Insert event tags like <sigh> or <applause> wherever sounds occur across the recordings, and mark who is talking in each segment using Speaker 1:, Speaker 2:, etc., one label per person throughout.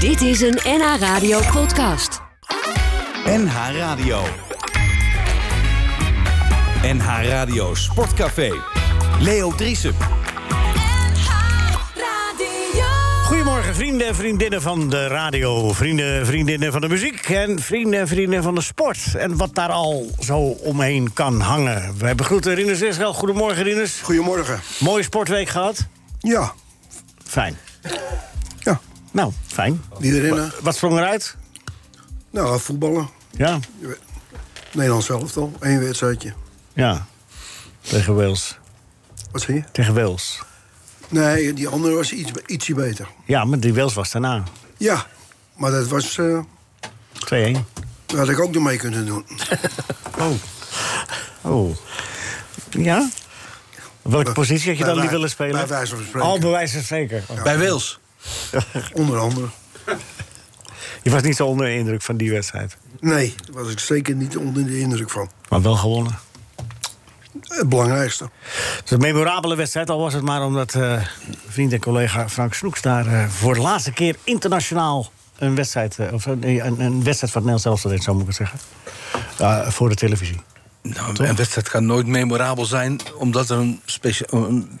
Speaker 1: Dit is een NH Radio podcast.
Speaker 2: NH Radio. NH Radio Sportcafé. Leo Driessen.
Speaker 3: Goedemorgen, vrienden en vriendinnen van de radio, vrienden en vriendinnen van de muziek en vrienden en vriendinnen van de sport. En wat daar al zo omheen kan hangen. We begroeten Rinus Israël. Goedemorgen, Rinus.
Speaker 4: Goedemorgen.
Speaker 3: Mooie sportweek gehad.
Speaker 4: Ja,
Speaker 3: Fijn.
Speaker 4: Ja.
Speaker 3: Nou, fijn.
Speaker 4: iedereen. hè?
Speaker 3: Wat sprong eruit?
Speaker 4: Nou, voetballen.
Speaker 3: Ja.
Speaker 4: Nederlands elftal. Eén wedstrijdje.
Speaker 3: Ja. Tegen Wales.
Speaker 4: Wat zie je?
Speaker 3: Tegen Wales.
Speaker 4: Nee, die andere was iets, ietsje beter.
Speaker 3: Ja, maar die Wales was daarna. 2-1.
Speaker 4: Ja, maar dat was... eh, daar had ik ook nog mee kunnen doen.
Speaker 3: <laughs> Oh. Oh. Ja? Welke positie had je dan
Speaker 4: Bij
Speaker 3: niet
Speaker 4: wij-
Speaker 3: willen spelen?
Speaker 4: bij wijze van spreken.
Speaker 3: Al bewijs het zeker.
Speaker 5: Bij Wales.
Speaker 4: Onder andere.
Speaker 3: <laughs> Je was niet zo onder de indruk van die wedstrijd.
Speaker 4: Nee, daar was ik zeker niet onder de indruk van.
Speaker 3: Maar wel gewonnen.
Speaker 4: Het belangrijkste.
Speaker 3: Het is een memorabele wedstrijd, al was het maar omdat eh, vriend en collega Frank Snoeks daar eh, voor de laatste keer internationaal een wedstrijd, eh, of een, een, een wedstrijd van het Nederlands elftal deed, zou moet ik het zeggen. Eh, voor de televisie.
Speaker 5: Nou, een wedstrijd kan nooit memorabel zijn, omdat er een, specia- een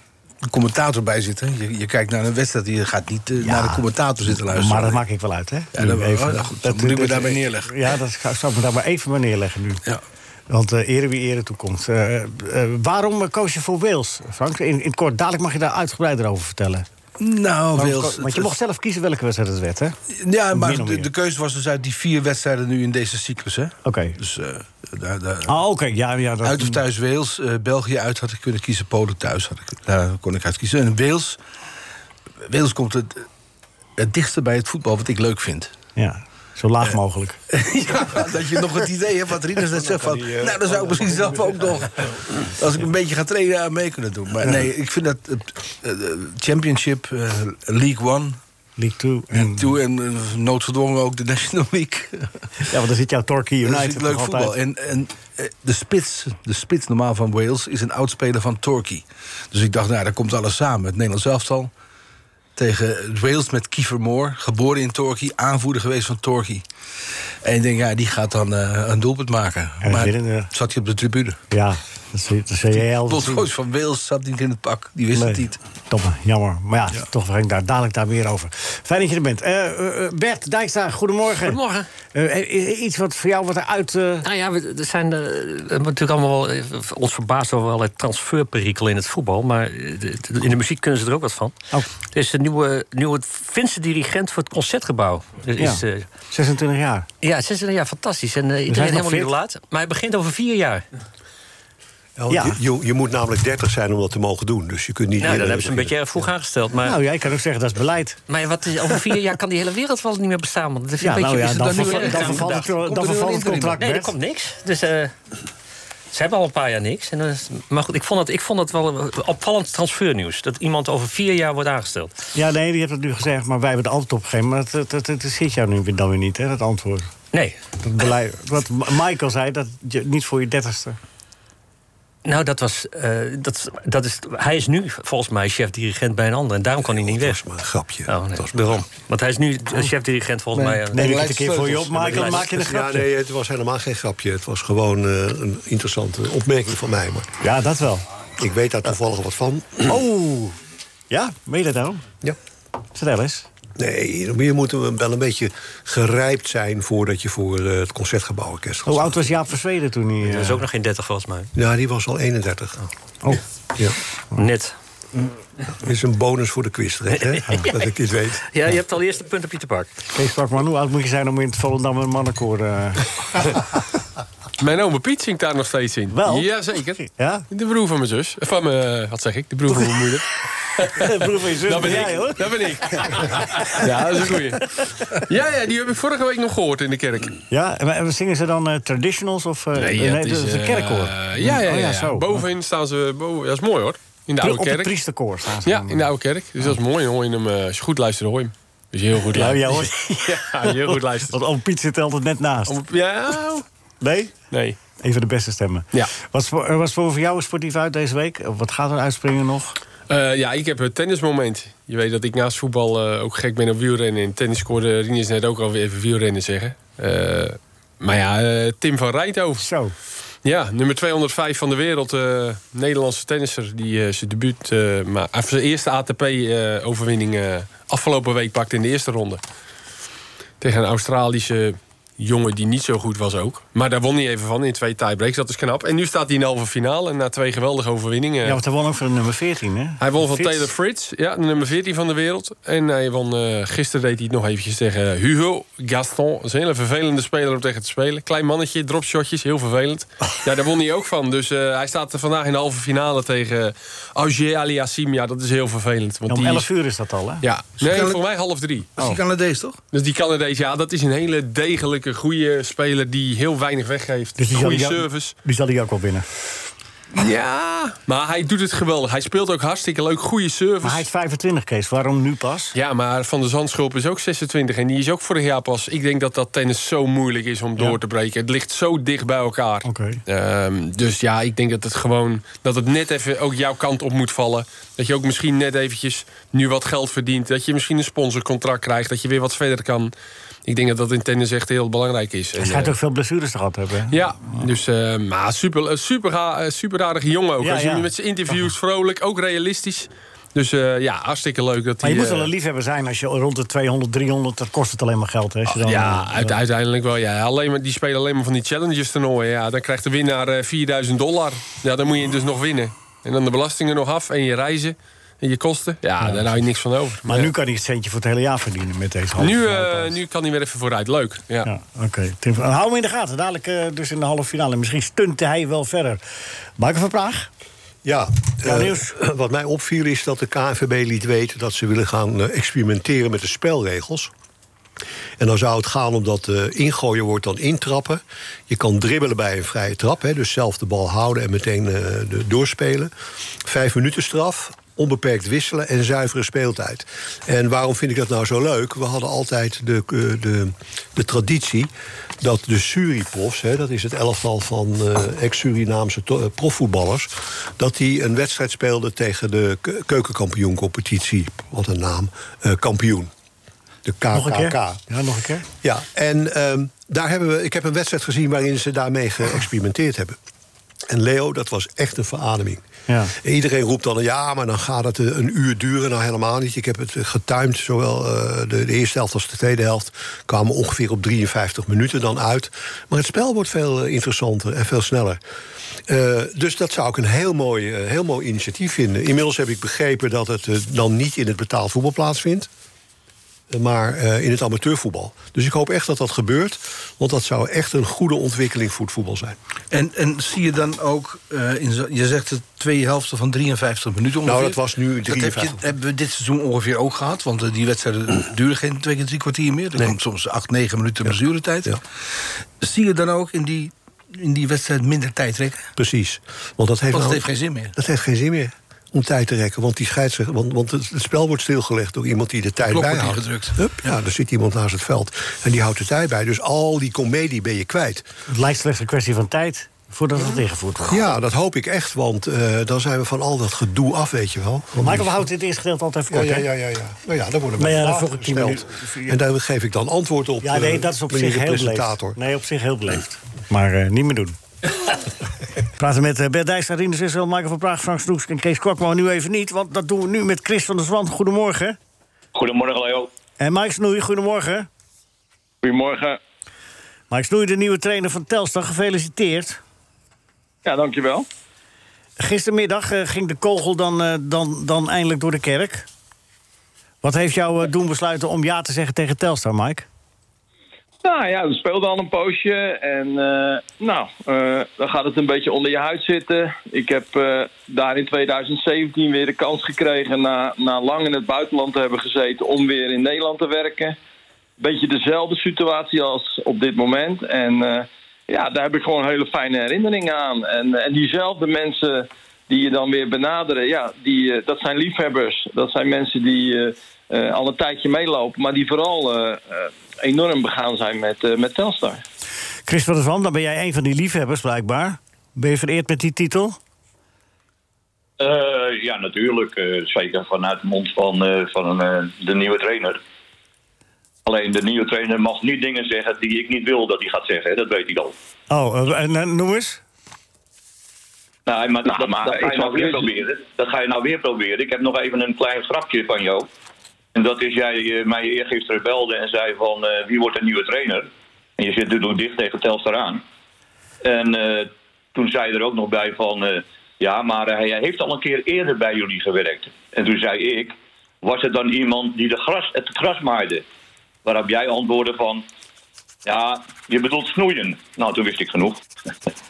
Speaker 5: commentator bij zit. Hè? Je, je kijkt naar een wedstrijd, je gaat niet eh, naar de commentator zitten luisteren.
Speaker 3: Maar dat maak ik wel uit, hè?
Speaker 5: Ja, dat-
Speaker 3: Nu
Speaker 5: oh, nou goed, dan moet ik me daarbij neerleggen.
Speaker 3: Ja, dat ga- zou ik me daar maar even maar neerleggen nu.
Speaker 5: Ja.
Speaker 3: Want eh ere wie ere toekomt. Eh, eh, waarom eh, koos je voor Wales, Frank? In, in het kort, dadelijk mag je daar uitgebreider over vertellen.
Speaker 5: Nou,
Speaker 3: Waarom
Speaker 5: Wales.
Speaker 3: ko- want je mocht zelf kiezen welke wedstrijd het werd, hè? Oké.
Speaker 5: Ja, maar
Speaker 3: Min of
Speaker 5: de,
Speaker 3: meer.
Speaker 5: de keuze was dus uit die vier wedstrijden nu in deze cyclus. Hè? Dus eh, daar, daar,
Speaker 3: Ah, oké. Ja, ja, dat-
Speaker 5: uit of thuis Wales, eh, België uit had ik kunnen kiezen, Polen thuis had ik, daar kon ik uit kiezen. En Wales, Wales komt het, het dichtste bij het voetbal wat ik leuk vind. Eh.
Speaker 3: Ja, zo laag mogelijk.
Speaker 5: <laughs> Ja, dat je nog het idee hebt wat Rinus net zegt van... nou, dan zou ik misschien zelf ook nog... als ik een beetje ga trainen, aan mee kunnen doen. Maar nee, ik vind dat het eh, eh, Championship, eh, League One...
Speaker 3: League 2.
Speaker 5: En
Speaker 3: En,
Speaker 5: toe en eh, noodgedwongen ook de National League.
Speaker 3: ja, want dan zit jouw Torquay United
Speaker 5: dat is
Speaker 3: nog
Speaker 5: leuk
Speaker 3: altijd.
Speaker 5: voetbal. En, en eh, de spits, de spits normaal van Wales, is een oudspeler van Torquay. Dus ik dacht, nou, daar komt alles samen. Het Nederlands elftal tegen Wales met Kiefer Moore. Geboren in Torquay, aanvoerder geweest van Torquay. En ik denk, ja, die gaat dan eh, een doelpunt maken.
Speaker 3: En
Speaker 5: maar
Speaker 3: winnen, ja.
Speaker 5: zat hij op de tribune.
Speaker 3: Ja, dat zie, dat zie je heel veel zien.
Speaker 5: Bondscoach van Wales zat niet in het pak. Die wist het
Speaker 3: Nee.
Speaker 5: niet.
Speaker 3: Domme, jammer. Maar ja, toch ga ik daar dadelijk daar meer over. Fijn dat je er bent. Eh, eh, eh, Bert Dijkstra, goedemorgen.
Speaker 6: Goedemorgen.
Speaker 3: Eh, eh, iets wat voor jou wat eruit... eh
Speaker 6: Nou ja, we er zijn eh, we hebben natuurlijk allemaal wel, eh, ons verbaasd over wel het transferperikel in het voetbal. Maar eh, de- de- in de muziek kunnen ze er ook wat van.
Speaker 3: Oh.
Speaker 6: Er is een nieuwe, nieuwe Finse dirigent voor het concertgebouw. Er
Speaker 3: ja,
Speaker 6: is, eh,
Speaker 3: 26 jaar.
Speaker 6: ja, 26 jaar, fantastisch. En eh,
Speaker 3: hij
Speaker 6: iedereen
Speaker 3: nog
Speaker 6: helemaal niet
Speaker 3: fit?
Speaker 6: laat. Maar hij begint over vier jaar.
Speaker 7: Oh,
Speaker 3: Ja.
Speaker 7: je, je, je moet namelijk 30 zijn om dat te mogen doen. Dus je kunt niet.
Speaker 6: Nou,
Speaker 7: eerder
Speaker 6: dat hebben ze een
Speaker 7: beginnen.
Speaker 6: beetje vroeg aangesteld. Maar,
Speaker 3: Nou ja, ik kan ook zeggen, dat is beleid.
Speaker 6: maar wat, is- over vier jaar kan die hele wereld wel niet meer bestaan. Want dat is
Speaker 3: Ja,
Speaker 6: een beetje,
Speaker 3: nou ja,
Speaker 6: is het
Speaker 3: dan,
Speaker 6: nu
Speaker 3: verva-
Speaker 6: erg
Speaker 3: dan
Speaker 6: aan
Speaker 3: vervalt het,
Speaker 6: bedacht?
Speaker 3: dan
Speaker 5: Komt er nu
Speaker 3: vervalt
Speaker 5: een
Speaker 3: het contract,
Speaker 6: Nee, er
Speaker 3: Bert.
Speaker 6: komt niks. Dus eh, ze hebben al een paar jaar niks. En, dan is- maar goed, ik vond, dat, ik vond dat wel een opvallend transfernieuws. Dat iemand over vier jaar wordt aangesteld.
Speaker 3: Ja, nee, je hebt het nu gezegd, maar wij hebben het antwoord opgegeven. Maar dat, dat, dat, dat zit jou nu dan weer niet, hè, dat antwoord.
Speaker 6: Nee.
Speaker 3: Dat beleid, wat Ma- Michael zei, dat je, niet voor je dertigste.
Speaker 6: Nou, dat was. eh, dat, dat is, hij is nu volgens mij chef-dirigent bij een ander. En daarom kan hij niet
Speaker 7: Dat
Speaker 6: weg.
Speaker 7: was maar een grapje.
Speaker 6: Oh, nee,
Speaker 7: Dat was maar-
Speaker 6: daarom. Want hij is nu eh, chef-dirigent volgens mij. eh,
Speaker 3: Neem ik het een
Speaker 5: beleid
Speaker 3: keer voor je op,
Speaker 5: sleutels.
Speaker 3: Michael, maak je een
Speaker 7: Ja,
Speaker 3: grapje. <laughs>
Speaker 7: nee, het was helemaal geen grapje. Het was gewoon eh, een interessante opmerking van mij. Maar
Speaker 3: Ja, dat wel.
Speaker 7: ik weet daar toevallig wat van.
Speaker 3: Oh, ja, meen je dat nou?
Speaker 7: Ja.
Speaker 3: Vertel eens.
Speaker 7: Nee, je moet wel een beetje gerijpt zijn voordat je voor eh, het concertgebouworkest gaat.
Speaker 3: Hoe
Speaker 7: staan.
Speaker 3: oud was Jaap van Zweden toen hij... eh,
Speaker 6: Dat is ook nog geen 30 volgens mij.
Speaker 7: Ja, die was al 31.
Speaker 3: Oh,
Speaker 7: Ja.
Speaker 6: Net.
Speaker 7: Dat is een bonus voor de quiz, hè? Dat ik dit weet.
Speaker 6: <laughs> Ja, je hebt al eerst een punt op je te pak.
Speaker 3: Kees Pakman, hoe oud moet je zijn om in het Volendam een mannenkoor...
Speaker 8: <laughs>
Speaker 3: eh,
Speaker 8: Mijn oma Piet zingt daar nog steeds in.
Speaker 3: Wel?
Speaker 8: Jazeker.
Speaker 3: ja?
Speaker 8: De broer van mijn zus. Van mijn, wat zeg ik? De broer van mijn
Speaker 3: <laughs>
Speaker 8: moeder.
Speaker 3: Broer van je zus,
Speaker 8: Dat
Speaker 3: ben
Speaker 8: ben
Speaker 3: jij, hoor.
Speaker 8: ik. Dat ben ik. Ja, dat is een goeie. Ja, ja, die heb ik vorige week nog gehoord in de kerk.
Speaker 3: Ja, en- en zingen ze dan eh, traditionals of... eh, nee,
Speaker 8: het
Speaker 3: dat is een
Speaker 8: eh,
Speaker 3: kerkkoor.
Speaker 8: Ja, ja, ja.
Speaker 3: Oh,
Speaker 8: ja.
Speaker 3: zo.
Speaker 8: Bovenin staan ze. Boven, dat is mooi hoor. In
Speaker 3: Pri-
Speaker 8: de oude
Speaker 3: Op het
Speaker 8: kerk.
Speaker 3: priesterkoor staan ze.
Speaker 8: Ja,
Speaker 3: dan.
Speaker 8: in de oude kerk. Dus dat is mooi. Dan hoor je hem, eh, als je goed luistert, hoor je hem. Dus heel goed
Speaker 3: Ja, Nou ja
Speaker 8: luisteren.
Speaker 3: hoor.
Speaker 8: <laughs> Ja, heel goed luisteren.
Speaker 3: Want oom Piet zit er altijd net naast.
Speaker 8: Om- Ja,
Speaker 3: Nee?
Speaker 8: nee.
Speaker 3: Een van de beste stemmen.
Speaker 8: Ja.
Speaker 3: Wat is voor, eh, wat is voor voor jou sportief uit deze week? Of Wat gaat er uitspringen nog?
Speaker 8: Eh, Eh, ja, ik heb het tennismoment. Je weet dat ik naast voetbal eh, ook gek ben op wielrennen. In tennis scoorde Rinus net ook alweer even wielrennen zeggen. Eh, maar ja, eh, Tim van Rijthoven.
Speaker 3: Zo.
Speaker 8: Ja, nummer 205 van de wereld. eh, Nederlandse tennisser die eh, zijn debuut, eh, maar, of zijn eerste ATP-overwinning eh, afgelopen week pakte in de eerste ronde. Tegen een Australische jongen die niet zo goed was ook. Maar daar won hij even van in twee tiebreaks. Dat is knap. En nu staat hij in de halve finale na twee geweldige overwinningen.
Speaker 3: Ja, want hij won ook van nummer 14, hè?
Speaker 8: Hij won van
Speaker 3: Fitz.
Speaker 8: Taylor Fritz, ja, de nummer 14 van de wereld. En hij won, eh, gisteren deed hij het nog eventjes tegen Hugo Gaston. Dat is een hele vervelende speler om tegen te spelen. Klein mannetje, dropshotjes, heel vervelend. Ja, daar won hij ook van. Dus eh, hij staat er vandaag in de halve finale tegen Auger Aliassim. Ja, dat is heel vervelend. Want
Speaker 3: Ja, om
Speaker 8: die
Speaker 3: 11 uur is dat al, hè?
Speaker 8: Ja, nee, voor mij half drie.
Speaker 5: Dat is die Canadees, toch?
Speaker 8: Dus die Canadees, ja, dat is een hele degelijke, goede speler... die heel weinig weggeeft.
Speaker 3: Dus die zal
Speaker 8: goede
Speaker 3: die ook-
Speaker 8: service.
Speaker 3: Die zal hij ook wel winnen.
Speaker 8: Ja, maar hij doet het geweldig. Hij speelt ook hartstikke leuk, goede service.
Speaker 3: Maar hij is 25, Kees. Waarom nu pas?
Speaker 8: Ja, maar Van der Zandschulp is ook 26 en die is ook vorig jaar pas. Ik denk dat dat tennis zo moeilijk is om door te breken. Het ligt zo dicht bij elkaar.
Speaker 3: Oké.
Speaker 8: Ehm, dus ja, ik denk dat het gewoon dat het net even ook jouw kant op moet vallen. Dat je ook misschien net eventjes nu wat geld verdient. Dat je misschien een sponsorcontract krijgt. Dat je weer wat verder kan. Ik denk dat dat in tennis echt heel belangrijk is. En,
Speaker 3: Hij schijnt
Speaker 8: eh,
Speaker 3: ook veel blessures gehad te hebben. hè?
Speaker 8: ja, dus eh, maar super, eh, super, ga- eh, super aardige jongen ook.
Speaker 3: Ja,
Speaker 8: Als je
Speaker 3: ja.
Speaker 8: hem met zijn interviews vrolijk, ook realistisch. Dus eh, ja, hartstikke leuk dat
Speaker 3: Maar
Speaker 8: hij.
Speaker 3: je moet
Speaker 8: eh,
Speaker 3: wel een liefhebber zijn als je rond de 200, 300... dat kost het alleen maar geld, hè? als je dan-
Speaker 8: Ah, Ja,
Speaker 3: eh,
Speaker 8: uite- uiteindelijk wel. Ja. Alleen maar, die spelen alleen maar van die challenges toernooien. Ja. Dan krijgt de winnaar eh, 4000 dollar. Ja, dan moet je dus nog winnen. En dan de belastingen nog af en je reizen en je kosten. Ja, daar hou je niks van over.
Speaker 3: Maar
Speaker 8: Ja.
Speaker 3: nu kan hij het centje voor het hele jaar verdienen met deze halve
Speaker 8: nu,
Speaker 3: finale
Speaker 8: eh,
Speaker 3: althans.
Speaker 8: nu kan hij weer even vooruit. Leuk. Ja.
Speaker 3: Ja, oké. Tim van- Hou hem in de gaten. Dadelijk eh, dus in de halve finale. Misschien stunt hij wel verder. Michael van Praag?
Speaker 7: Ja,
Speaker 3: Ja,
Speaker 7: eh,
Speaker 3: nieuws.
Speaker 7: wat mij opviel is dat de KNVB liet weten dat ze willen gaan eh, experimenteren met de spelregels. En dan zou het gaan om dat eh, ingooien wordt dan intrappen. Je kan dribbelen bij een vrije trap, hè, dus zelf de bal houden en meteen eh, de, doorspelen. Vijf minuten straf, onbeperkt wisselen en zuivere speeltijd. En waarom vind ik dat nou zo leuk? We hadden altijd de, eh, de, de traditie dat de Suriprofs, hè, dat is het elftal van eh, ex-Surinaamse to- eh, profvoetballers, dat die een wedstrijd speelden tegen de ke- keukenkampioencompetitie, wat een naam, eh, kampioen. De KKK.
Speaker 3: Nog een keer? Ja, nog een keer.
Speaker 7: Ja, en ehm, daar hebben we, ik heb een wedstrijd gezien waarin ze daarmee geëxperimenteerd hebben. En Leo, dat was echt een verademing.
Speaker 3: Ja.
Speaker 7: En Iedereen roept dan, ja, maar dan gaat het eh, een uur duren. Nou, helemaal niet. Ik heb het eh, getimed, zowel eh, de, de eerste helft als de tweede helft. Kwamen ongeveer op 53 minuten dan uit. Maar het spel wordt veel eh, interessanter en veel sneller. Eh, dus dat zou ik een heel mooi, eh, heel mooi initiatief vinden. Inmiddels heb ik begrepen dat het eh, dan niet in het betaald voetbal plaatsvindt maar eh, in het amateurvoetbal. Dus ik hoop echt dat dat gebeurt, want dat zou echt een goede ontwikkeling voor het voetbal zijn.
Speaker 5: En, en zie je dan ook, eh, in zo- je zegt het twee helften van 53 minuten
Speaker 3: Nou,
Speaker 5: ongeveer.
Speaker 7: dat was nu
Speaker 5: Dat heb
Speaker 7: 53.
Speaker 5: je, hebben we dit seizoen ongeveer ook gehad. Want eh, die wedstrijden <clears throat> duren geen twee keer drie kwartier meer. Er komt soms acht, negen minuten blessuretijd. Zie je dan ook in die, in die wedstrijd minder tijd trekken?
Speaker 7: Precies. Want dat
Speaker 5: Want het
Speaker 7: heeft, nou-
Speaker 5: heeft geen zin meer.
Speaker 7: dat heeft geen zin meer om tijd te rekken, want die scheidsrechter, want, want het, het spel wordt stilgelegd door iemand die de tijd
Speaker 5: Klok wordt
Speaker 7: bijhoudt.
Speaker 5: ingedrukt.
Speaker 7: Hup, ja, er zit iemand naast het veld en die houdt de tijd bij. Dus al die komedie ben je kwijt.
Speaker 3: Het lijkt slechts een kwestie van tijd voordat het ingevoerd wordt.
Speaker 7: Ja, dat hoop ik echt, want eh, dan zijn we van al dat gedoe af, weet je wel. Want-
Speaker 3: Michael, we houden dit eerste gedeelte altijd even
Speaker 7: Ja,
Speaker 3: kort,
Speaker 7: ja,
Speaker 3: hè?
Speaker 7: ja, ja, ja. Nou ja, daar worden
Speaker 3: Maar ja,
Speaker 7: vragen
Speaker 3: dan vroeg ik tien
Speaker 7: gesteld. En daar geef ik dan antwoord op.
Speaker 3: Ja, nee,
Speaker 7: eh,
Speaker 3: dat is op
Speaker 7: meneer
Speaker 3: zich
Speaker 7: de
Speaker 3: heel
Speaker 7: presentator.
Speaker 3: beleefd. Nee, op zich heel beleefd. Maar eh, niet meer doen. Praten met eh, Bert Dijkstra, Rinus Israël, Michael van Praag, Frank Snoeks en Kees Kwak. Maar nu even niet, want dat doen we nu met Chris van der Zwant. Goedemorgen.
Speaker 9: Goedemorgen, Leo.
Speaker 3: En Mike Snoei, goedemorgen.
Speaker 9: Goedemorgen.
Speaker 3: Mike Snoei, de nieuwe trainer van Telstar, gefeliciteerd.
Speaker 9: Ja, dankjewel.
Speaker 3: Gistermiddag eh, ging de kogel dan, eh, dan, dan eindelijk door de kerk. Wat heeft jou eh, doen besluiten om ja te zeggen tegen Telstar, Mike?
Speaker 9: Nou ja, we speelden al een poosje. En eh, nou, eh, dan gaat het een beetje onder je huid zitten. Ik heb eh, daar in 2017 weer de kans gekregen... Na, na lang in het buitenland te hebben gezeten om weer in Nederland te werken. Beetje dezelfde situatie als op dit moment. En eh, ja, daar heb ik gewoon hele fijne herinneringen aan. En, eh, en diezelfde mensen die je dan weer benaderen... ja, die, eh, dat zijn liefhebbers. Dat zijn mensen die... eh, eh, al een tijdje meelopen, maar die vooral eh, eh, enorm begaan zijn met, eh, met Telstar.
Speaker 3: Chris van der Zwant, dan ben jij een van die liefhebbers blijkbaar. Ben je vereerd met die titel?
Speaker 10: Eh, ja, natuurlijk. eh, zeker vanuit de mond van, eh, van eh, de nieuwe trainer. Alleen de nieuwe trainer mag niet dingen zeggen die ik niet wil dat hij gaat zeggen. hè, Dat weet ik al.
Speaker 3: Oh, eh, en, eh, noem eens.
Speaker 10: Nee, Nou, maar, dat,
Speaker 3: maar
Speaker 10: dat
Speaker 3: ik
Speaker 10: ga je
Speaker 3: zou
Speaker 10: nou weer
Speaker 3: het niet-
Speaker 10: proberen. Dat ga je nou weer proberen. Ik heb nog even een klein grapje van jou. En dat is jij eh, mij eergisteren belde en zei van eh, wie wordt de nieuwe trainer? En je zit natuurlijk dicht tegen Telstar aan. En eh, toen zei je er ook nog bij van eh, ja, maar hij heeft al een keer eerder bij jullie gewerkt. En toen zei ik, was er dan iemand die de gras, het gras maaide? Waarop jij antwoordde van ja, je bedoelt snoeien. Nou, toen wist ik genoeg.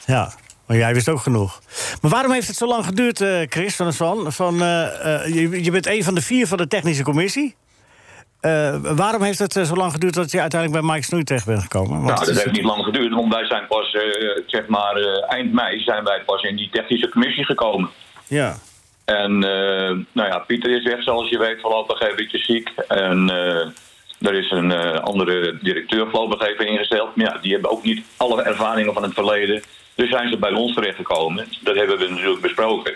Speaker 3: Ja, maar jij wist ook genoeg. Maar waarom heeft het zo lang geduurd, eh, Chris van der Swan? Van, eh, eh, je, je bent een van de vier van de technische commissie. Eh, waarom heeft het eh, zo lang geduurd dat je uiteindelijk bij Mike Snoei terecht bent gekomen? Want
Speaker 10: nou,
Speaker 3: het
Speaker 10: dat
Speaker 3: is-
Speaker 10: heeft niet lang geduurd, want wij zijn pas, eh, zeg maar, eh, eind mei zijn wij pas in die technische commissie gekomen.
Speaker 3: Ja.
Speaker 10: En eh, nou ja, Pieter is weg, zoals je weet, voorlopig een beetje ziek. En eh, er is een eh, andere directeur voorlopig even ingesteld. Maar ja, die hebben ook niet alle ervaringen van het verleden. Dus zijn ze bij ons terechtgekomen. Dat hebben we natuurlijk besproken.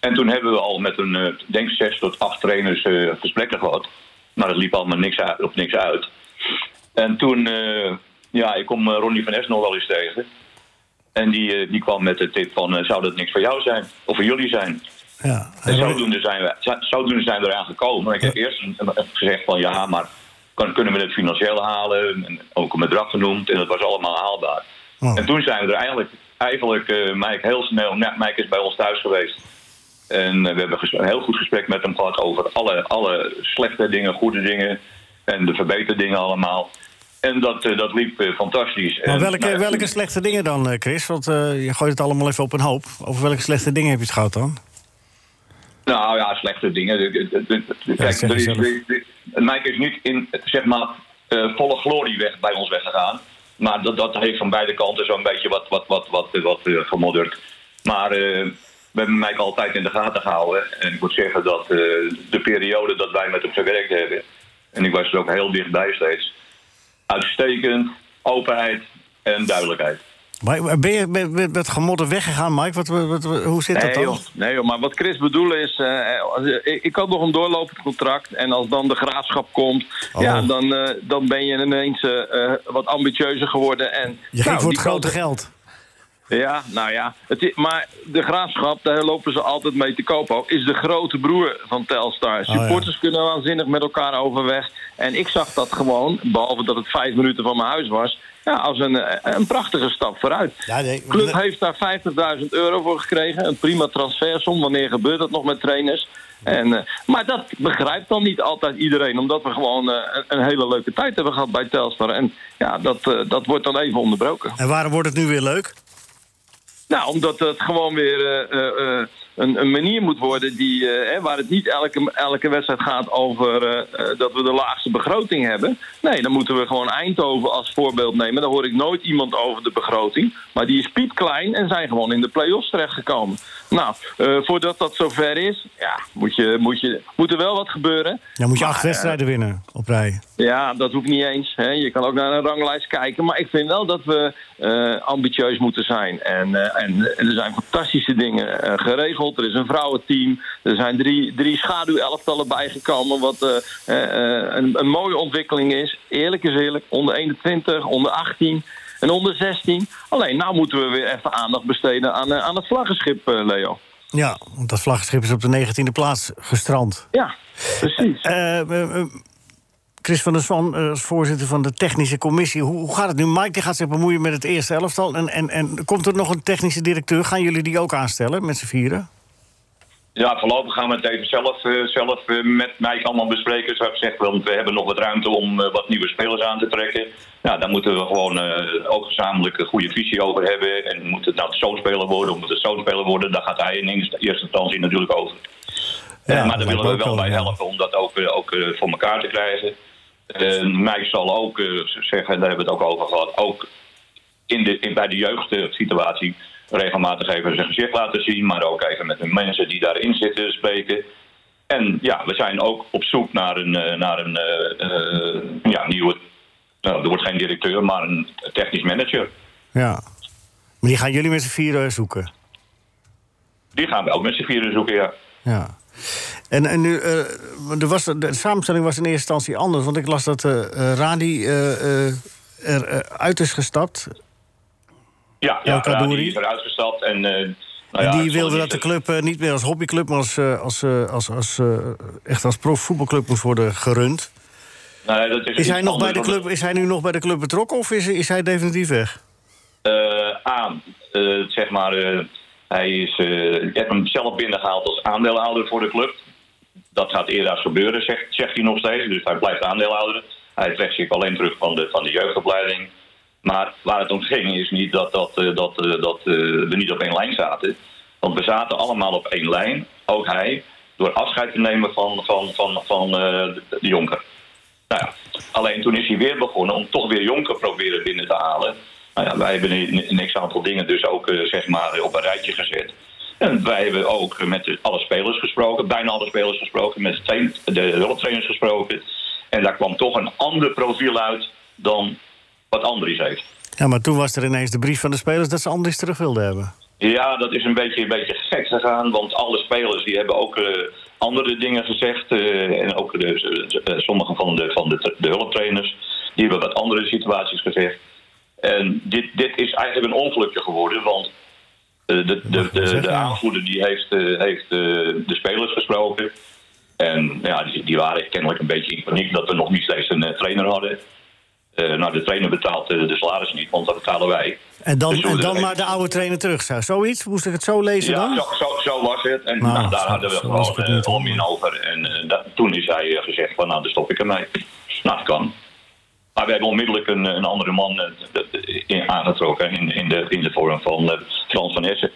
Speaker 10: En toen hebben we al met een, eh, denk ik, zes tot acht trainers eh, gesprekken gehad. Maar het liep allemaal niks uit, op niks uit. En toen, eh, ja, ik kom eh, Ronnie van Es nog wel eens tegen. En die, eh, die kwam met de tip van, eh, zou dat niks voor jou zijn? Of voor jullie zijn?
Speaker 3: Ja.
Speaker 10: En zodoende zijn we, zo- zodoende zijn we eraan gekomen. Ik heb eerst een- een- gezegd van, ja, maar kan, kunnen we het financieel halen? En ook een bedrag genoemd. En dat was allemaal haalbaar.
Speaker 3: Oh.
Speaker 10: En toen zijn we er eigenlijk, eigenlijk eh Mike heel snel... Nou, Mike is bij ons thuis geweest. En eh, we hebben ges- een heel goed gesprek met hem gehad over alle, alle slechte dingen, goede dingen. En de verbeterde dingen allemaal. En dat, eh, dat liep eh, fantastisch.
Speaker 3: Maar
Speaker 10: En,
Speaker 3: welke,
Speaker 10: nou ja,
Speaker 3: welke slechte dingen dan, eh, Chris? Want eh, je gooit het allemaal even op een hoop. Over welke slechte dingen heb je het gehad dan?
Speaker 10: Nou ja, slechte dingen. De- de- de- de- Kijk,
Speaker 3: zeg
Speaker 10: er is,
Speaker 3: je zelf.
Speaker 10: de- de- Mike is niet in zeg maar, eh, volle glorie weg, bij ons weggegaan. Maar dat, dat heeft van beide kanten zo'n beetje wat, wat, wat, wat, eh, wat eh, gemodderd. Maar eh, we hebben Mike altijd in de gaten gehouden. En ik moet zeggen dat eh, de periode dat wij met hem gewerkt hebben... en ik was er ook heel dichtbij steeds... uitstekend, openheid en duidelijkheid.
Speaker 3: Maar eh, ben je ben- ben- met gemodder weggegaan, Mike? Wat, wat, wat- hoe zit dat
Speaker 9: nee,
Speaker 3: dan?
Speaker 9: joh. nee joh, maar wat Chris bedoelt is... eh, als- eh, ik, ik had nog een doorlopend contract. En als dan de graafschap komt...
Speaker 3: Oh.
Speaker 9: Ja, dan, eh, dan ben je ineens eh, eh, wat ambitieuzer geworden. En,
Speaker 3: Je ging
Speaker 9: nou,
Speaker 3: voor het
Speaker 9: die
Speaker 3: grote
Speaker 9: kant-
Speaker 3: geld.
Speaker 9: Ja, nou ja. Het i- maar de graafschap, daar lopen ze altijd mee te koop. ook, Is de grote broer van Telstar. Supporters kunnen waanzinnig met elkaar overweg. En ik zag dat gewoon, behalve dat het vijf minuten van mijn huis was. Ja, als een, eh, een prachtige stap vooruit. Club heeft daar 50.000 euro voor gekregen. Een prima transfersom. Wanneer gebeurt dat nog met trainers? En, eh, maar dat begrijpt dan niet altijd iedereen. Omdat we gewoon eh, een- een hele leuke tijd hebben gehad bij Telstar. En ja, dat, eh, dat wordt dan even onderbroken.
Speaker 3: En waarom wordt het nu weer leuk?
Speaker 9: Nou, omdat het gewoon weer eh, eh, eh, een, een manier moet worden die, eh, hè, waar het niet elke, elke wedstrijd gaat over eh, eh, dat we de laagste begroting hebben. Nee, dan moeten we gewoon Eindhoven als voorbeeld nemen. Daar hoor ik nooit iemand over de begroting. Maar die is piepklein en zijn gewoon in de play-offs terechtgekomen. Nou, eh, voordat dat zover is, ja, moet, je, moet, je, moet er wel wat gebeuren.
Speaker 3: Dan moet je
Speaker 9: Maar,
Speaker 3: acht
Speaker 9: eh,
Speaker 3: wedstrijden winnen op rij.
Speaker 9: ja, dat hoeft niet eens. Hè. Je kan ook naar een ranglijst kijken. Maar ik vind wel dat we eh, ambitieus moeten zijn. En, eh, en er zijn fantastische dingen eh, geregeld. Er is een vrouwenteam. Er zijn drie, drie schaduwelftallen bijgekomen. Wat eh, eh, eh, een, een mooie ontwikkeling is. Eerlijk is eerlijk. Onder 21, onder 18 en onder 16. Alleen nou moeten we weer even aandacht besteden aan, eh, aan het vlaggenschip, eh, Leo.
Speaker 3: Ja, want dat vlaggenschip is op de 19e plaats gestrand. Eh,
Speaker 9: Ja, precies.
Speaker 3: Chris van der Swan, eh, als voorzitter van de technische commissie. Hoe, hoe gaat het nu? Mike die gaat zich bemoeien met het eerste elftal. En, en, en komt er nog een technische directeur? Gaan jullie die ook aanstellen met z'n vieren?
Speaker 10: Ja, voorlopig gaan we het even zelf, eh, zelf eh, met mij allemaal bespreken, zou ik zeggen. Want we hebben nog wat ruimte om eh, wat nieuwe spelers aan te trekken. Ja, daar moeten we gewoon eh, ook gezamenlijk een goede visie over hebben. En moet het nou zo'n speler worden, of moet het zo'n speler worden? Daar gaat hij in eerste eerste instantie natuurlijk over. Eh, maar daar willen we wel bij helpen om dat ook, eh, ook eh, voor elkaar te krijgen. Eh Mike zal ook eh, zeggen, daar hebben we het ook over gehad, ook in de, in, bij de jeugdsituatie regelmatig even zijn gezicht laten zien, maar ook even met de mensen die daarin zitten spreken. En ja, we zijn ook op zoek naar een, eh, naar een eh, eh, ja, nieuwe, nou, er wordt geen directeur, maar een technisch manager.
Speaker 3: Ja. Maar die gaan jullie met z'n vieren zoeken?
Speaker 10: Die gaan we ook met z'n vieren zoeken, ja.
Speaker 3: Ja. En, en nu, eh, er was, de samenstelling was in eerste instantie anders. Want ik las dat eh, eh, Radi eh, eh, er eh, uit is gestapt.
Speaker 10: Ja, ja,
Speaker 3: Elkadouri.
Speaker 10: Radi is eruit gestapt en... eh, nou ja,
Speaker 3: en
Speaker 10: het
Speaker 3: die
Speaker 10: zal
Speaker 3: wilde
Speaker 10: niet
Speaker 3: dat de
Speaker 10: zo-
Speaker 3: club eh, niet meer als hobbyclub, maar als, eh, als, eh, als, als, eh, echt als profvoetbalclub moest worden gerund.
Speaker 10: Nee, dat
Speaker 3: Is hij,
Speaker 10: iets
Speaker 3: nog bij de
Speaker 10: anders, want-
Speaker 3: club, is hij nu nog bij de club betrokken of is, is hij definitief weg?
Speaker 10: eh, aan. Eh, zeg maar, eh, hij is, eh, ik heb hem zelf binnengehaald als aandeelhouder voor de club. Dat gaat eerder gebeuren, zegt, zegt hij nog steeds. Dus hij blijft aandeelhouder. Hij trekt zich alleen terug van de, van de jeugdopleiding. Maar waar het om ging is niet dat, dat, eh, dat, eh, dat eh, we niet op één lijn zaten. Want we zaten allemaal op één lijn, ook hij, door afscheid te nemen van, van, van, van eh, de, de Jonker. Nou ja, alleen toen is hij weer begonnen om toch weer Jonker proberen binnen te halen. Nou ja, wij hebben een, een x-aantal dingen dus ook eh, zeg maar op een rijtje gezet. En wij hebben ook eh, met de- alle spelers gesproken, bijna alle spelers gesproken, met de train- de hulptrainers gesproken. En daar kwam toch een ander profiel uit dan wat Andries heeft.
Speaker 3: Ja, maar toen was er ineens de brief van de spelers dat ze Andries terug wilden hebben.
Speaker 10: Ja, dat is een beetje, een beetje gek gegaan. Want alle spelers die hebben ook eh, andere dingen gezegd. eh, en ook de, de- de- sommige van, de, van de, de hulptrainers. Die hebben wat andere situaties gezegd. En dit, dit is eigenlijk een ongelukje geworden. Want eh, de, de, de, de aanvoerder die heeft, eh, heeft eh, de spelers gesproken. En ja, die, die waren kennelijk een beetje in paniek dat we nog niet steeds een eh, trainer hadden. Eh, nou, de trainer betaalt eh, de salaris niet, want dat betalen wij.
Speaker 3: En
Speaker 10: Dus
Speaker 3: dan,
Speaker 10: we
Speaker 3: en
Speaker 10: moeten
Speaker 3: dan
Speaker 10: er
Speaker 3: maar de oude trainer terug. zou- Zoiets? Moest ik het zo lezen
Speaker 10: ja,
Speaker 3: dan?
Speaker 10: Zo, zo, zo was het. En
Speaker 3: Nou,
Speaker 10: nou, daar
Speaker 3: zo-
Speaker 10: hadden we
Speaker 3: zo was
Speaker 10: gewoon
Speaker 3: het
Speaker 10: eh,
Speaker 3: niet, hoor.
Speaker 10: om in over. En eh, dat- toen is hij eh, gezegd van nou, dan stop ik ermee. Nou, dat kan. Maar we hebben onmiddellijk een, een andere man eh, d- d- in, aangetrokken in, in, de, in de vorm van eh, Frans van Essen.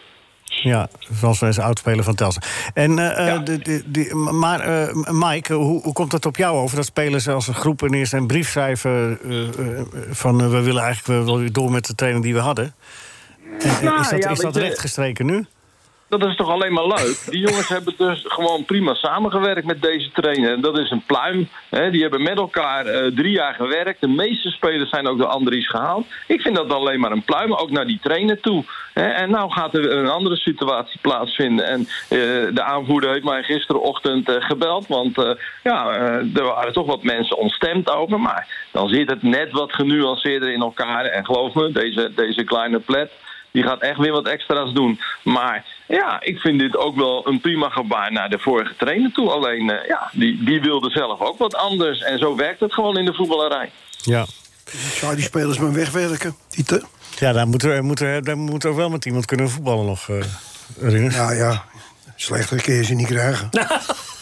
Speaker 3: Ja, zoals wij zijn oudspeler van Telsen. En, eh, eh, de, de, die- maar eh, Mike, hoe, hoe komt het op jou over dat spelers als een groep ineens een brief schrijven eh, eh, van eh, we willen eigenlijk wel weer door met de trainer die we hadden? En, eh,
Speaker 9: Nou,
Speaker 3: is dat,
Speaker 9: ja,
Speaker 3: is
Speaker 9: weet
Speaker 3: dat
Speaker 9: je-
Speaker 3: rechtgestreken nu?
Speaker 9: Dat is toch alleen maar leuk. Die jongens hebben dus gewoon prima samengewerkt met deze trainer. En dat is een pluim. Hè. Die hebben met elkaar eh, drie jaar gewerkt. De meeste spelers zijn ook door Andries gehaald. Ik vind dat alleen maar een pluim, ook naar die trainer toe. Hè. En nou gaat er een andere situatie plaatsvinden. En eh, de aanvoerder heeft mij gisterenochtend eh, gebeld. Want eh, ja, eh, er waren toch wat mensen ontstemd over. Maar dan zit het net wat genuanceerder in elkaar. En geloof me, deze, deze kleine plet... Die gaat echt weer wat extra's doen. Maar ja, ik vind dit ook wel een prima gebaar naar de vorige trainer toe. Alleen, eh, ja, die, die wilde zelf ook wat anders. En zo werkt het gewoon in de voetballerij.
Speaker 3: Ja.
Speaker 4: Zou die spelers maar wegwerken? Die te...
Speaker 3: Ja, daar moeten we, moeten we, daar moeten we wel met iemand kunnen voetballen nog, eh Rinus.
Speaker 4: Ja, ja. Slechtere kun je ze niet krijgen.
Speaker 3: <laughs>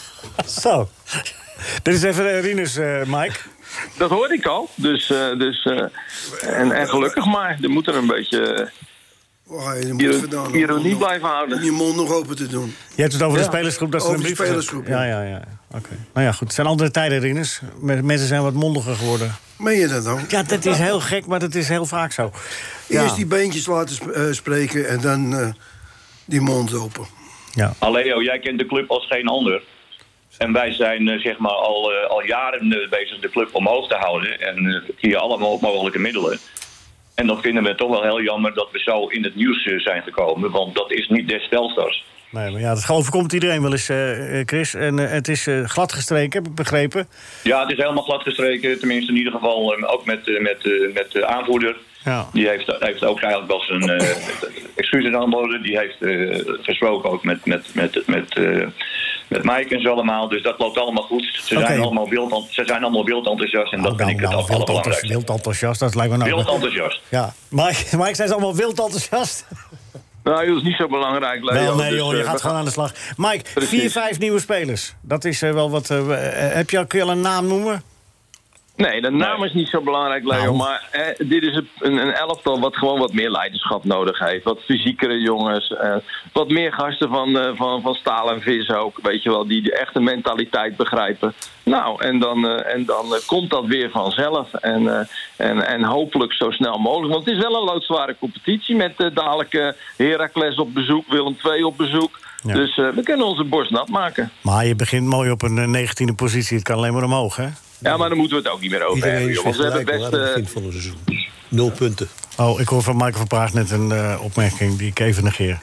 Speaker 3: Zo. Dit is even eh, Rinus, eh, Mike.
Speaker 9: Dat hoorde ik al. Dus, eh, dus, eh, en, en gelukkig maar. Er moet er een beetje
Speaker 4: Oh, je moet
Speaker 9: eh,
Speaker 4: vandaan-
Speaker 9: ironie blijven houden.
Speaker 4: Je mond nog open te doen.
Speaker 3: Je hebt het over de
Speaker 4: Ja,
Speaker 3: spelersgroep. Dat ze
Speaker 4: over
Speaker 3: een
Speaker 4: de
Speaker 3: brief gezet-
Speaker 4: spelersgroep,
Speaker 3: Ja,
Speaker 4: ja.
Speaker 3: ja, ja. Oké. Nou ja, goed. Het zijn andere tijden, Rinus. Me- Mensen zijn wat mondiger geworden.
Speaker 4: Meen je dat dan?
Speaker 3: Ja, dat is heel gek, maar dat is heel vaak zo. Ja.
Speaker 4: Eerst die beentjes laten sp- eh, spreken en dan eh, die mond open.
Speaker 10: Aleo, jij kent de club als geen ander. En wij zijn eh, zeg maar al, eh, al jaren eh, bezig de club omhoog te houden. En eh, via alle mo- mogelijke middelen. En dan vinden we het toch wel heel jammer dat we zo in het nieuws eh, zijn gekomen. Want dat is niet des Telstar's.
Speaker 3: Nee, maar ja, dat overkomt iedereen wel eens, eh, eh, Chris. En eh, het is eh, glad gestreken, heb ik begrepen.
Speaker 10: Ja, het is helemaal glad gestreken. Tenminste, in ieder geval eh, ook met, eh, met, eh, met de aanvoerder.
Speaker 3: Ja.
Speaker 10: Die heeft, heeft ook eigenlijk wel
Speaker 3: <laughs>
Speaker 10: zijn eh, excuses aanboden. Die heeft eh, gesproken ook met, met, met, met, eh, met Mike en zo allemaal. Dus dat loopt allemaal goed. Ze, zijn,
Speaker 3: Oké.
Speaker 10: allemaal wild, ze zijn allemaal wild enthousiast. En dat ben ik het
Speaker 3: Nou,
Speaker 10: nou,
Speaker 3: wild, enthousiast,
Speaker 10: allerbelangrijkste.
Speaker 3: wild enthousiast, dat lijkt me nou...
Speaker 10: Wild enthousiast.
Speaker 3: Ja, Mike, <laughs> Mike, zijn ze allemaal wild enthousiast?
Speaker 9: Nou, dat is niet zo belangrijk. Leo.
Speaker 3: Wel, nee
Speaker 9: Dus,
Speaker 3: joh,
Speaker 9: eh,
Speaker 3: je
Speaker 9: we
Speaker 3: gaat gewoon
Speaker 9: gaan-
Speaker 3: aan de slag. Mike,
Speaker 9: Precies.
Speaker 3: vier, vijf nieuwe spelers. Dat is eh, wel wat... eh, we- eh, heb je al, kun je al een naam noemen?
Speaker 9: Nee, de naam is niet zo belangrijk, Leo.
Speaker 3: Nou.
Speaker 9: Maar eh, dit is een, een elftal wat gewoon wat meer leiderschap nodig heeft. Wat fysiekere jongens. eh, wat meer gasten van, eh, van, van Staal en Vis ook. Weet je wel, die de echte mentaliteit begrijpen. Nou, en dan, eh, en dan eh, komt dat weer vanzelf. En, eh, en, en hopelijk zo snel mogelijk. Want het is wel een loodzware competitie. Met eh, dadelijk eh, Heracles op bezoek, Willem II op bezoek.
Speaker 3: Ja.
Speaker 9: Dus eh, we kunnen onze borst nat maken.
Speaker 3: Maar je begint mooi op een eh, negentiende positie. Het kan alleen maar omhoog, hè?
Speaker 9: Ja, maar daar moeten we het ook niet meer over
Speaker 7: Iedereen
Speaker 9: hebben.
Speaker 7: is
Speaker 9: joh. Want we hebben
Speaker 7: vergelijkbaar aan
Speaker 9: best... eh,
Speaker 7: het begin van het seizoen. Nul punten. <laughs>
Speaker 3: Oh, ik hoor van Michael van Praag net een eh, opmerking die ik even negeer.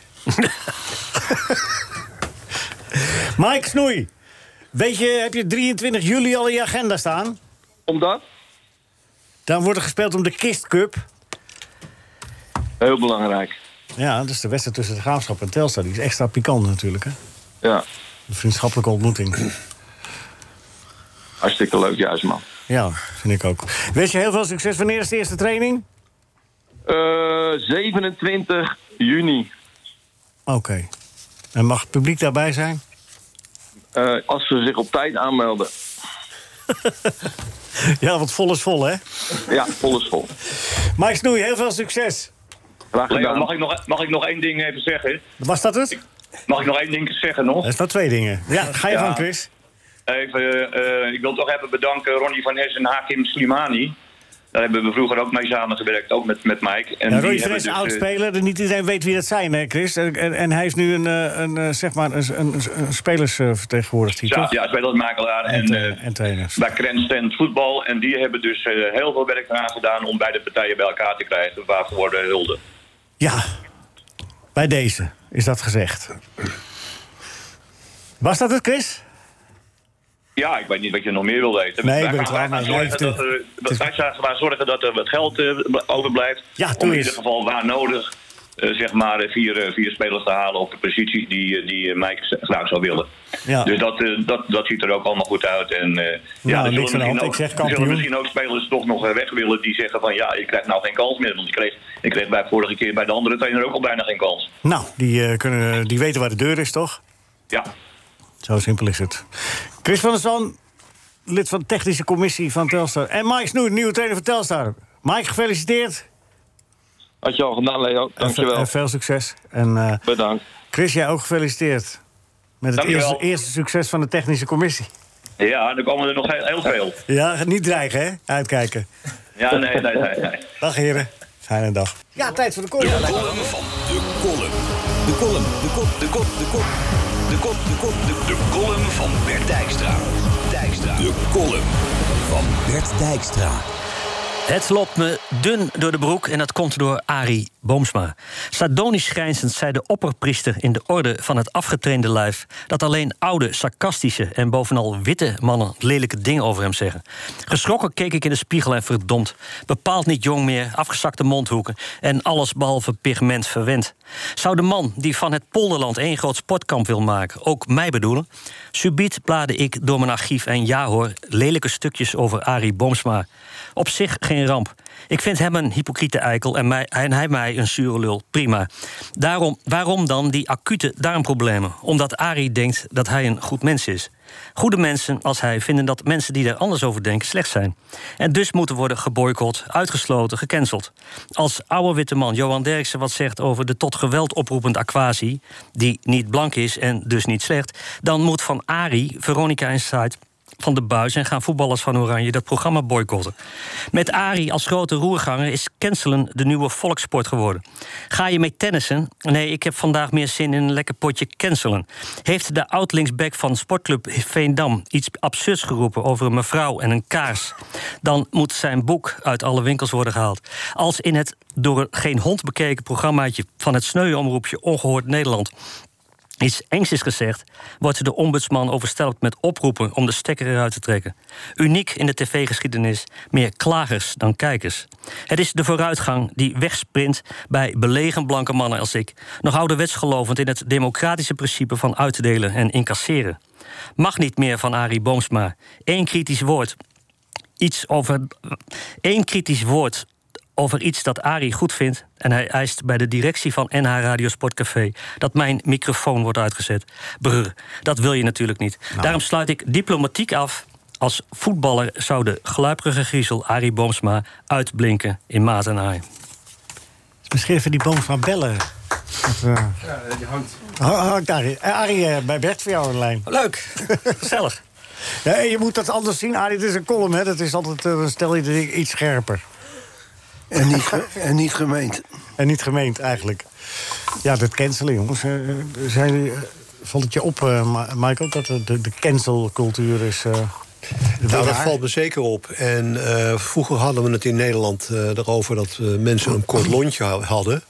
Speaker 3: Mike Snoei, weet je, heb je 23 juli al in je agenda staan?
Speaker 9: Omdat?
Speaker 3: Dan wordt er gespeeld om de Kist Cup.
Speaker 9: Heel belangrijk.
Speaker 3: Ja, dat is de wedstrijd tussen de Graafschap en Telstar. Die is extra pikant natuurlijk, hè?
Speaker 9: Ja,
Speaker 3: Een vriendschappelijke
Speaker 7: <clears throat>
Speaker 3: ontmoeting.
Speaker 9: hartstikke leuk juist, man.
Speaker 3: Ja, vind ik ook. Wens je heel veel succes. Wanneer is de eerste training?
Speaker 9: Eh, 27 juni.
Speaker 3: Oké. En mag het publiek daarbij zijn? <laughs>
Speaker 9: Eh, als ze zich op tijd aanmelden.
Speaker 3: Ja, want vol is vol, hè?
Speaker 9: Ja, vol is vol.
Speaker 3: Mike Snoei, heel veel succes.
Speaker 9: Graag
Speaker 10: Leo,
Speaker 9: gedaan.
Speaker 10: mag, ik nog, mag ik nog één ding even zeggen?
Speaker 3: Was dat het?
Speaker 10: Mag ik nog één ding zeggen nog?
Speaker 3: Dat is nou twee dingen. Ja, ga je
Speaker 10: Ja.
Speaker 3: van, Chris.
Speaker 10: Even, eh, ik wil toch even bedanken Ronnie van Hess en Hakim Slimani. Daar hebben we vroeger ook mee samengewerkt, ook met, met Mike.
Speaker 3: Ja,
Speaker 10: En die
Speaker 3: Roy
Speaker 10: hebben
Speaker 3: Fres,
Speaker 10: dus, eh,
Speaker 3: oud-speler. dus Niet iedereen weet wie dat zijn, hè, Chris? En, en, en hij is nu een, eh, een, eh, zeg maar een, een, een spelersvertegenwoordiger,
Speaker 10: ja,
Speaker 3: toch?
Speaker 10: Ja, spelersmakelaar en,
Speaker 3: En,
Speaker 10: en,
Speaker 3: en trainer.
Speaker 10: bij Cranston Voetbal. En die hebben dus eh, heel veel werk eraan gedaan om beide partijen bij elkaar te krijgen. Waarvoor de hulde.
Speaker 3: Ja, bij deze is dat gezegd. Was dat het, Chris?
Speaker 10: Ja, ik weet niet wat je nog meer wil weten.
Speaker 3: Nee, ik
Speaker 10: wij
Speaker 3: ben
Speaker 10: gaan- wij
Speaker 3: klaar
Speaker 10: gaan
Speaker 3: mee.
Speaker 10: zorgen
Speaker 3: Leef
Speaker 10: dat er- dat- Wij gaan maar zorgen dat er wat geld eh, overblijft.
Speaker 3: Ja, doe
Speaker 10: om in
Speaker 3: eens.
Speaker 10: ieder geval waar nodig eh, zeg maar, eh, vier, eh, vier spelers te halen op de positie die, eh, die eh, Mike z- graag zou willen.
Speaker 3: Ja. Nou,
Speaker 10: Dus dat, eh, dat, dat ziet er ook allemaal goed uit. En, eh, ja, er
Speaker 3: niks aan de
Speaker 10: zullen,
Speaker 3: hand.
Speaker 10: misschien
Speaker 3: Ik
Speaker 10: ook,
Speaker 3: zeg
Speaker 10: er
Speaker 3: kampioen.
Speaker 10: zullen misschien ook spelers toch nog eh, weg willen die zeggen van ja, ik krijg nou geen kans meer. Want ik kreeg, ik kreeg bij vorige keer bij de andere trainer ook al bijna geen kans.
Speaker 3: Nou, die, eh, kunnen, die weten waar de deur is, toch?
Speaker 10: Ja,
Speaker 3: Zo simpel is het. Chris van der Zwan, lid van de technische commissie van Telstar. En Mike Snoer, nieuwe trainer van Telstar. Mike, gefeliciteerd.
Speaker 9: Had je al gedaan, Leo.
Speaker 3: En,
Speaker 9: Dankjewel.
Speaker 3: eh, veel succes. En eh,
Speaker 9: Bedankt.
Speaker 3: Chris, jij ook gefeliciteerd. Met het
Speaker 10: Dankjewel.
Speaker 3: eerste, eerste succes van de technische commissie.
Speaker 10: ja dan komen er nog heel, heel veel.
Speaker 3: Ja, niet dreigen, hè? Uitkijken.
Speaker 10: Ja, nee, nee, nee. nee.
Speaker 3: Dag, heren. Fijne dag. Ja, tijd voor de
Speaker 2: De
Speaker 3: corner.
Speaker 2: column van de column. De column, de kop, de kop, de kop. De kop, de kop, de De column van Bert Dijkstra. Dijkstra. De column van Bert Dijkstra.
Speaker 6: Het loopt me dun door de broek en dat komt door Arie Boomsma. Sardonisch grijnzend zei de opperpriester in de orde van het afgetrainde lijf... dat alleen oude, sarcastische en bovenal witte mannen lelijke dingen over hem zeggen. Geschrokken keek ik in de spiegel en verdomd. Bepaald niet jong meer, afgezakte mondhoeken en alles behalve pigment verwend. Zou de man die van het polderland één groot sportkamp wil maken ook mij bedoelen? Subiet blaadde ik door mijn archief en ja hoor, lelijke stukjes over Arie Boomsma... Op zich geen ramp. Ik vind hem een hypocriete eikel en, mij, en hij mij een zure lul. Prima. Daarom, waarom dan die acute darmproblemen? Omdat Arie denkt dat hij een goed mens is. Goede mensen als hij vinden dat mensen die daar anders over denken slecht zijn. En dus moeten worden geboycott, uitgesloten, gecanceld. Als oude witte man Johan Derksen wat zegt over de tot geweld oproepend aquatie... die niet blank is en dus niet slecht... dan moet van Arie, Veronica Insight van de buis en gaan voetballers van Oranje dat programma boycotten. Met Ari als grote roerganger is cancelen de nieuwe volkssport geworden. Ga je mee tennissen? Nee, ik heb vandaag meer zin in een lekker potje cancelen. Heeft de oud-linksback van sportclub Veendam iets absurds geroepen over een mevrouw en een kaars? Dan moet zijn boek uit alle winkels worden gehaald. Als in het door geen hond bekeken programmaatje van het sneuwe omroepje Ongehoord Nederland iets engs is gezegd, wordt de ombudsman overstelpt met oproepen om de stekker eruit te trekken. Uniek in de tv-geschiedenis, meer klagers dan kijkers. Het is de vooruitgang die wegsprint bij belegen blanke mannen als ik, nog ouderwets gelovend in het democratische principe van uitdelen en incasseren. Mag niet meer van Arie Boomsma. Eén kritisch woord iets over. één kritisch woord over iets dat Arie goed vindt. En hij eist bij de directie van NH Radio Sportcafé dat mijn microfoon wordt uitgezet. Brr, dat wil je natuurlijk niet. Daarom sluit ik diplomatiek af. Als voetballer zou de gluiperige griezel Arie Boomsma uitblinken in maat en haai.
Speaker 3: Misschien even die boom van bellen. Dat, eh,
Speaker 5: Ja, die hangt.
Speaker 3: ha- hangt Arie. Eh, Arie, eh, bij Bert voor jou in de lijn. <laughs>
Speaker 6: Leuk, gezellig.
Speaker 3: Ja, je moet dat anders zien, Arie. Het is een column, hè. Dat is altijd, eh, dan stel je de ding iets scherper.
Speaker 4: En niet, ge- en niet gemeend.
Speaker 3: En niet gemeend, eigenlijk. Ja, dat cancelen, jongens. eh, zijn, jullie- eh, valt het je op, eh, Ma- Michael, dat de, de cancelcultuur is... eh,
Speaker 7: Nou, dat
Speaker 3: raar?
Speaker 7: valt me zeker op. En eh, vroeger hadden we het in Nederland eh erover dat eh, mensen een kort lontje hou- hadden.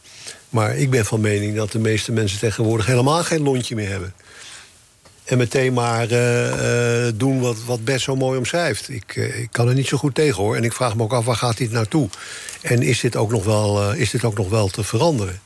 Speaker 7: Maar ik ben van mening dat de meeste mensen tegenwoordig helemaal geen lontje meer hebben. En meteen maar eh, eh, doen wat, wat Bert zo mooi omschrijft. Ik, eh, ik kan er niet zo goed tegen hoor. En ik vraag me ook af, waar gaat dit naartoe? En is dit ook nog wel, eh, is dit ook nog wel te veranderen?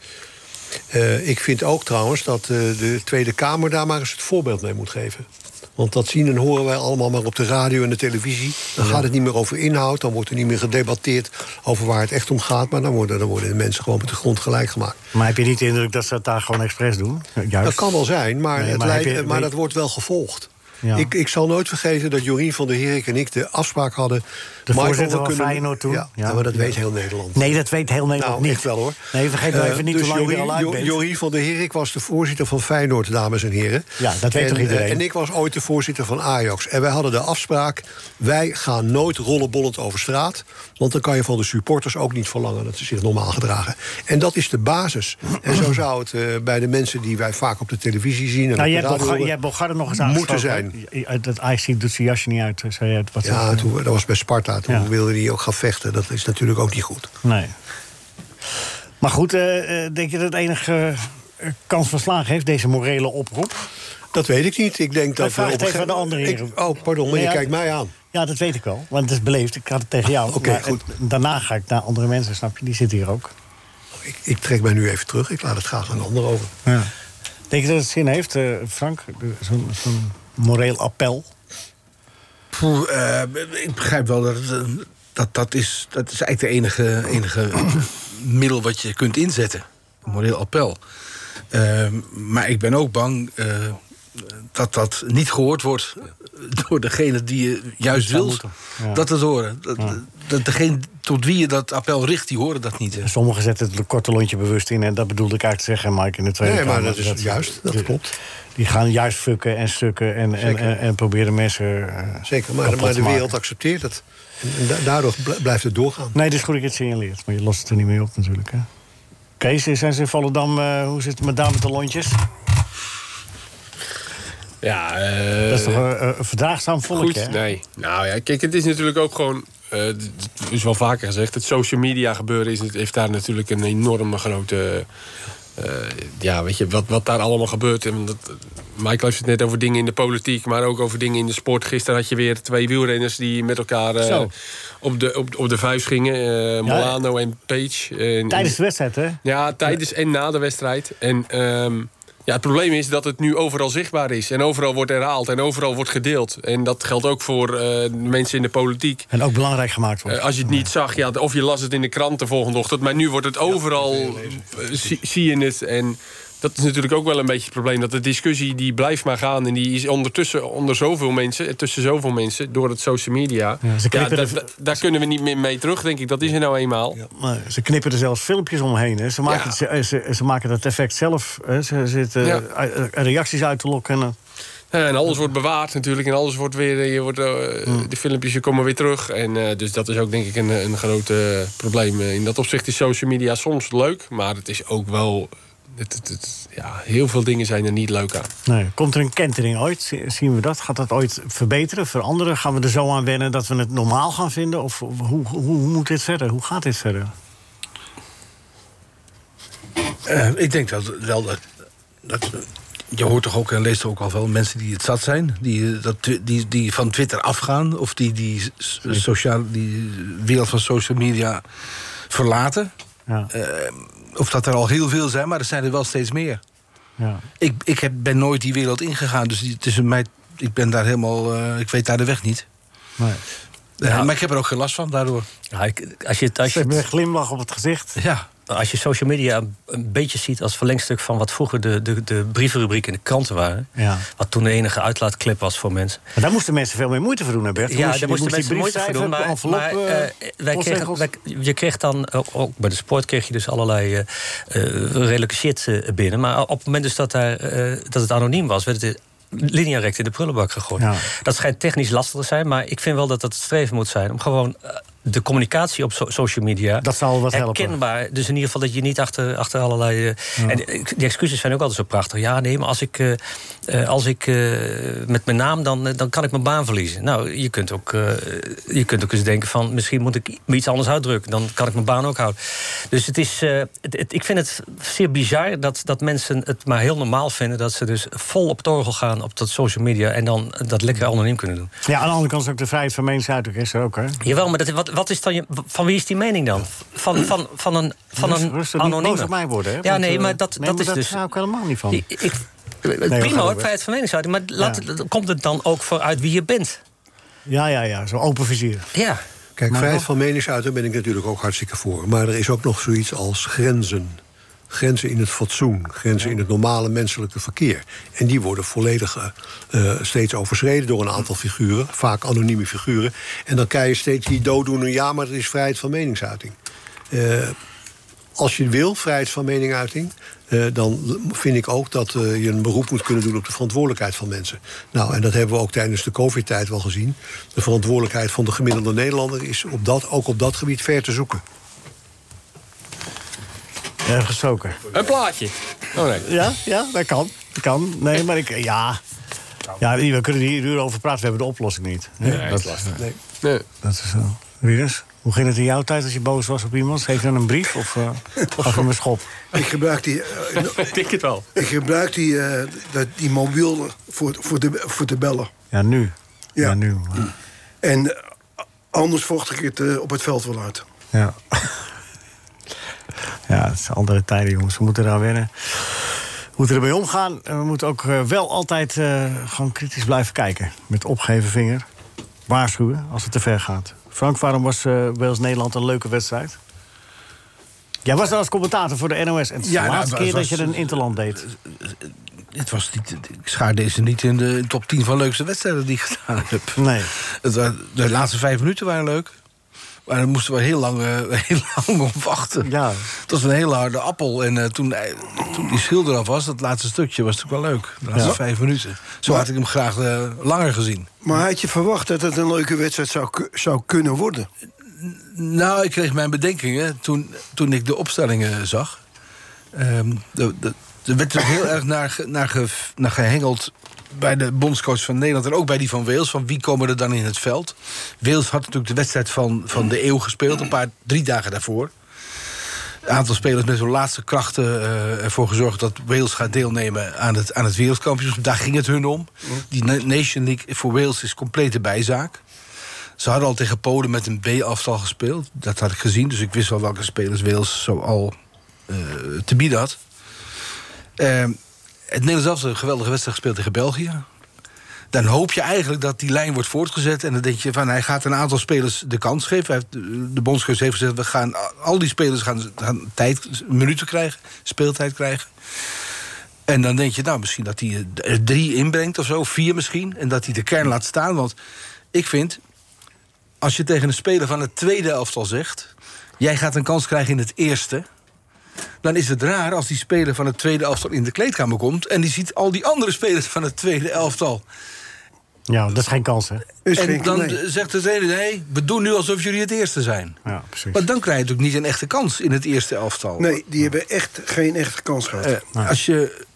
Speaker 7: Eh, ik vind ook trouwens dat eh, de Tweede Kamer daar maar eens het voorbeeld mee moet geven. Want dat zien en horen wij allemaal maar op de radio en de televisie. Dan gaat het niet meer over inhoud, dan wordt er niet meer gedebatteerd over waar het echt om gaat. Maar dan worden, dan worden de mensen gewoon met de grond gelijk gemaakt.
Speaker 3: Maar heb je niet de indruk dat ze het daar gewoon expres doen? Juist.
Speaker 7: Dat kan wel zijn, maar,
Speaker 3: Nee,
Speaker 7: het
Speaker 3: maar heb
Speaker 7: lijkt-
Speaker 3: je-
Speaker 7: maar dat wordt wel gevolgd.
Speaker 3: Ja.
Speaker 7: Ik, ik zal nooit vergeten dat Jorien van der Herik en ik de afspraak hadden.
Speaker 3: De
Speaker 7: Michael,
Speaker 3: voorzitter
Speaker 7: we
Speaker 3: van Feyenoord toen.
Speaker 7: Ja, maar dat weet heel Nederland.
Speaker 3: Nee, dat weet heel Nederland
Speaker 7: nou,
Speaker 3: niet.
Speaker 7: echt wel hoor.
Speaker 3: Nee, vergeet nou
Speaker 7: Eh,
Speaker 3: even niet
Speaker 7: dus
Speaker 3: hoe lang je
Speaker 7: Jorien-
Speaker 3: er al uit
Speaker 7: Jo-
Speaker 3: bent.
Speaker 7: Jorien van der Herik was de voorzitter van Feyenoord, dames en heren.
Speaker 3: Ja, dat weet
Speaker 7: en,
Speaker 3: toch iedereen?
Speaker 7: eh, En ik was ooit de voorzitter van Ajax. En wij hadden de afspraak, wij gaan nooit rollenbollend over straat. Want dan kan je van de supporters ook niet verlangen dat ze zich normaal gedragen. En dat is de basis. En zo zou het eh, bij de mensen die wij vaak op de televisie zien... En
Speaker 3: Nou,
Speaker 7: op
Speaker 3: je
Speaker 7: de
Speaker 3: hebt,
Speaker 7: radio
Speaker 3: Bulgar-
Speaker 7: horen,
Speaker 3: je hebt Bulgarden nog eens
Speaker 7: moeten
Speaker 3: aangesproken, hè? Eh, Dat IC doet zijn jasje niet uit, eh, zei je het. Wat
Speaker 7: Ja,
Speaker 3: zei-
Speaker 7: toen, dat was bij Sparta. Toen
Speaker 3: Ja.
Speaker 7: wilde hij ook gaan vechten. Dat is natuurlijk ook niet goed.
Speaker 3: Nee. Maar goed, eh, eh, denk je dat het enige eh, kans van slagen heeft, deze morele oproep? Nou,
Speaker 7: Dat weet ik niet. Ik denk dat...
Speaker 3: vraag
Speaker 7: we
Speaker 3: het
Speaker 7: op een
Speaker 3: even
Speaker 7: gege-
Speaker 3: aan de andere
Speaker 7: Ik-
Speaker 3: heren.
Speaker 7: Oh, pardon, maar
Speaker 3: Nee,
Speaker 7: je
Speaker 3: ja,
Speaker 7: kijkt mij aan. Ah,
Speaker 3: Ja, dat weet ik wel, want het is beleefd. Ik had het tegen jou.
Speaker 7: Oké,
Speaker 3: maar
Speaker 7: goed.
Speaker 3: het- daarna ga ik naar andere mensen, snap je? Die zitten hier ook.
Speaker 7: Oh, Ik, ik trek mij nu even terug. Ik laat het graag aan een ander over.
Speaker 3: Denk je dat het zin heeft, eh, Frank? De- Zo'n zo'n moreel appel?
Speaker 5: Poeh, eh, ik begrijp wel dat, het, eh, dat dat is. Dat is eigenlijk de enige, enige <clears throat> middel wat je kunt inzetten. Een moreel appel. Eh, maar ik ben ook bang eh, dat dat niet gehoord wordt <laughs> door degene die je juist
Speaker 3: zou
Speaker 5: wil
Speaker 3: moeten, ja.
Speaker 5: dat het horen. Dat, dat degene tot wie je dat appel richt, die horen dat niet. hè.
Speaker 3: Sommigen zetten het een korte lontje bewust in. En dat bedoelde ik eigenlijk te zeggen, Mike, in de Tweede
Speaker 7: Nee, maar
Speaker 3: Kamer,
Speaker 7: dat is juist, dat
Speaker 3: die-
Speaker 7: klopt.
Speaker 3: Die gaan juist fukken en stukken en, en,
Speaker 7: Zeker.
Speaker 3: en, en proberen mensen eh,
Speaker 7: Zeker, maar,
Speaker 3: kapot
Speaker 7: maar
Speaker 3: te
Speaker 7: de wereld
Speaker 3: maken.
Speaker 7: accepteert het. En, en da- daardoor bl- blijft het doorgaan.
Speaker 3: Nee, het is goed dat je het signaleert, maar je lost het er niet mee op natuurlijk. Hè? Kees, zijn ze in Volendam, eh, hoe zit het met daar met de lontjes?
Speaker 8: Ja, eh,
Speaker 3: dat is toch een, een verdraagzaam
Speaker 8: Goed,
Speaker 3: volkje, hè?
Speaker 8: nee. Nou ja, kijk, het is natuurlijk ook gewoon... eh, d- d- het is wel vaker gezegd, het social media gebeuren is, heeft daar natuurlijk een enorme grote... eh, ja, weet je, wat, wat daar allemaal gebeurt. En dat, Michael heeft het net over dingen in de politiek, maar ook over dingen in de sport. Gisteren had je weer twee wielrenners die met elkaar eh,
Speaker 3: Zo.
Speaker 8: op, de, op, op de vuist gingen. eh, Molano en Page. En-
Speaker 3: Tijdens de wedstrijd, hè?
Speaker 8: ja, tijdens en na de wedstrijd. En ehm, ja, het probleem is dat het nu overal zichtbaar is. En overal wordt herhaald en overal wordt gedeeld. En dat geldt ook voor eh, mensen in de politiek.
Speaker 3: En ook belangrijk gemaakt wordt.
Speaker 8: Eh, als je het niet zag, ja, of je las het in de krant de volgende ochtend. Maar nu wordt het overal, eh, zie, zie je het. En dat is natuurlijk ook wel een beetje het probleem. Dat de discussie die blijft maar gaan. En die is ondertussen onder zoveel mensen, eh, tussen zoveel mensen, door het social media.
Speaker 3: Ja, ze knippen
Speaker 8: daar-
Speaker 3: de-
Speaker 8: daar- daar kunnen we niet meer mee terug, denk ik. Dat is er nou eenmaal.
Speaker 3: Maar ze knippen er zelfs filmpjes omheen. Hè. Ze, maken
Speaker 8: Ja.
Speaker 3: het, ze, eh, ze, ze maken het effect zelf. Hè. Ze zitten
Speaker 8: Ja.
Speaker 3: eh, eh, reacties uit te lokken. eh.
Speaker 8: Ja, en alles wordt bewaard natuurlijk. En alles wordt weer. Je wordt, eh, De filmpjes die komen weer terug. En, eh, dus dat is ook denk ik een, een groot eh, probleem. Eh, In dat opzicht is social media soms leuk. Maar het is ook wel. Het, het- het- ja, heel veel dingen zijn er niet leuk aan.
Speaker 3: Nee. Komt er een kentering ooit? Z- Zien we dat? Gaat dat ooit verbeteren, veranderen? Gaan we er zo aan wennen dat we het normaal gaan vinden? Of hoe, hoe, hoe moet dit verder? Hoe gaat dit verder?
Speaker 5: Eh, ik denk dat wel dat, dat- Je hoort toch ook en leest toch ook al wel mensen die het zat zijn. Die, eh, dat, twi- die, die van Twitter afgaan. Of die die, s- sociaal, die wereld van social media verlaten. Eh,
Speaker 3: Ja,
Speaker 5: Of dat er al heel veel zijn, maar er zijn er wel steeds meer.
Speaker 3: ja.
Speaker 5: Ik, ik heb, ben nooit die wereld ingegaan. Dus die, tussen mij, ik ben daar helemaal. eh, ik weet daar de weg niet.
Speaker 3: Nee.
Speaker 5: Eh, maar ik heb er ook geen last van daardoor.
Speaker 6: Ja, ik- als, je, het- als,
Speaker 3: Ze
Speaker 6: je,
Speaker 3: hebben een
Speaker 6: het-
Speaker 3: glimlach op het gezicht.
Speaker 5: Ja.
Speaker 6: als je social media een- een beetje ziet als verlengstuk van wat vroeger de, de, de brievenrubriek in de kranten waren.
Speaker 3: Ja.
Speaker 6: Wat toen de enige uitlaatklep was voor mensen.
Speaker 3: Maar daar moesten mensen veel meer moeite voor doen, hè Bert?
Speaker 6: Ja,
Speaker 3: Moest je-
Speaker 6: daar moesten
Speaker 3: moest
Speaker 6: mensen
Speaker 3: die brief
Speaker 6: moeite voor doen.
Speaker 3: schrijven,
Speaker 6: Maar,
Speaker 3: envelop,
Speaker 6: maar,
Speaker 3: eh,
Speaker 6: eh, wij kregen,
Speaker 3: postzegels.
Speaker 6: wij, je kreeg dan, ook, ook bij de sport kreeg je dus allerlei eh eh, redelijke shit eh, binnen. Maar op het moment dus dat, daar, eh, dat het anoniem was, werd het linea rect in de prullenbak gegooid.
Speaker 3: Ja.
Speaker 6: Dat schijnt technisch lastig te zijn, maar ik vind wel dat dat het streven moet zijn... om gewoon eh, de communicatie op so- social media.
Speaker 3: Dat zal wat helpen.
Speaker 6: herkenbaar. Dus in ieder geval dat je niet achter, achter allerlei. eh, En eh, die excuses zijn ook altijd zo prachtig. Ja, nee, maar als ik, eh, eh, als ik eh, met mijn naam, dan, eh, dan kan ik mijn baan verliezen. Nou, je kunt, ook, eh, je kunt ook eens denken van misschien moet ik me iets anders uitdrukken. Dan kan ik mijn baan ook houden. Dus het is, eh, het, het- ik vind het zeer bizar dat, dat mensen het maar heel normaal vinden dat ze dus vol op het orgel gaan op dat social media en dan dat lekker anoniem kunnen doen.
Speaker 3: Ja, aan de andere kant is ook de vrijheid van meningsuiting is er ook, hè?
Speaker 6: Jawel, maar dat, wat, wat is dan je, van wie is die mening dan? Van, van, van een, van
Speaker 3: Rustig,
Speaker 6: een
Speaker 3: rustig, niet
Speaker 6: anonieme?
Speaker 3: boos op mij worden, hè?
Speaker 6: Ja,
Speaker 3: Want,
Speaker 6: nee,
Speaker 3: eh,
Speaker 6: maar dat,
Speaker 3: nee,
Speaker 6: dat
Speaker 3: maar
Speaker 6: is dus...
Speaker 3: hou ik helemaal niet van.
Speaker 6: Ik- ik-
Speaker 3: we gaan
Speaker 6: prima hoor,
Speaker 3: door.
Speaker 6: vrijheid van meningsuiting. Maar laat, het- komt het dan ook voor uit wie je bent?
Speaker 3: Ja, ja, ja, zo open vizier.
Speaker 6: Ja.
Speaker 7: Kijk,
Speaker 3: Maar
Speaker 7: vrijheid
Speaker 3: wel-
Speaker 7: van meningsuiting ben ik natuurlijk ook hartstikke voor. Maar er is ook nog zoiets als grenzen. Grenzen in het fatsoen, grenzen in het normale menselijke verkeer. En die worden volledig eh, eh, steeds overschreden door een aantal figuren, vaak anonieme figuren. En dan krijg je steeds die dooddoener, ja, maar er is vrijheid van meningsuiting. Eh, als je wil, vrijheid van meningsuiting, eh, dan vind ik ook dat eh, je een beroep moet kunnen doen op de verantwoordelijkheid van mensen. Nou, en dat hebben we ook tijdens de COVID-tijd wel gezien. De verantwoordelijkheid van de gemiddelde Nederlander is op dat, ook op dat gebied ver te zoeken.
Speaker 3: Ja, gestoken.
Speaker 8: Een plaatje. Oh nee.
Speaker 3: Ja, ja, dat kan. Dat kan. Nee, maar ik... Ja. ja, we kunnen hier uren over praten. We hebben de oplossing niet.
Speaker 8: Nee,
Speaker 3: dat
Speaker 8: dat is lastig.
Speaker 3: nee.
Speaker 8: Nee.
Speaker 3: Dat is zo. Rinus, hoe ging het in jouw tijd als je boos was op iemand? Geef je dan een brief of eh, gaf je hem een schop?
Speaker 4: Ik gebruik die, eh,
Speaker 8: <laughs> Ik denk het wel.
Speaker 4: ik gebruik die, eh, dat- die mobiel voor, voor, de, voor te bellen.
Speaker 3: Ja, nu. Ja, nu.
Speaker 4: En eh, anders vocht ik het eh, op het veld wel uit.
Speaker 3: Ja. <laughs> ja, het zijn andere tijden, jongens. We moeten eraan wennen. We moeten ermee omgaan. En we moeten ook eh, wel altijd eh, gewoon kritisch blijven kijken. Met opgeheven vinger. Waarschuwen als het te ver gaat. Frank, waarom was eh Wales-Nederland een leuke wedstrijd? Jij was daar als commentator voor de NOS. En het is
Speaker 5: Ja,
Speaker 3: de
Speaker 5: nou,
Speaker 3: laatste
Speaker 5: het
Speaker 3: keer
Speaker 5: was-
Speaker 3: dat je een interland deed.
Speaker 5: Het was niet, ik schaar deze niet in de top 10 van leukste wedstrijden die ik gedaan heb.
Speaker 3: Nee.
Speaker 5: Het wa- de laatste vijf minuten waren leuk. Maar daar moesten we heel lang, eh, <laughs> heel lang op wachten.
Speaker 3: Ja.
Speaker 5: Het was een hele harde appel. En eh, toen, eh, toen die schilder af was, dat laatste stukje was natuurlijk wel leuk. De laatste
Speaker 4: Ja.
Speaker 5: vijf minuten. Zo had ik hem graag eh, langer gezien.
Speaker 4: Maar had je verwacht dat het een leuke wedstrijd zou, ku- zou kunnen worden?
Speaker 5: Nou, ik kreeg mijn bedenkingen toen, toen ik de opstellingen zag. Ehm, de- de- er werd er heel erg naar, ge- naar, ge, naar gehengeld bij de bondscoach van Nederland... en ook bij die van Wales, van wie komen er dan in het veld? Wales had natuurlijk de wedstrijd van, van de eeuw gespeeld, een paar, drie dagen daarvoor. Een aantal spelers met hun laatste krachten eh, ervoor gezorgd... dat Wales gaat deelnemen aan het, aan het wereldkampioenschap. Daar ging het hun om. Die Na- Nation League voor Wales is complete bijzaak. Ze hadden al tegen Polen met een B-aftal gespeeld. Dat had ik gezien, dus ik wist wel welke spelers Wales zo al eh, te bieden had. Ehm, het Nederlands zelfs een geweldige wedstrijd gespeeld tegen België. Dan hoop je eigenlijk dat die lijn wordt voortgezet. En dan denk je van hij gaat een aantal spelers de kans geven. Hij heeft, eh, de bondscoach heeft gezegd: we gaan, al die spelers gaan, gaan tijd, minuten krijgen, speeltijd krijgen. En dan denk je, nou, misschien dat hij er drie inbrengt of zo, vier misschien. En dat hij de kern laat staan. Want ik vind, als je tegen een speler van het tweede elftal zegt... jij gaat een kans krijgen in het eerste... dan is het raar als die speler van het tweede elftal in de kleedkamer komt... en die ziet al die andere spelers van het tweede elftal.
Speaker 3: Ja, dat is geen kans, hè?
Speaker 5: En dan eh, zegt de trainer, nee, we doen nu alsof jullie het eerste zijn.
Speaker 3: Ja, precies.
Speaker 5: Maar dan krijg je natuurlijk niet een echte kans in het eerste elftal.
Speaker 4: Nee, die hebben echt geen echte kans gehad.
Speaker 5: Eh, Als je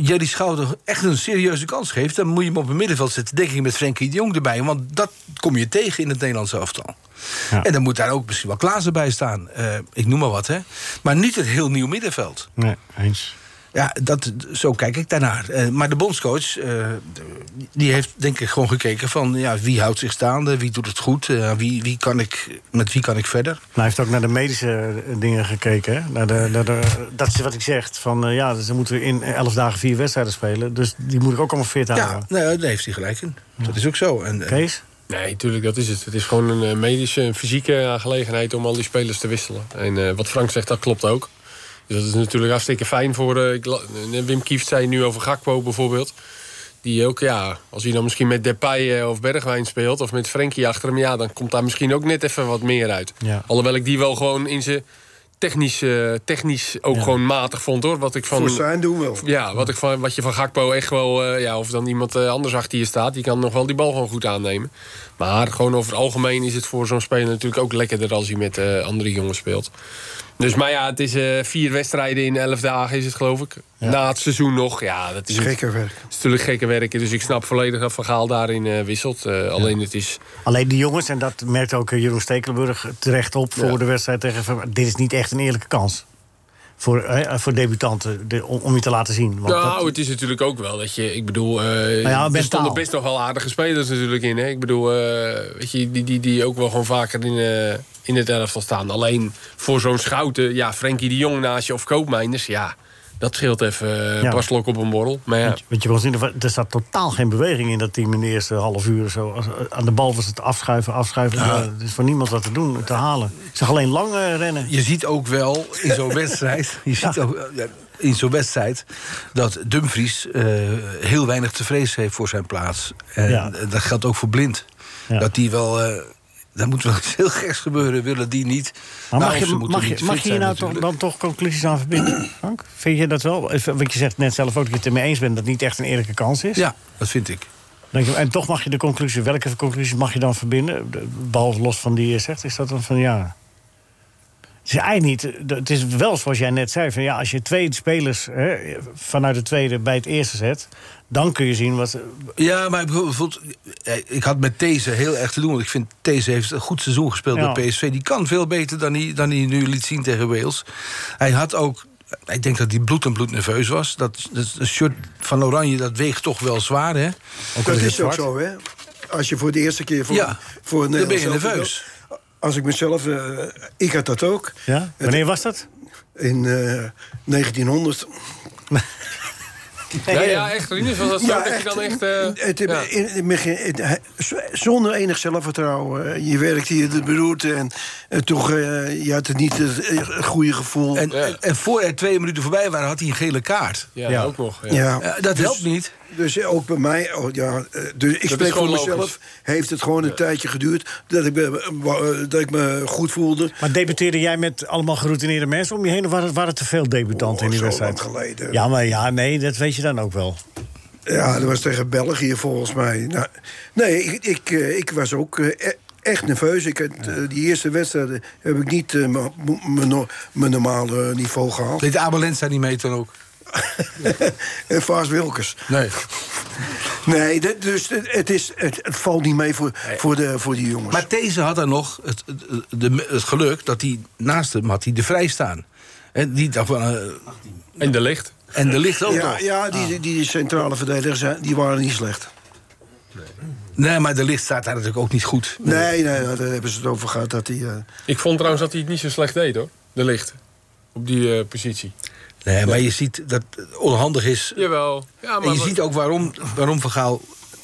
Speaker 5: Jerry Schouder echt een serieuze kans geeft... dan moet je hem op het middenveld zetten, denk ik, met Frenkie de Jong erbij. Want dat kom je tegen in het Nederlandse elftal.
Speaker 3: Ja.
Speaker 5: En dan moet daar ook misschien wel Klaassen bij staan. Eh, ik noem maar wat, hè. Maar niet het heel nieuw middenveld.
Speaker 3: Nee, eens.
Speaker 5: Ja, dat, zo kijk ik daarnaar. Eh, maar de bondscoach, eh, die heeft denk ik gewoon gekeken van... Ja, wie houdt zich staande, wie doet het goed, eh, wie, wie kan ik, met wie kan ik verder.
Speaker 3: Nou, hij heeft ook naar de medische eh, dingen gekeken. Hè? Naar de, naar de, Eh, dat is wat ik zeg. Van, eh, ja, ze moeten in elf dagen vier wedstrijden spelen. Dus die moet ik ook allemaal fit houden.
Speaker 5: Ja, nee, daar heeft hij gelijk in. Dat is ook zo. En, eh,
Speaker 3: Kees?
Speaker 8: Nee, natuurlijk, dat is het. Het is gewoon een eh, medische, een fysieke aangelegenheid om al die spelers te wisselen. En eh, wat Frank zegt, dat klopt ook. Dus dat is natuurlijk hartstikke fijn voor... eh, ik la- eh, Wim Kieft zei nu over Gakpo bijvoorbeeld. Die ook, ja, als hij dan misschien met Depay eh, of Bergwijn speelt... of met Frenkie achter hem, ja, dan komt daar misschien ook net even wat meer uit.
Speaker 3: Ja.
Speaker 8: Alhoewel ik die wel gewoon in zijn technisch, eh, technisch ook gewoon matig vond, hoor. Wat ik van...
Speaker 4: Voor zijn doen wel.
Speaker 8: Ja, wat, ik van, wat je van Gakpo echt wel... eh, ja, of dan iemand eh, anders achter je staat... die kan nog wel die bal gewoon goed aannemen. Maar gewoon over het algemeen is het voor zo'n speler natuurlijk ook lekkerder als hij met eh, andere jongens speelt. Dus maar ja, het is eh, vier wedstrijden in elf dagen is het geloof ik. Na het seizoen nog. Ja, dat is
Speaker 4: Het is
Speaker 8: niet-
Speaker 4: gekker werk.
Speaker 8: Het is natuurlijk gekker werken. Dus ik snap volledig dat Van Gaal daarin eh, wisselt. Eh, Alleen het is...
Speaker 3: Alleen die jongens, en dat merkt ook eh, Jeroen Stekelenburg terecht op voor
Speaker 8: Ja.
Speaker 3: de wedstrijd tegen. Ver- Dit is niet echt een eerlijke kans. Voor, eh, voor debutanten, de- om, om je te laten zien. Want dat-
Speaker 8: nou,
Speaker 3: Nou
Speaker 8: het is natuurlijk ook wel dat je, ik bedoel, eh, er
Speaker 3: mentaal.
Speaker 8: stonden best nog wel aardige spelers natuurlijk in. Hè? Ik bedoel, eh, weet je, die, die, die ook wel gewoon vaker in, eh, in het elftal staan. Alleen voor zo'n schouten, ja, Frenkie de Jong naast je of Koopmijners, ja, dat scheelt even eh
Speaker 3: Ja.
Speaker 8: paslok op een borrel. Maar ja,
Speaker 3: Want, je- want je kon zien, er- er zat totaal geen beweging in dat team in de eerste half uur. of Zo. Als- eh, Aan de bal was het afschuiven, afschuiven.
Speaker 5: Ja.
Speaker 3: Ja, Er is voor niemand wat te doen, te halen. Ik zag alleen lang eh, rennen.
Speaker 5: Je ziet ook wel in zo'n wedstrijd. Je ziet ook, ja, in zo'n wedstrijd dat Dumfries eh, heel weinig te vrezen heeft voor zijn plaats. En eh,
Speaker 3: Ja.
Speaker 5: dat geldt ook voor Blind. Dat die wel. eh daar moet wel iets heel geks gebeuren, willen die niet.
Speaker 3: Maar
Speaker 5: Nou,
Speaker 3: mag, je,
Speaker 5: ze moeten
Speaker 3: mag,
Speaker 5: niet
Speaker 3: je,
Speaker 5: fit
Speaker 3: mag je hier
Speaker 5: zijn
Speaker 3: nou toch,
Speaker 5: natuurlijk.
Speaker 3: dan toch conclusies aan
Speaker 5: <clears throat>
Speaker 3: verbinden, Frank? Vind je dat wel? Even, Want je zegt net zelf ook dat je het ermee eens bent dat het niet echt een eerlijke kans is.
Speaker 5: Ja, dat vind ik.
Speaker 3: Denk je, en toch mag je de conclusie, welke conclusies mag je dan verbinden? De- Behalve los van die je zegt, is dat dan van ja. Het is eigenlijk niet, de- het is wel zoals jij net zei: van ja, als je twee spelers hè, vanuit de tweede bij het eerste zet, dan kun je zien wat.
Speaker 5: Ja, maar bijvoorbeeld, eh, ik had met These heel erg te doen. Want ik vind These heeft een goed seizoen gespeeld
Speaker 3: Ja.
Speaker 5: bij PSV. Die kan veel beter dan hij, dan hij nu liet zien tegen Wales. Hij had ook, ik denk dat hij bloed en bloed nerveus was. Dat, dat shirt van Oranje, dat weegt toch wel zwaar, hè?
Speaker 4: dat is ook zo, hè? Als je voor de eerste keer voor,
Speaker 5: Ja,
Speaker 4: voor een
Speaker 5: dan ben je
Speaker 4: Nederlands elftal-
Speaker 5: nerveus.
Speaker 4: Als ik mezelf, eh, ik had dat ook.
Speaker 3: Ja? Wanneer was dat?
Speaker 4: In eh, 1900.
Speaker 8: ja, ja echt, Rinus, was dat zo?
Speaker 4: Ja,
Speaker 8: dat je
Speaker 4: echt.
Speaker 8: dan echt... eh,
Speaker 4: Het,
Speaker 8: ja.
Speaker 4: in, in- begin- het- hij- z- zonder enig zelfvertrouwen. eh, Je werkt hier de beroerte en eh, toch, eh, je had het niet het eh, goede gevoel.
Speaker 5: En,
Speaker 8: Ja.
Speaker 5: en voor er twee minuten voorbij waren, had hij een gele kaart.
Speaker 8: ja,
Speaker 3: Ja.
Speaker 8: ook nog. Ja.
Speaker 4: ja.
Speaker 5: Eh, dat helpt niet.
Speaker 4: Dus ook bij mij, oh ja, eh, dus ik
Speaker 8: is
Speaker 4: spreek voor
Speaker 8: gewoon
Speaker 4: mezelf,
Speaker 8: logisch.
Speaker 4: heeft het gewoon een tijdje geduurd dat ik, me, wa- eh, dat ik me goed voelde.
Speaker 3: Maar debuteerde jij met allemaal geroutineerde mensen om je heen? Of waren, waren er te veel debutanten
Speaker 4: Oh,
Speaker 3: in die
Speaker 4: zo
Speaker 3: wedstrijd?
Speaker 4: lang geleden.
Speaker 3: Ja, maar ja, nee, dat weet je dan ook wel.
Speaker 4: Ja, dat was tegen België volgens mij. Nou, nee, ik, ik, eh, ik was ook eh, e- echt nerveus. Ik had, eh, die eerste wedstrijden heb ik niet eh, mijn- mijn no- mijn normale niveau gehaald.
Speaker 5: Deed Abelens daar niet mee toen ook?
Speaker 4: en Vaas Wilkes.
Speaker 5: Nee.
Speaker 4: <laughs> Nee, dat- dus het, het is, het, het valt niet mee voor, voor, de, voor die jongens.
Speaker 5: Maar These had dan nog het, het, de- het geluk dat hij naast hem had hij de vrij staan. En die dacht van, eh,
Speaker 8: En de licht.
Speaker 5: en de licht ook
Speaker 4: ja,
Speaker 5: nog. Ah.
Speaker 4: ja die, die, die centrale verdedigers zijn- die waren niet slecht.
Speaker 5: Nee, maar de licht staat daar natuurlijk ook niet goed.
Speaker 4: Nee, nee, nou, daar hebben ze het over gehad. Dat die, eh,
Speaker 8: Ik vond trouwens dat hij het niet zo slecht deed, hoor. De licht. Op die eh, positie.
Speaker 5: Nee, maar je ziet dat het onhandig is.
Speaker 8: Jawel. Ja,
Speaker 5: en
Speaker 8: maar
Speaker 5: je
Speaker 8: wat-
Speaker 5: ziet ook waarom, waarom Van Gaal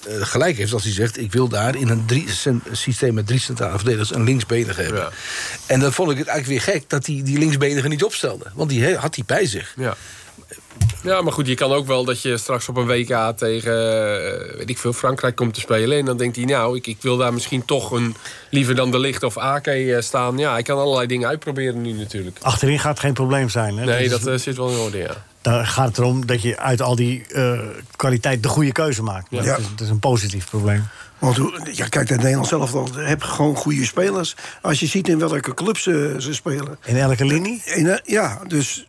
Speaker 5: eh, gelijk heeft als hij zegt... ik wil daar in een drie, cent- systeem met drie centrale verdedigers een linksbenige hebben.
Speaker 8: Ja.
Speaker 5: En dan vond ik het eigenlijk weer gek dat hij die linksbenige niet opstelde. Want die he- had hij bij zich.
Speaker 8: Ja. Ja, maar goed, je kan ook wel dat je straks op een WK tegen, eh, weet ik veel, Frankrijk komt te spelen. En dan denkt hij, nou, ik, ik wil daar misschien toch een, liever dan de licht of AK eh, staan. Ja, ik kan allerlei dingen uitproberen nu natuurlijk.
Speaker 3: Achterin gaat geen probleem zijn. Hè?
Speaker 8: Nee,
Speaker 3: is-
Speaker 8: dat eh, zit wel in orde, ja.
Speaker 3: Daar gaat het erom dat je uit al die eh, kwaliteit de goede keuze maakt. Maar
Speaker 4: Ja.
Speaker 3: Dat, is, dat is een positief probleem.
Speaker 4: Want hoe- ja, kijk, dat Nederlands zelf heb gewoon goede spelers. Als je ziet in welke clubs ze, ze spelen.
Speaker 3: In elke linie?
Speaker 4: En, eh, ja, dus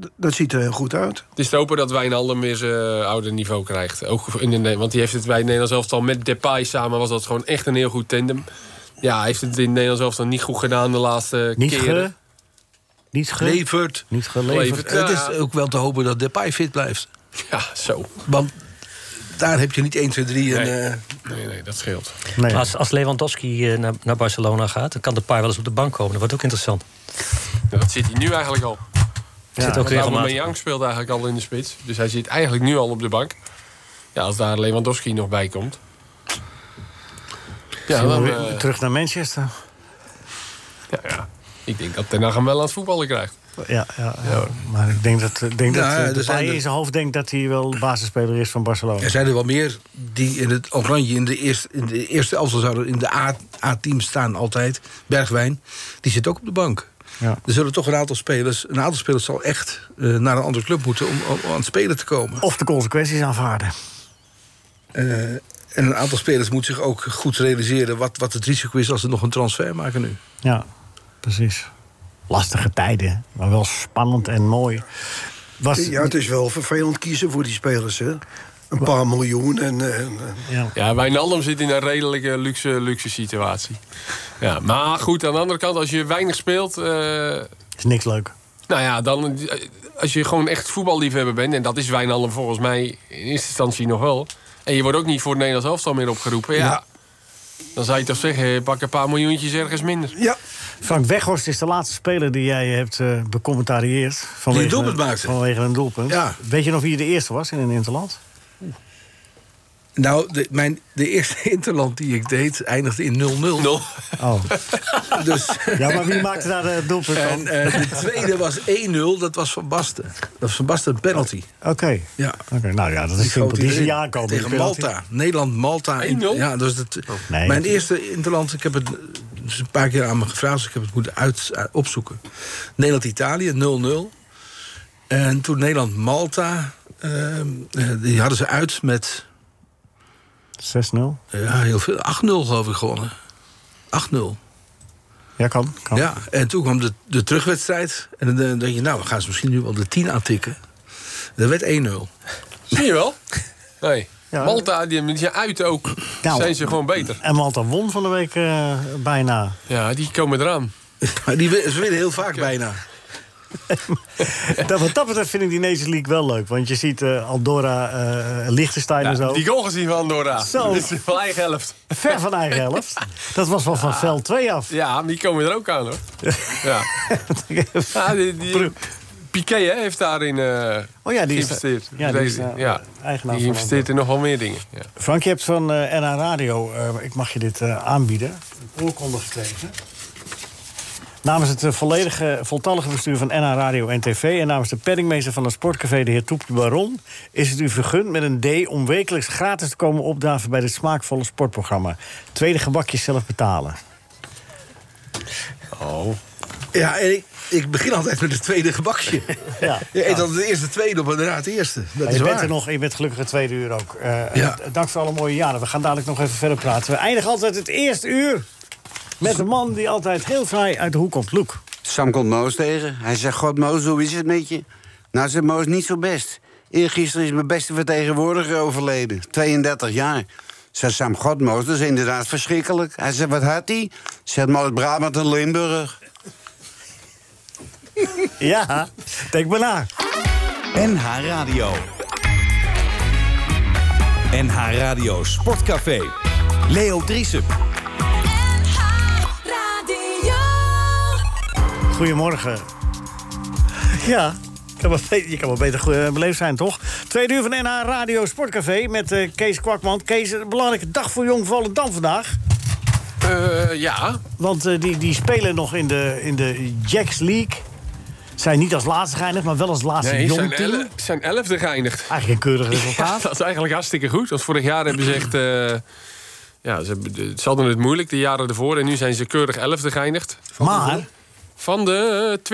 Speaker 4: d- dat ziet er heel goed uit.
Speaker 8: Het is te hopen dat Wijnaldum weer zijn eh, oude niveau krijgt. Ook in de, Ne- want die heeft het bij het Nederlands elftal met Depay samen was dat gewoon echt een heel goed tandem. Ja, hij heeft het in het Nederlands elftal niet goed gedaan de laatste
Speaker 3: Niet ge...
Speaker 8: keren.
Speaker 3: Niet ge...
Speaker 5: Levert.
Speaker 3: Niet geleverd.
Speaker 8: Levert. Ja.
Speaker 5: Het is ook wel te hopen dat Depay fit blijft.
Speaker 8: Ja, zo.
Speaker 5: Want daar heb je niet 1, 2, 3 en...
Speaker 8: Nee.
Speaker 5: eh,
Speaker 8: Nee, nee, dat scheelt.
Speaker 3: Nee.
Speaker 6: Als, als Lewandowski eh, naar, naar Barcelona gaat, dan kan de paar wel eens op de bank komen. Dat wordt ook interessant.
Speaker 8: Dat zit hij nu eigenlijk al.
Speaker 6: Ja, zit ook
Speaker 8: Want Aubameyang
Speaker 6: regelmatig.
Speaker 8: speelt eigenlijk al in de spits. Dus hij zit eigenlijk nu al op de bank. Ja, als daar Lewandowski nog bij komt. Ja,
Speaker 3: Zullen
Speaker 8: dan,
Speaker 3: we
Speaker 8: eh,
Speaker 3: weer terug naar Manchester.
Speaker 8: ja, ja. Ik denk dat Ten Hag hem wel aan het voetballen krijgt.
Speaker 3: Ja, ja, ja. Maar ik denk dat, ik denk
Speaker 5: Ja,
Speaker 3: dat eh,
Speaker 5: er
Speaker 3: Depay
Speaker 5: zijn er-
Speaker 3: in zijn hoofd denkt dat hij wel basisspeler is van Barcelona.
Speaker 5: Er zijn er wel meer die in het oranje in de eerste, in de eerste elftal zouden in de A- A-team staan altijd. Bergwijn, die zit ook op de bank.
Speaker 3: Ja.
Speaker 5: Er zullen toch een aantal spelers, een aantal spelers zal echt eh, naar een andere club moeten om, om, om aan het spelen te komen.
Speaker 3: Of de consequenties aanvaarden.
Speaker 5: Eh, En een aantal spelers moet zich ook goed realiseren wat, wat het risico is als ze nog een transfer maken nu.
Speaker 3: Ja, precies. Lastige tijden, maar wel spannend en mooi. Was,
Speaker 4: Ja, het is wel vervelend kiezen voor die spelers, hè? Een paar miljoen en... eh, en- en-
Speaker 3: ja.
Speaker 8: Ja, Wijnaldum zit in een redelijke luxe, luxe situatie. Ja, maar goed, aan de andere kant, als je weinig speelt... eh,
Speaker 3: is niks leuk.
Speaker 8: nou ja, dan, eh, als je gewoon echt voetballiefhebber bent... en dat is Wijnaldum volgens mij in eerste instantie nog wel... en je wordt ook niet voor het Nederlands elftal meer opgeroepen... ja, dan zou je toch zeggen, eh, pak een paar miljoentjes ergens minder.
Speaker 4: Ja,
Speaker 3: Frank Weghorst is de laatste speler die jij hebt eh becommentarieerd. Vanwege,
Speaker 5: een doelpunt maakte.
Speaker 3: Vanwege een doelpunt.
Speaker 5: Ja.
Speaker 3: Weet je nog wie de eerste was in een interland?
Speaker 5: Nou, de, mijn, de eerste <laughs> interland die ik deed eindigde in 0-0.
Speaker 3: Oh.
Speaker 5: Dus,
Speaker 3: Ja, maar wie maakte daar het doelpunt
Speaker 5: en
Speaker 3: van?
Speaker 5: eh, de tweede was 1-0, dat was Van Basten. Dat was Van Basten een penalty.
Speaker 3: Oké.
Speaker 5: Ja.
Speaker 3: Oké, nou ja, dat is simpel. Die zie je aankomen.
Speaker 5: Tegen
Speaker 3: Die penalty.
Speaker 5: Malta. Nederland-Malta. in-
Speaker 8: 1-0?
Speaker 5: Ja, dat is het.
Speaker 3: Oh, Nee,
Speaker 5: Mijn
Speaker 3: dat-
Speaker 5: eerste Interland, ik heb het dus een paar keer aan me gevraagd... dus ik heb het moeten uit, eh, opzoeken. Nederland-Italië, 0-0. En toen Nederland-Malta... ehm, eh, die hadden ze uit met
Speaker 3: 6-0.
Speaker 5: ja, heel veel, 8-0 geloof ik gewonnen. 8-0.
Speaker 3: Ja, kan. kan.
Speaker 5: Ja, en toen kwam de, de terugwedstrijd. En dan eh, dacht je, nou, we gaan ze misschien nu wel de 10 aantikken. Dat werd 1-0.
Speaker 8: Zie je <laughs> wel? Nee.
Speaker 3: Ja.
Speaker 8: Malta, die die zijn uit ook.
Speaker 3: Nou.
Speaker 8: Zijn ze gewoon beter.
Speaker 3: En Malta won van de week eh, bijna.
Speaker 8: Ja, die komen
Speaker 5: <laughs>
Speaker 8: eraan.
Speaker 5: Maar die, win- ze winnen heel vaak bijna.
Speaker 3: Dat, wat dat betreft vind ik die Nations League wel leuk. Want je ziet eh, Andorra, eh Liechtenstein en
Speaker 8: Ja,
Speaker 3: zo.
Speaker 8: die goal gezien van Andorra.
Speaker 3: Zo.
Speaker 8: Dat is wel eigen helft.
Speaker 3: Ver van eigen helft. Dat was wel van veld 2 af.
Speaker 8: Ja, maar die komen er ook aan
Speaker 3: <laughs>
Speaker 8: hoor. Ja. ja die, die- Piqué hè, heeft daarin eh,
Speaker 3: Oh ja, die is-
Speaker 8: geïnvesteerd.
Speaker 3: ja, die is, eh,
Speaker 8: ja.
Speaker 3: eigenaar
Speaker 8: die
Speaker 3: van Ah,
Speaker 8: investeert in nog wel meer dingen. Ja.
Speaker 3: Frank, je hebt van eh NH Radio, eh, ik mag je dit eh, aanbieden, een oorkonde gekregen. Namens het eh, volledige, voltallige bestuur van NH Radio en TV... en namens de penningmeester van het sportcafé, de heer Toepje Baron... is het u vergund met een D om wekelijks gratis te komen opdagen... bij dit smaakvolle sportprogramma. Tweede gebakje zelf betalen.
Speaker 5: Ja, en ik, ik begin altijd met het tweede gebakje. <laughs>
Speaker 3: Ja.
Speaker 5: Je eet altijd de eerste tweede op en daarna het eerste. Dat
Speaker 3: Ja,
Speaker 5: is
Speaker 3: je bent
Speaker 5: waar.
Speaker 3: er nog, je bent gelukkig het tweede uur ook. Eh,
Speaker 5: Ja.
Speaker 3: d- Dank voor alle mooie jaren. We gaan dadelijk nog even verder praten. We eindigen altijd het eerste uur met een man die altijd heel vrij uit de hoek komt. Loek.
Speaker 11: Sam komt Moos tegen. Hij zegt, god Moos, hoe is het met je? Nou, zegt Moos, niet zo best. Eergisteren is mijn beste vertegenwoordiger overleden. 32 jaar. Zegt Sam, god Moos, dat is inderdaad verschrikkelijk. Hij zegt, wat had hij? Zegt Moos, Brabant en Limburg.
Speaker 3: Ja, denk maar na.
Speaker 2: NH Radio. NH Radio Sportcafé. Leo Driesen.
Speaker 3: Goedemorgen. Ja, kan wel beter, je kan wel beter goe- eh, beleefd zijn, toch? Tweede uur van NH Radio Sportcafé met eh, Kees Kwakman. Kees, een belangrijke dag voor Jong Volendam vandaag.
Speaker 8: Eh, ja,
Speaker 3: Want eh, die, die spelen nog in de, in de Jacks League. Zijn niet als laatste geëindigd, maar wel als laatste
Speaker 8: nee,
Speaker 3: jong
Speaker 8: zijn,
Speaker 3: team.
Speaker 8: elle- zijn elfde geëindigd.
Speaker 3: Eigenlijk een
Speaker 8: <laughs>
Speaker 3: keurig resultaat.
Speaker 8: Dat is eigenlijk hartstikke goed. Want vorig jaar hebben ze echt... eh, ja, ze, hebben- de- ze hadden het moeilijk de jaren ervoor. En nu zijn ze keurig elfde geëindigd.
Speaker 3: maar
Speaker 8: Van de eh, 20.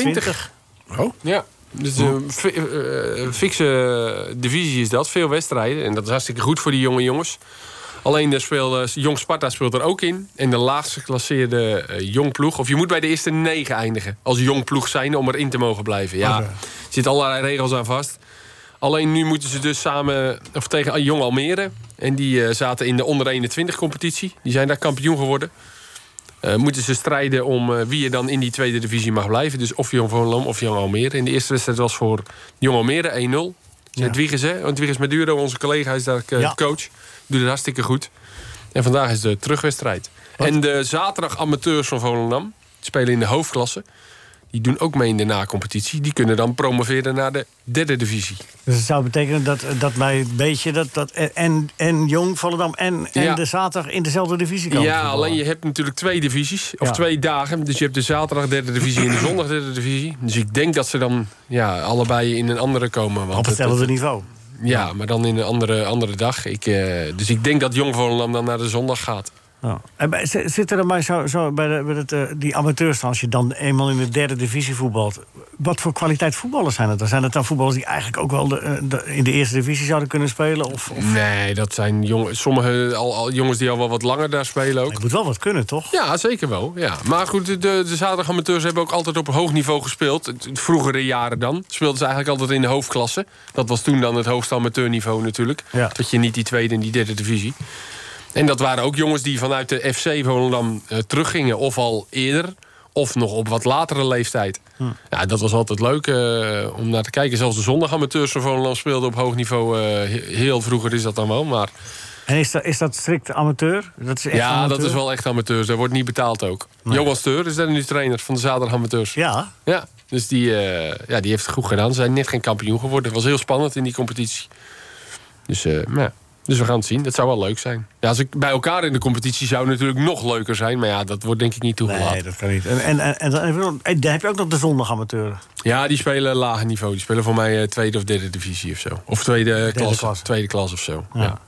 Speaker 3: 20.
Speaker 8: Ja, dus een fi- eh, fikse divisie is dat. Veel wedstrijden. En dat is hartstikke goed voor die jonge jongens. Alleen daar speelde, Jong Sparta speelt er ook in. En de laagst geclasseerde eh, jong ploeg. Of je moet bij de eerste negen eindigen. Als jong ploeg zijn om erin te mogen blijven. Ja, er zitten allerlei regels aan vast. Alleen nu moeten ze dus samen of tegen eh, Jong Almere. En die eh, zaten in de onder 21 competitie. Die zijn daar kampioen geworden. Eh, moeten ze strijden om eh, wie er dan in die tweede divisie mag blijven. Dus of Jong Volendam of Jong Almere. En de eerste wedstrijd was voor Jong Almere 1-0.
Speaker 3: Ja.
Speaker 8: Ja. Dwieges, hè? Want Dwieges Maduro, onze collega, is daar eh,
Speaker 3: Ja.
Speaker 8: coach. Doet het hartstikke goed. En vandaag is de terugwedstrijd. En de zaterdag amateurs van Volendam spelen in de hoofdklasse. Die doen ook mee in de na-competitie. Die kunnen dan promoveren naar de derde divisie.
Speaker 3: Dus het zou betekenen dat, dat wij een beetje dat, dat en, en Jong Volendam en, en
Speaker 8: Ja.
Speaker 3: de zaterdag in dezelfde divisie komen.
Speaker 8: Ja, alleen je hebt natuurlijk twee divisies. Of
Speaker 3: Ja.
Speaker 8: twee dagen. Dus je hebt de zaterdag derde divisie en
Speaker 3: <clears throat>
Speaker 8: de zondag derde divisie. Dus ik denk dat ze dan ja, allebei in een andere komen. Want
Speaker 3: Op
Speaker 8: het-
Speaker 3: hetzelfde niveau.
Speaker 8: ja, maar dan in een andere, andere dag. Ik, eh, dus ik denk dat Jong Volendam dan naar de zondag gaat.
Speaker 3: Ja. En bij- z- zitten er maar zo, zo bij, de, bij het, eh, die amateurs, dan, als je dan eenmaal in de derde divisie voetbalt, wat voor kwaliteit voetballers zijn het? Dan zijn het dan voetballers die eigenlijk ook wel de, eh, de- in de eerste divisie zouden kunnen spelen? Of, of...
Speaker 8: Nee, dat zijn jongen, sommige al, al- jongens die al wel wat langer daar spelen ook. Het
Speaker 3: moet wel wat kunnen, toch?
Speaker 8: Ja, zeker wel. Ja. Maar goed, de, de zaterdagamateurs hebben ook altijd op een hoog niveau gespeeld. Het- het Vroegere jaren dan. Speelden ze eigenlijk altijd in de hoofdklasse. Dat was toen dan het hoogste amateurniveau natuurlijk.
Speaker 3: Ja.
Speaker 8: Dat je niet die tweede en die derde divisie. En dat waren ook jongens die vanuit de FC Volendam eh, teruggingen. Of al eerder, of nog op wat latere leeftijd. Ja, dat was altijd leuk eh, om naar te kijken. Zelfs de zondagamateurs van Volendam speelden op hoog niveau. eh, he- heel vroeger is dat dan wel, maar...
Speaker 3: En is dat, is dat strikt amateur? Dat is echt
Speaker 8: ja,
Speaker 3: amateur?
Speaker 8: dat is wel echt amateurs. Daar wordt niet betaald ook.
Speaker 3: Nee.
Speaker 8: Johan Steur is daar nu trainer van de zaterdagamateurs.
Speaker 3: Ja?
Speaker 8: Ja, dus die, eh, ja, die heeft het goed gedaan. Ze zijn net geen kampioen geworden. Het was heel spannend in die competitie. Dus, eh, maar ja. dus we gaan het zien. Dat zou wel leuk zijn. Ja, als ik bij elkaar in de competitie zou het natuurlijk nog leuker zijn. Maar ja, dat wordt denk ik niet toegelaten.
Speaker 3: Nee, dat kan niet. En, en, en, en dan heb je ook- en dan heb je ook nog de zondagamateuren.
Speaker 8: Ja, die spelen lager niveau. Die spelen voor mij eh, tweede of derde divisie of zo. Of tweede, eh, klasse,
Speaker 3: klasse.
Speaker 8: Tweede klas of zo.
Speaker 3: Ja.
Speaker 8: Ja.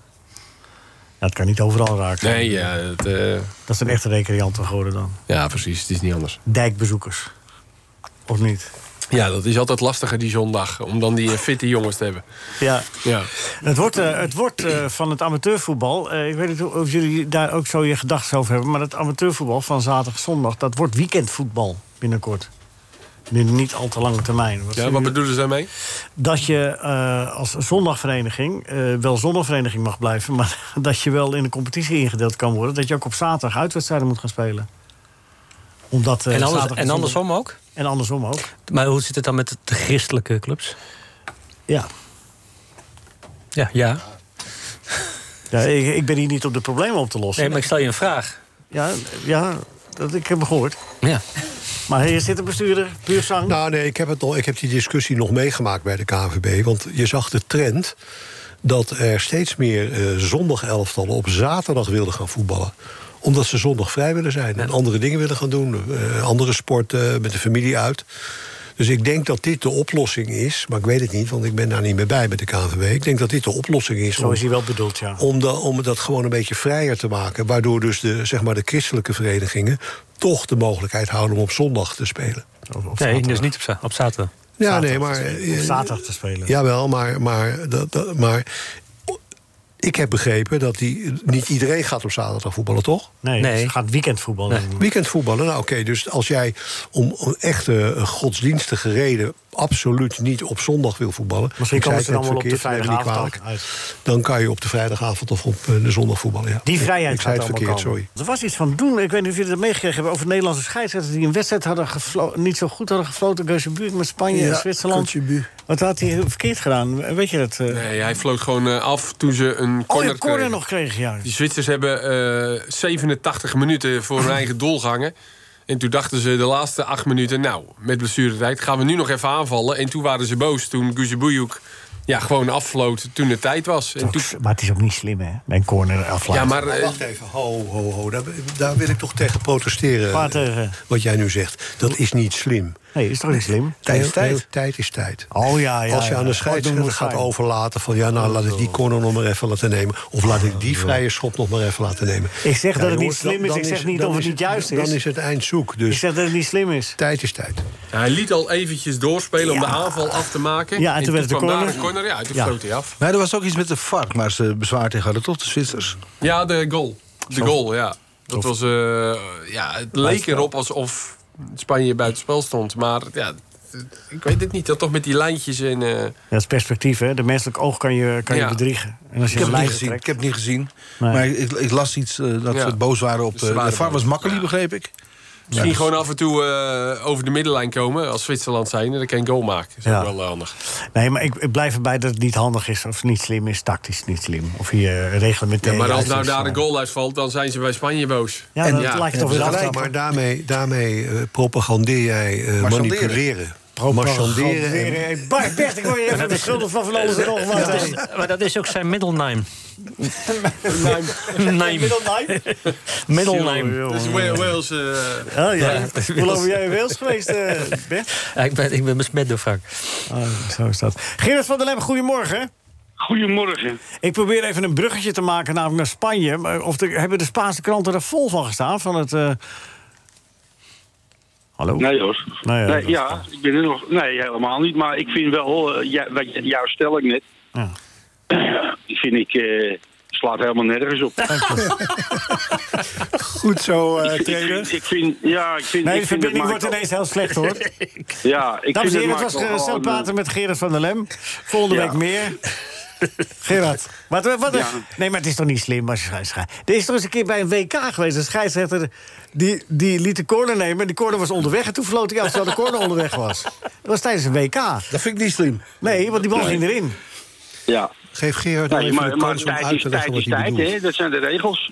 Speaker 3: Dat kan niet overal raken.
Speaker 8: Nee, ja, dat, eh,
Speaker 3: Dat zijn echte recreanten geworden dan.
Speaker 8: ja, precies. Het is niet anders.
Speaker 3: Dijkbezoekers. Of niet?
Speaker 8: Ja, dat is altijd lastiger die zondag. Om dan die eh, fitte jongens te hebben.
Speaker 3: Ja.
Speaker 8: Ja.
Speaker 3: Het wordt, eh, het wordt eh, van het amateurvoetbal. eh, ik weet niet of jullie daar ook zo je gedachten over hebben. Maar het amateurvoetbal van zaterdag, zondag. dat wordt weekendvoetbal binnenkort. Nu niet al te lange termijn. Wat zien
Speaker 8: Ja, wat
Speaker 3: jullie?
Speaker 8: bedoelen ze daarmee?
Speaker 3: dat je eh, als zondagvereniging, eh, wel zondagvereniging mag blijven, <laughs> maar dat je wel in de competitie ingedeeld kan worden. Dat je ook op zaterdag uitwedstrijden moet gaan spelen. Omdat, eh,
Speaker 6: en, anders,
Speaker 3: zaterdag
Speaker 6: en andersom ook?
Speaker 3: En andersom ook.
Speaker 6: Maar hoe zit het dan met de christelijke clubs?
Speaker 3: Ja.
Speaker 6: Ja, ja.
Speaker 3: ja ik, ik ben hier niet om de problemen op te lossen.
Speaker 6: Nee, maar ik stel je een vraag.
Speaker 3: Ja, ja dat, ik heb hem gehoord.
Speaker 6: Ja.
Speaker 3: Maar hier zit een bestuurder, puur zang.
Speaker 7: Nou nee, ik heb, het nog, ik heb die discussie nog meegemaakt bij de KNVB. Want je zag de trend dat er steeds meer eh zondag elftallen op zaterdag wilden gaan voetballen. Omdat ze zondag vrij willen zijn en andere dingen willen gaan doen. eh, andere sporten, met de familie uit. Dus ik denk dat dit de oplossing is. Maar ik weet het niet, want ik ben daar niet meer bij met de KNVB. Ik denk dat dit de oplossing is.
Speaker 3: Zo
Speaker 7: om-
Speaker 3: is hij wel bedoeld, ja.
Speaker 7: om, da- om dat gewoon een beetje vrijer te maken. Waardoor dus de, zeg maar de christelijke verenigingen toch de mogelijkheid houden om op zondag te spelen.
Speaker 6: Nee, dus niet op, za- op zaterdag.
Speaker 7: Ja,
Speaker 3: Zaterdag
Speaker 7: nee,
Speaker 3: te
Speaker 7: maar.
Speaker 3: spelen. Op
Speaker 7: eh,
Speaker 3: zaterdag te spelen.
Speaker 7: Jawel, maar, maar, dat, dat- maar ik heb begrepen dat die, niet iedereen gaat op zaterdag voetballen, toch?
Speaker 3: Nee, ze gaat weekendvoetballen doen.
Speaker 7: Weekendvoetballen, nou oké. dus als jij om een echte eh, godsdienstige reden absoluut niet op zondag wil voetballen...
Speaker 3: Misschien
Speaker 7: ik zei
Speaker 3: komen ze
Speaker 7: het
Speaker 3: dan wel
Speaker 7: net
Speaker 3: op de
Speaker 7: verkeerd, neem me niet
Speaker 3: vrijdagavond
Speaker 7: kwalijk,
Speaker 3: uit.
Speaker 7: Dan kan je op de vrijdagavond of op eh, de zondag voetballen, ja.
Speaker 3: Die vrijheid
Speaker 7: Ik zei
Speaker 3: gaat
Speaker 7: het
Speaker 3: allemaal
Speaker 7: verkeerd,
Speaker 3: komen. Er
Speaker 7: sorry.
Speaker 3: was iets van doen. Ik weet niet of jullie dat meegekregen hebben over Nederlandse scheidsrechters die een wedstrijd hadden geflo- niet zo goed hadden gefloten. Geuzebuurk met Spanje en
Speaker 4: Ja,
Speaker 3: Zwitserland. Wat had hij verkeerd gedaan? Weet je dat? eh?
Speaker 8: Nee, hij floot gewoon eh, af toen ze een
Speaker 3: oh,
Speaker 8: corner
Speaker 3: je hebt corner
Speaker 8: kregen.
Speaker 3: nog gekregen, ja.
Speaker 8: Die Zwitsers hebben eh, 87 minuten voor
Speaker 3: <laughs>
Speaker 8: hun eigen doel gehangen. En toen dachten ze de laatste acht minuten... nou, met blessuretijd gaan we nu nog even aanvallen. En toen waren ze boos toen Guzeboujouk ja, gewoon affloot toen het tijd was. En toen...
Speaker 3: Maar het is ook niet slim, hè? Mijn corner aflaat.
Speaker 8: Ja, maar... eh,
Speaker 7: Wacht even, ho, ho, ho. Daar, daar wil ik toch tegen protesteren.
Speaker 3: Waar tegen?
Speaker 7: Wat jij nu zegt. Dat is niet slim.
Speaker 3: Nee, is toch niet slim?
Speaker 7: Tijd
Speaker 3: is tijd.
Speaker 7: Tijd is tijd.
Speaker 3: Oh ja, ja.
Speaker 7: Als je
Speaker 3: ja.
Speaker 7: aan de
Speaker 3: Wat doen
Speaker 7: scheidsrechter
Speaker 3: we
Speaker 7: gaat
Speaker 3: fijn.
Speaker 7: overlaten van ja, nou laat ik die corner nog maar even laten nemen. Of laat ik die vrije schop nog maar even laten nemen.
Speaker 3: Ik zeg
Speaker 7: Ja,
Speaker 3: dat het niet
Speaker 7: jongens, dan-
Speaker 3: slim is.
Speaker 7: dan
Speaker 3: Ik zeg niet
Speaker 7: dan
Speaker 3: of het niet juist is.
Speaker 7: Dan is het eind zoek.
Speaker 3: Ik
Speaker 7: Dus
Speaker 3: zeg dat het niet slim is.
Speaker 7: tijd is tijd.
Speaker 8: hij liet al eventjes doorspelen om de aanval af te maken.
Speaker 3: Ja, en toen werd het
Speaker 8: kwam
Speaker 3: een
Speaker 8: daar een corner. Ja, en toen
Speaker 3: Ja.
Speaker 8: floot hij af.
Speaker 5: Nee, er was ook iets met de VAR waar ze bezwaar tegen hadden, toch? De Zwitsers.
Speaker 8: Ja, de goal. De goal, ja. Dat was, eh, ja, het leek erop alsof Spanje buitenspel stond. Maar ja, ik weet het niet. Dat toch met die lijntjes en... eh,
Speaker 3: Dat is perspectief, hè? De menselijk oog kan je, kan je
Speaker 8: Ja.
Speaker 3: bedriegen. En als je
Speaker 5: Ik heb,
Speaker 3: een
Speaker 5: het niet
Speaker 3: lijn
Speaker 5: gezien,
Speaker 3: trekt-
Speaker 5: ik heb het niet gezien.
Speaker 3: Nee.
Speaker 5: Maar ik, ik las iets eh, dat
Speaker 8: Ja.
Speaker 5: ze boos waren op eh,
Speaker 8: Dus
Speaker 5: de,
Speaker 8: ze waren
Speaker 5: de VAR. was
Speaker 8: boos.
Speaker 5: makkelijk, begreep ik.
Speaker 8: Misschien
Speaker 5: Ja,
Speaker 8: gewoon af en toe eh, over de middenlijn komen als Zwitserland zijn en dan kan je een goal maken. Dat is
Speaker 3: Ja.
Speaker 8: ook wel eh, handig.
Speaker 3: Nee, maar ik, ik blijf erbij dat het niet handig is of niet slim is, tactisch niet slim. Of hier reglementair.
Speaker 8: maar als
Speaker 3: juist
Speaker 8: nou
Speaker 3: is,
Speaker 8: daar
Speaker 3: maar-
Speaker 8: een goal uitvalt, dan zijn ze bij Spanje boos.
Speaker 3: Ja, dat lijkt
Speaker 8: dus
Speaker 3: toch weer
Speaker 7: Ja,
Speaker 3: af.
Speaker 7: gelijk, maar daarmee, daarmee eh, propagandeer jij eh,
Speaker 5: Marchanderen.
Speaker 7: manipuleren.
Speaker 3: Propaganderen.
Speaker 7: Marchanderen. en-
Speaker 3: Hey, Bart, Bert, ik word je
Speaker 7: <laughs>
Speaker 3: even beschuldigd van van alles en nog wat.
Speaker 6: Dat is, maar dat is ook zijn middelnaam. Naam.
Speaker 3: Middelnaam?
Speaker 6: Middelnaam.
Speaker 3: Jongen,
Speaker 8: Dus
Speaker 3: jongen.
Speaker 8: Wa- Wales. eh,
Speaker 3: Oh, ja.
Speaker 6: Ja.
Speaker 3: Hoe lang ben jij in Wales geweest, eh, Bert?
Speaker 6: Ja, ik, ben, ik ben besmet door Frank.
Speaker 3: Oh, zo is dat. Gerard van der Lem, goedemorgen.
Speaker 12: Goedemorgen.
Speaker 3: Ik probeer even een bruggetje te maken namelijk naar Spanje. Maar Of de, hebben de Spaanse kranten er vol van gestaan? Van het eh, Hallo?
Speaker 12: Nee, Jos.
Speaker 3: Nou ja,
Speaker 12: Nee,
Speaker 3: dat-
Speaker 12: ja, ik ben er nog. Nee, helemaal niet. Maar ik vind wel, eh, ja, wat j- jouw stelling net,
Speaker 3: Ja.
Speaker 12: die vind ik, eh, slaat helemaal nergens
Speaker 3: <laughs>
Speaker 12: op.
Speaker 13: Goed zo,
Speaker 12: <laughs>
Speaker 13: eh
Speaker 12: ik, vind, ik vind, ja, ik vind.
Speaker 3: Nee,
Speaker 12: ik
Speaker 3: de
Speaker 12: vind het
Speaker 3: verbinding wordt
Speaker 12: Michael-
Speaker 3: ineens heel slecht,
Speaker 12: <laughs>
Speaker 3: hoor.
Speaker 12: Ja, ik
Speaker 3: Dames en
Speaker 12: vind
Speaker 3: heren, het
Speaker 12: het
Speaker 3: was
Speaker 12: Michael
Speaker 3: eh, Stel
Speaker 12: gewoon,
Speaker 3: Praten met Gerard van der Lem. Volgende
Speaker 12: Ja.
Speaker 3: week
Speaker 12: <laughs>
Speaker 3: meer. Gerard, wat, wat, wat-
Speaker 12: Ja.
Speaker 3: nee, maar het is toch niet slim als je scheidsrechter... Er is toch eens een keer bij een WK geweest, een scheidsrechter... Die, die liet de corner nemen, die corner was onderweg... en toen floot hij af terwijl de corner onderweg was. Dat was tijdens een WK. Dat
Speaker 5: vind ik niet slim.
Speaker 3: Nee, want die bal ging erin.
Speaker 12: Ja.
Speaker 7: Geef Gerard
Speaker 12: Nee,
Speaker 7: nou even
Speaker 12: maar,
Speaker 7: de
Speaker 12: maar
Speaker 7: kans om
Speaker 12: tijd
Speaker 7: uit
Speaker 12: is
Speaker 7: te leggen
Speaker 12: tijd,
Speaker 7: wat
Speaker 12: is
Speaker 7: hij
Speaker 12: tijd
Speaker 7: bedoelt.
Speaker 12: hè? dat zijn de regels.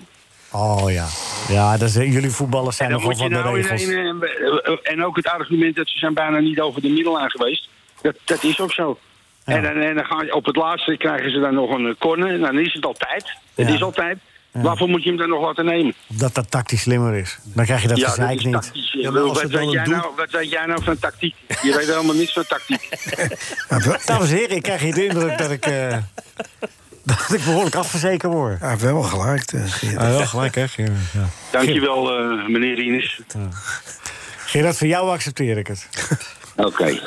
Speaker 3: Oh ja. Ja, dat zijn, jullie voetballers zijn
Speaker 12: En dan
Speaker 3: nogal
Speaker 12: moet je
Speaker 3: van de
Speaker 12: nou in
Speaker 3: regels.
Speaker 12: een, eh, eh, en ook het argument dat ze zijn bijna niet over de middellijn geweest. Dat, dat is ook zo. En, dan- en dan gaan, op het laatste krijgen ze dan nog een eh, corner. En dan is het altijd. Het
Speaker 3: Ja.
Speaker 12: is altijd.
Speaker 3: Ja.
Speaker 12: Waarvoor moet je hem dan nog laten nemen?
Speaker 3: Dat dat tactisch slimmer is. Dan krijg je dat
Speaker 12: ja, dat
Speaker 3: gezeik
Speaker 12: is
Speaker 3: niet.
Speaker 12: tactisch. Ik bedoel, wat, weet jij nou, wat weet jij nou van tactiek? Je weet helemaal niets van tactiek. nou-
Speaker 3: Dames en heren, ik krijg hier de indruk dat ik... eh, <laughs> dat ik behoorlijk afverzekerd word.
Speaker 4: Ja, wel gelijk, eh, Gerard.
Speaker 3: Ah, wel gelijk, hè, Gerard. Ja.
Speaker 12: Dankjewel, eh meneer Ines.
Speaker 3: Gerard, voor jou accepteer ik het. <laughs>
Speaker 12: Oké.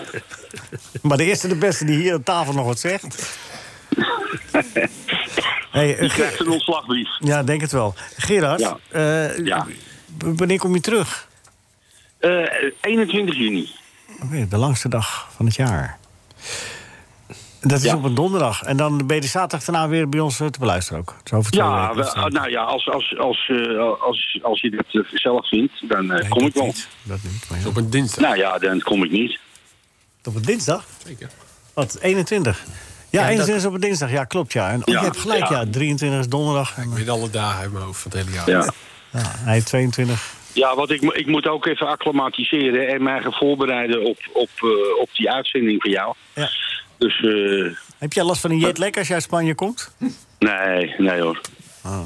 Speaker 3: Maar de eerste de beste die hier aan tafel nog wat zegt...
Speaker 12: <laughs>
Speaker 3: Hey, eh,
Speaker 12: Je
Speaker 3: Ge-
Speaker 12: krijgt een ontslagbrief.
Speaker 3: Ja, denk het wel. Gerard,
Speaker 12: Ja.
Speaker 3: eh,
Speaker 12: Ja.
Speaker 3: w- wanneer kom je terug?
Speaker 12: Eh, 21 juni.
Speaker 3: Oké, De langste dag van het jaar. Dat is op een donderdag. En dan ben je de zaterdag daarna weer bij ons eh, te beluisteren ook. Zo over twee
Speaker 12: Ja,
Speaker 3: weken.
Speaker 12: we- ah, nou ja, als, als, als, eh, als, als je dat eh, zelf vindt, dan eh, kom ik wel.
Speaker 3: Dat niet, maar ja.
Speaker 12: Op een dinsdag? Nou ja, dan kom ik niet.
Speaker 3: Op een dinsdag? Zeker. Wat, 21? Ja,
Speaker 8: Ja,
Speaker 3: 21
Speaker 8: dat-
Speaker 3: is op een dinsdag. Ja, klopt, ja. En oh,
Speaker 8: Ja,
Speaker 3: je hebt gelijk, ja.
Speaker 8: ja.
Speaker 3: 23 is donderdag. En,
Speaker 8: Ik weet alle dagen uit mijn hoofd van het hele jaar.
Speaker 12: Ja.
Speaker 3: ja, hij 22.
Speaker 12: Ja, want ik, mo- ik moet ook even acclimatiseren en mij gaan voorbereiden op, op, eh, op die uitzending van jou.
Speaker 3: Ja.
Speaker 12: Dus eh,
Speaker 3: Heb jij last van een jetlag als jij uit Spanje komt?
Speaker 12: nee, nee hoor.
Speaker 3: Ah.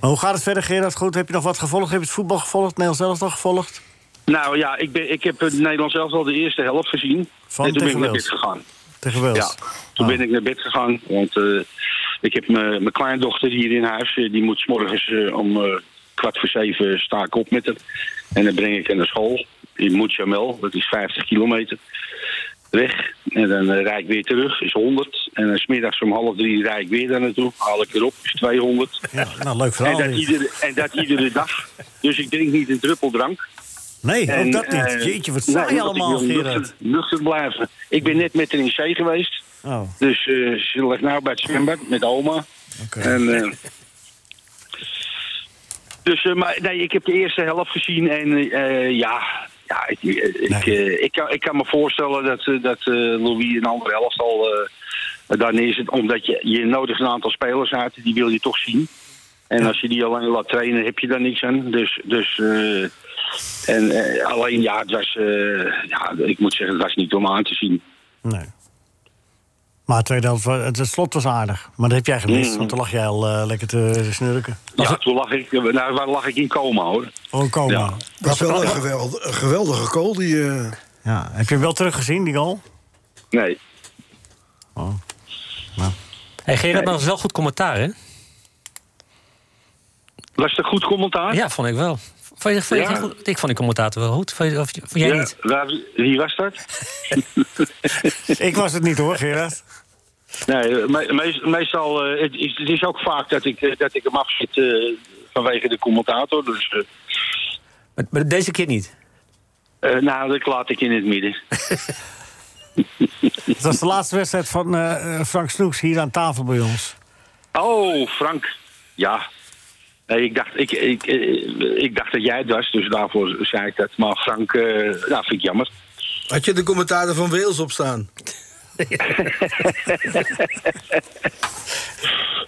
Speaker 3: Maar hoe gaat het verder, Gerard? Goed, heb je nog wat gevolgd? Heb je het voetbal gevolgd? Nederlands zelf nog gevolgd?
Speaker 12: Nou ja, ik, ben, ik heb het Nederlands zelf al de eerste helft gezien.
Speaker 3: Van
Speaker 12: en toen ben ik
Speaker 3: tegen
Speaker 12: naar
Speaker 3: Wales.
Speaker 12: bed gegaan.
Speaker 3: Tegen Wales. Oh.
Speaker 12: Ja, toen ben ik naar bed gegaan. Want eh, ik heb mijn mijn kleindochter hier in huis. eh, die moet 's morgens eh, om eh, kwart voor zeven sta ik op met haar. En dan breng ik haar naar school. In Moetjamel, dat is 50 kilometer. Weg. En dan eh, rijd ik weer terug, is 100. En dan smiddags om half drie rijd ik weer daar naartoe. Haal ik erop, is 200.
Speaker 3: Ja, nou, leuk
Speaker 12: En
Speaker 3: verhaal.
Speaker 12: dat,
Speaker 3: dit.
Speaker 12: iedere, en dat iedere dag. Dus ik drink niet een druppel drank.
Speaker 3: Nee, ook
Speaker 12: En,
Speaker 3: dat niet.
Speaker 12: eh,
Speaker 3: Jeetje, wat
Speaker 12: nee,
Speaker 3: saai
Speaker 12: want ik
Speaker 3: allemaal,
Speaker 12: wil
Speaker 3: Gerard.
Speaker 12: nuchter, nuchter blijven. Ik ben net met haar in zee geweest.
Speaker 3: Oh,
Speaker 12: Dus eh, ze ligt nou bij het zwembad met oma. En, eh, dus, eh, maar nee, ik heb de eerste helft gezien en eh, ja, ja ik, eh, ik, eh, ik, kan, ik kan me voorstellen dat, eh, dat eh, Louis een andere helft al eh daar neerzet. Omdat je, je nodig een aantal spelers uit, die wil je toch zien. En als je die alleen laat trainen, heb je daar niks aan. Dus, dus eh, en, eh, alleen ja, het was, eh, ja, ik moet zeggen, het was niet om aan te zien.
Speaker 3: nee. Maar tweede helft, eh, het het slot was aardig. Maar dat heb jij gemist,
Speaker 12: Mm.
Speaker 3: want toen lag jij al eh, lekker te snurken.
Speaker 12: Ja, toen lag ik, nou, waar lag ik in coma hoor.
Speaker 3: Oh, coma.
Speaker 12: Ja.
Speaker 4: Dat is wel een geweldige, een geweldige goal. Die, eh,
Speaker 3: Ja, heb je hem wel teruggezien, die goal?
Speaker 12: Nee.
Speaker 3: Oh.
Speaker 7: Nou.
Speaker 6: Hey, Gerard, maar dat is wel goed commentaar, hè?
Speaker 12: Was het een goed commentaar?
Speaker 6: Ja, vond ik wel. Vond je, vond je
Speaker 12: Ja.
Speaker 6: het goed? Ik vond die commentator wel goed. Vond, je, of, vond jij
Speaker 12: Ja,
Speaker 6: niet?
Speaker 12: waar- wie was
Speaker 4: <laughs>
Speaker 12: dat?
Speaker 3: ik was het niet hoor, Gerard.
Speaker 12: Nee, me- meest- meestal eh, het is het is ook vaak dat ik, eh, dat ik hem afzit eh, vanwege de commentator. Dus, eh,
Speaker 6: Maar, maar deze keer niet.
Speaker 12: eh, nou, dat laat ik in het midden.
Speaker 3: Het was de laatste wedstrijd van eh, eh, Frank Snoeks hier aan tafel bij ons.
Speaker 12: Oh, Frank. Ja. Nee, ik, dacht, ik, ik, eh, ik dacht dat jij het was, dus daarvoor zei ik dat. Maar Frank, eh nou, vind ik jammer.
Speaker 5: Had je de commentaren van Wales
Speaker 3: <laughs>
Speaker 5: opstaan?